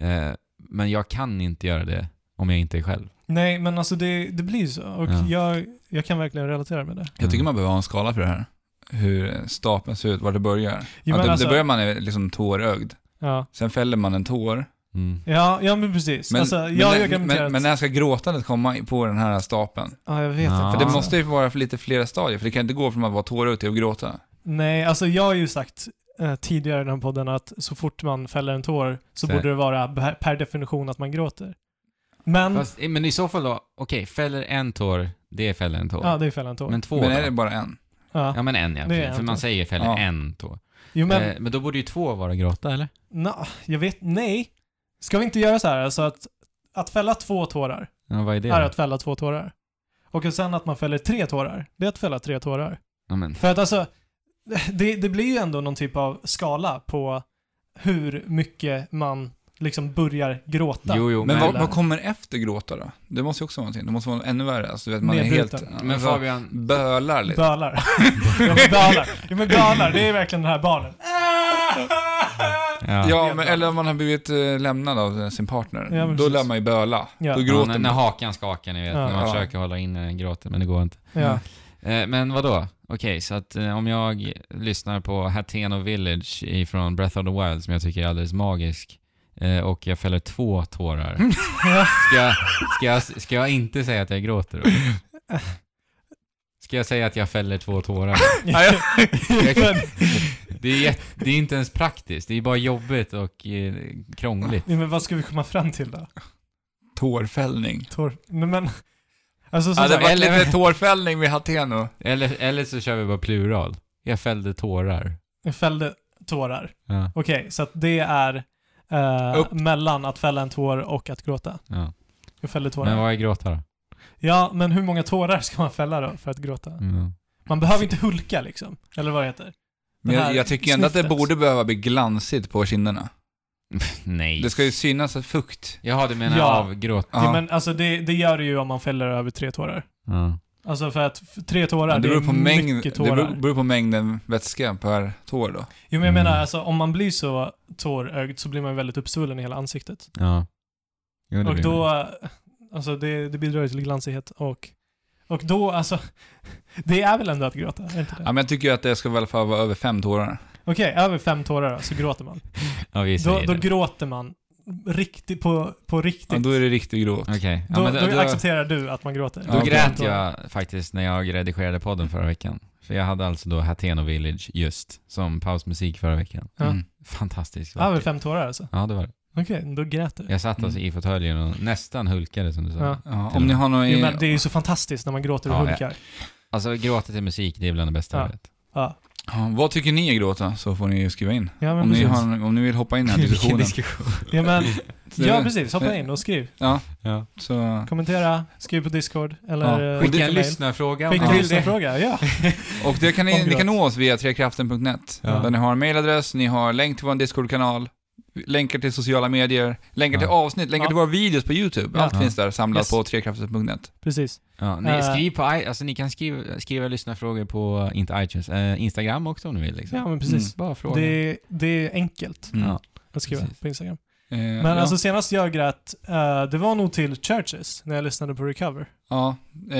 Speaker 2: Eh, Men jag kan inte göra det om jag inte är själv.
Speaker 3: Nej, men alltså det, det blir ju så. Och
Speaker 2: Ja.
Speaker 3: jag, jag kan verkligen relatera med det.
Speaker 1: Jag tycker
Speaker 2: Mm.
Speaker 1: man behöver ha en skala för det här. Hur stapeln ser ut, var det börjar.
Speaker 3: Jo,
Speaker 1: att
Speaker 3: men
Speaker 1: det,
Speaker 3: alltså-
Speaker 1: det börjar man är liksom tårögd.
Speaker 3: Ja,
Speaker 1: Sen fäller man en tår.
Speaker 2: Mm.
Speaker 3: ja, ja men precis.
Speaker 1: Men,
Speaker 3: alltså, jag,
Speaker 1: men,
Speaker 3: jag kan
Speaker 1: men, men, men när ska gråtandet komma i- på den här stapeln?
Speaker 3: Ja, jag
Speaker 2: Ja.
Speaker 3: vet inte. Alltså,
Speaker 1: För det
Speaker 2: Ah.
Speaker 1: måste ju vara för lite flera stadier, för det kan inte gå från att vara tårögd till att gråta.
Speaker 3: Nej, alltså jag har ju sagt eh, tidigare i den här podden att så fort man fäller en tår så
Speaker 2: Så-
Speaker 3: borde det vara per- per definition att man gråter. Men,
Speaker 2: Fast, eh, men i så fall då, okej, fäller en tår, det är fäller en tår.
Speaker 3: ja det är fälla en tår.
Speaker 2: men två
Speaker 1: men
Speaker 2: då?
Speaker 1: är det bara en?
Speaker 3: ja.
Speaker 2: Ja men en ja,
Speaker 3: Det är
Speaker 2: för
Speaker 3: en
Speaker 2: man
Speaker 3: tår.
Speaker 2: säger fäller
Speaker 1: Ja.
Speaker 2: en tår.
Speaker 3: Jo men,
Speaker 2: eh, men då borde ju två vara gråta eller?
Speaker 3: na, jag vet, nej. Ska vi inte göra så här? Alltså att, att fälla två tårar
Speaker 2: Ja, vad är det
Speaker 3: är
Speaker 2: då?
Speaker 3: att fälla två tårar. Och sen att man fäller tre tårar, det är att fälla tre tårar.
Speaker 2: ja, men,
Speaker 3: För att alltså, [laughs] det, det blir ju ändå någon typ av skala på hur mycket man liksom börjar gråta.
Speaker 2: jo, jo,
Speaker 1: Men,
Speaker 2: men,
Speaker 1: vad,
Speaker 3: eller-
Speaker 1: vad kommer efter gråta då? Det måste ju också vara någonting. Det måste vara ännu värre. Alltså, du vet, man är helt...
Speaker 3: Nedbruten.
Speaker 1: alltså,
Speaker 2: men Fabian,
Speaker 1: Bölar lite.
Speaker 3: Bölar. [laughs] ja, men bölar. Ja, men bölar, det är verkligen den här barnen.
Speaker 2: ja.
Speaker 1: Ja, men, eller om man har blivit eh, lämnad av sin partner.
Speaker 3: Ja,
Speaker 1: då
Speaker 3: men precis.
Speaker 1: lär man ju böla.
Speaker 3: Ja.
Speaker 1: Då
Speaker 2: Ja,
Speaker 1: gråter
Speaker 2: när, när
Speaker 1: man.
Speaker 2: hakan skakar ni vet,
Speaker 3: Ja.
Speaker 2: när man
Speaker 1: Ja.
Speaker 2: försöker hålla inne den gråten men det går inte.
Speaker 3: Ja.
Speaker 2: Eh, men vad då? Okej, så att eh, om jag lyssnar på Hateno Village ifrån Breath of the Wild som jag tycker är alldeles magisk eh, och jag fäller två tårar. Ska jag, ska, jag, ska jag inte säga att jag gråter då? Ska jag säga att jag fäller två tårar? Jag, det, är jätt, det är inte ens praktiskt, det är bara jobbigt och eh, krångligt.
Speaker 3: [laughs] Ja, men vad ska vi komma fram till då?
Speaker 1: Tårfällning.
Speaker 3: Tor men, men, alltså som
Speaker 1: Ja, det
Speaker 3: sagt,
Speaker 1: var lite tårfällning vid Hateno.
Speaker 2: Eller, eller så kör vi bara plural. Jag fällde tårar.
Speaker 3: jag [laughs] fällde tårar.
Speaker 2: Ja,
Speaker 3: Okej, så att det är eh,
Speaker 1: Upp.
Speaker 3: mellan att fälla en tår och att gråta.
Speaker 2: ja.
Speaker 3: Jag fällde tårar.
Speaker 2: Men vad är gråta då?
Speaker 3: Ja, men hur många tårar ska man fälla då för att gråta?
Speaker 2: Mm.
Speaker 3: Man behöver inte hulka liksom, eller vad det heter.
Speaker 1: Men
Speaker 3: Den här
Speaker 1: jag, jag tycker ändå att det
Speaker 3: snyftet.
Speaker 1: borde behöva bli glansigt på kinderna.
Speaker 2: Nej.
Speaker 1: Det ska ju synas att fukt.
Speaker 2: Jaha, du menar
Speaker 3: Ja.
Speaker 2: av gråt.
Speaker 1: Ja.
Speaker 3: Ja, men alltså det, det gör det ju om man fäller över tre tårar.
Speaker 2: Ja.
Speaker 3: Alltså för att f- tre tårar,
Speaker 1: det,
Speaker 3: det,
Speaker 1: beror på
Speaker 3: är
Speaker 1: mängd, det
Speaker 3: mycket tårar.
Speaker 1: beror, beror på mängden vätska per tår då.
Speaker 3: Jo men jag menar
Speaker 2: Mm.
Speaker 3: alltså om man blir så tårögd så blir man väldigt uppsvullen i hela ansiktet.
Speaker 2: ja. Jo, det
Speaker 3: Och
Speaker 2: blir
Speaker 3: då,
Speaker 2: det.
Speaker 3: alltså det, det bidrar ju till glansighet och, och då alltså, [laughs] det är väl ändå att gråta, är det inte det?
Speaker 1: Ja, men jag tycker ju att det ska i alla fall vara över fem tårar.
Speaker 3: Okej, över fem tårar då, så gråter man.
Speaker 2: Ja, vi
Speaker 3: Då,
Speaker 2: säger
Speaker 3: då
Speaker 2: det.
Speaker 3: gråter man riktigt, på, på riktigt.
Speaker 1: Ja, då är det riktigt gråt.
Speaker 2: Okej.
Speaker 3: då,
Speaker 2: Ja, men
Speaker 3: då,
Speaker 2: då, då,
Speaker 3: accepterar du att man gråter.
Speaker 1: Ja,
Speaker 2: då
Speaker 1: okej.
Speaker 2: grät jag faktiskt när jag redigerade podden förra veckan. För jag hade alltså då Hateno Village just som pausmusik förra veckan.
Speaker 3: Ja.
Speaker 1: Mm.
Speaker 2: Fantastiskt
Speaker 3: Över
Speaker 2: vackert.
Speaker 3: fem tårar alltså?
Speaker 2: Ja, det var det.
Speaker 3: Okej, då grät du.
Speaker 2: Jag satt alltså i fåtöljen och nästan hulkade som du sa.
Speaker 3: Mm. Ja.
Speaker 1: Ja, om ni har någon...
Speaker 3: Jo, men det är ju så fantastiskt när man gråter och
Speaker 2: Ja,
Speaker 3: hulkar.
Speaker 2: Alltså gråta till musik, det är bland det bästa
Speaker 3: Ja.
Speaker 2: jag vet.
Speaker 3: Ja.
Speaker 1: ja, vad tycker ni är gråta? Så får ni ju skriva in.
Speaker 3: Ja, men
Speaker 1: Om ni,
Speaker 3: precis.
Speaker 1: har, om ni vill hoppa in
Speaker 3: [laughs]
Speaker 1: i den här
Speaker 2: Vilken
Speaker 1: diskussionen.
Speaker 2: diskussion.
Speaker 3: ja, men,
Speaker 1: Så-
Speaker 3: ja, precis. Hoppa in och skriv.
Speaker 2: Ja.
Speaker 1: Så,
Speaker 3: Kommentera, skriv på Discord eller
Speaker 1: Ja.
Speaker 3: eh,
Speaker 2: Skicka en
Speaker 3: mail.
Speaker 2: lyssnarfråga
Speaker 3: Skicka
Speaker 2: om
Speaker 3: en
Speaker 2: ni vill det.
Speaker 3: lyssnarfråga, ja.
Speaker 1: och det kan ni,
Speaker 3: Om
Speaker 1: ni kan
Speaker 3: gråt.
Speaker 1: nå oss via trekraften.net.
Speaker 2: Ja.
Speaker 1: Där ni har en mailadress, ni har länk till vår Discord-kanal, länkar till sociala medier, länkar
Speaker 2: Ja.
Speaker 1: till avsnitt, länkar
Speaker 3: Ja.
Speaker 1: till våra videos på YouTube.
Speaker 3: Ja.
Speaker 1: Allt
Speaker 2: Ja.
Speaker 1: finns där samlat
Speaker 3: Yes.
Speaker 1: på trekraften.net.
Speaker 3: Precis.
Speaker 2: Ja, ni,
Speaker 3: Eh.
Speaker 2: skriv på, i- alltså, ni kan skriva, skriva lyssnarfrågor på, inte iTunes, eh, Instagram också om ni vill. Liksom.
Speaker 3: Ja, men precis.
Speaker 2: Bara fråga.
Speaker 3: Det, det är enkelt
Speaker 1: Mm.
Speaker 2: Ja.
Speaker 3: att skriva
Speaker 2: Precis.
Speaker 3: på Instagram.
Speaker 1: Eh,
Speaker 3: Men
Speaker 1: ja.
Speaker 3: alltså senast jag grät, eh, det var nog till Churches när jag lyssnade på Recover.
Speaker 1: Ja, eh,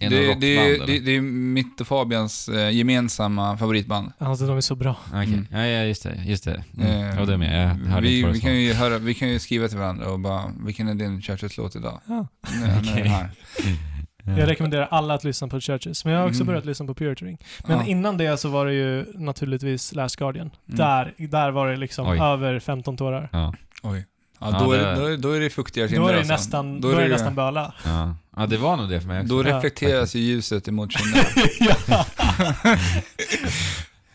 Speaker 1: det,
Speaker 2: Är det
Speaker 1: det,
Speaker 2: något
Speaker 1: det,
Speaker 2: rockband,
Speaker 1: det,
Speaker 2: eller?
Speaker 1: är mitt och Fabians eh, gemensamma favoritband.
Speaker 3: Alltså de är så bra.
Speaker 2: Okej.
Speaker 1: Mm.
Speaker 2: Ja, ja, just det. Just det. Mm.
Speaker 1: Eh,
Speaker 2: ja, det med. Jag hörde
Speaker 1: vi,
Speaker 2: inte vad
Speaker 1: vi,
Speaker 2: du sa.
Speaker 1: kan ju höra, vi kan ju skriva till varandra och bara, vilken är din Churches-låt idag?
Speaker 3: Ja.
Speaker 1: Nu, nu är
Speaker 2: Okej.
Speaker 1: den här.
Speaker 3: Jag rekommenderar alla att lyssna på Churches, men jag har också
Speaker 1: Mm.
Speaker 3: börjat lyssna på Puritering. [laughs] Men
Speaker 1: Ja.
Speaker 3: innan det så var det ju naturligtvis Last Guardian.
Speaker 1: Mm.
Speaker 3: Där, där var det liksom
Speaker 2: Oj.
Speaker 3: över 15 tårar.
Speaker 2: Ja.
Speaker 1: Oj. Ja,
Speaker 2: Ja,
Speaker 1: då,
Speaker 2: det-
Speaker 1: är, då, är, då är det fuktiga
Speaker 3: Då är det
Speaker 1: alltså.
Speaker 3: nästan, då är det nästan böla.
Speaker 2: Ja. ja, det var nog det för mig också.
Speaker 1: Då
Speaker 3: Ja.
Speaker 1: reflekteras ju ljuset emot kinderna.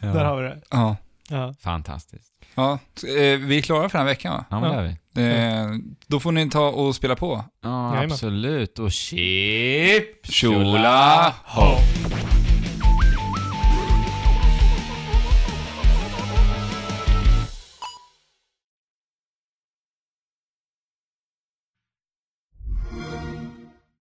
Speaker 3: ja. Där har vi det.
Speaker 1: [laughs] Ja.
Speaker 3: Ja.
Speaker 2: Fantastiskt.
Speaker 1: ja. eh, Vi är klara för den här veckan va?
Speaker 2: Ja, men
Speaker 3: Ja.
Speaker 2: det är vi.
Speaker 1: Eh, Då får ni ta och spela på.
Speaker 2: Ja,
Speaker 3: Jajamän.
Speaker 2: absolut. Och chip,
Speaker 1: Tjola!
Speaker 3: Ja.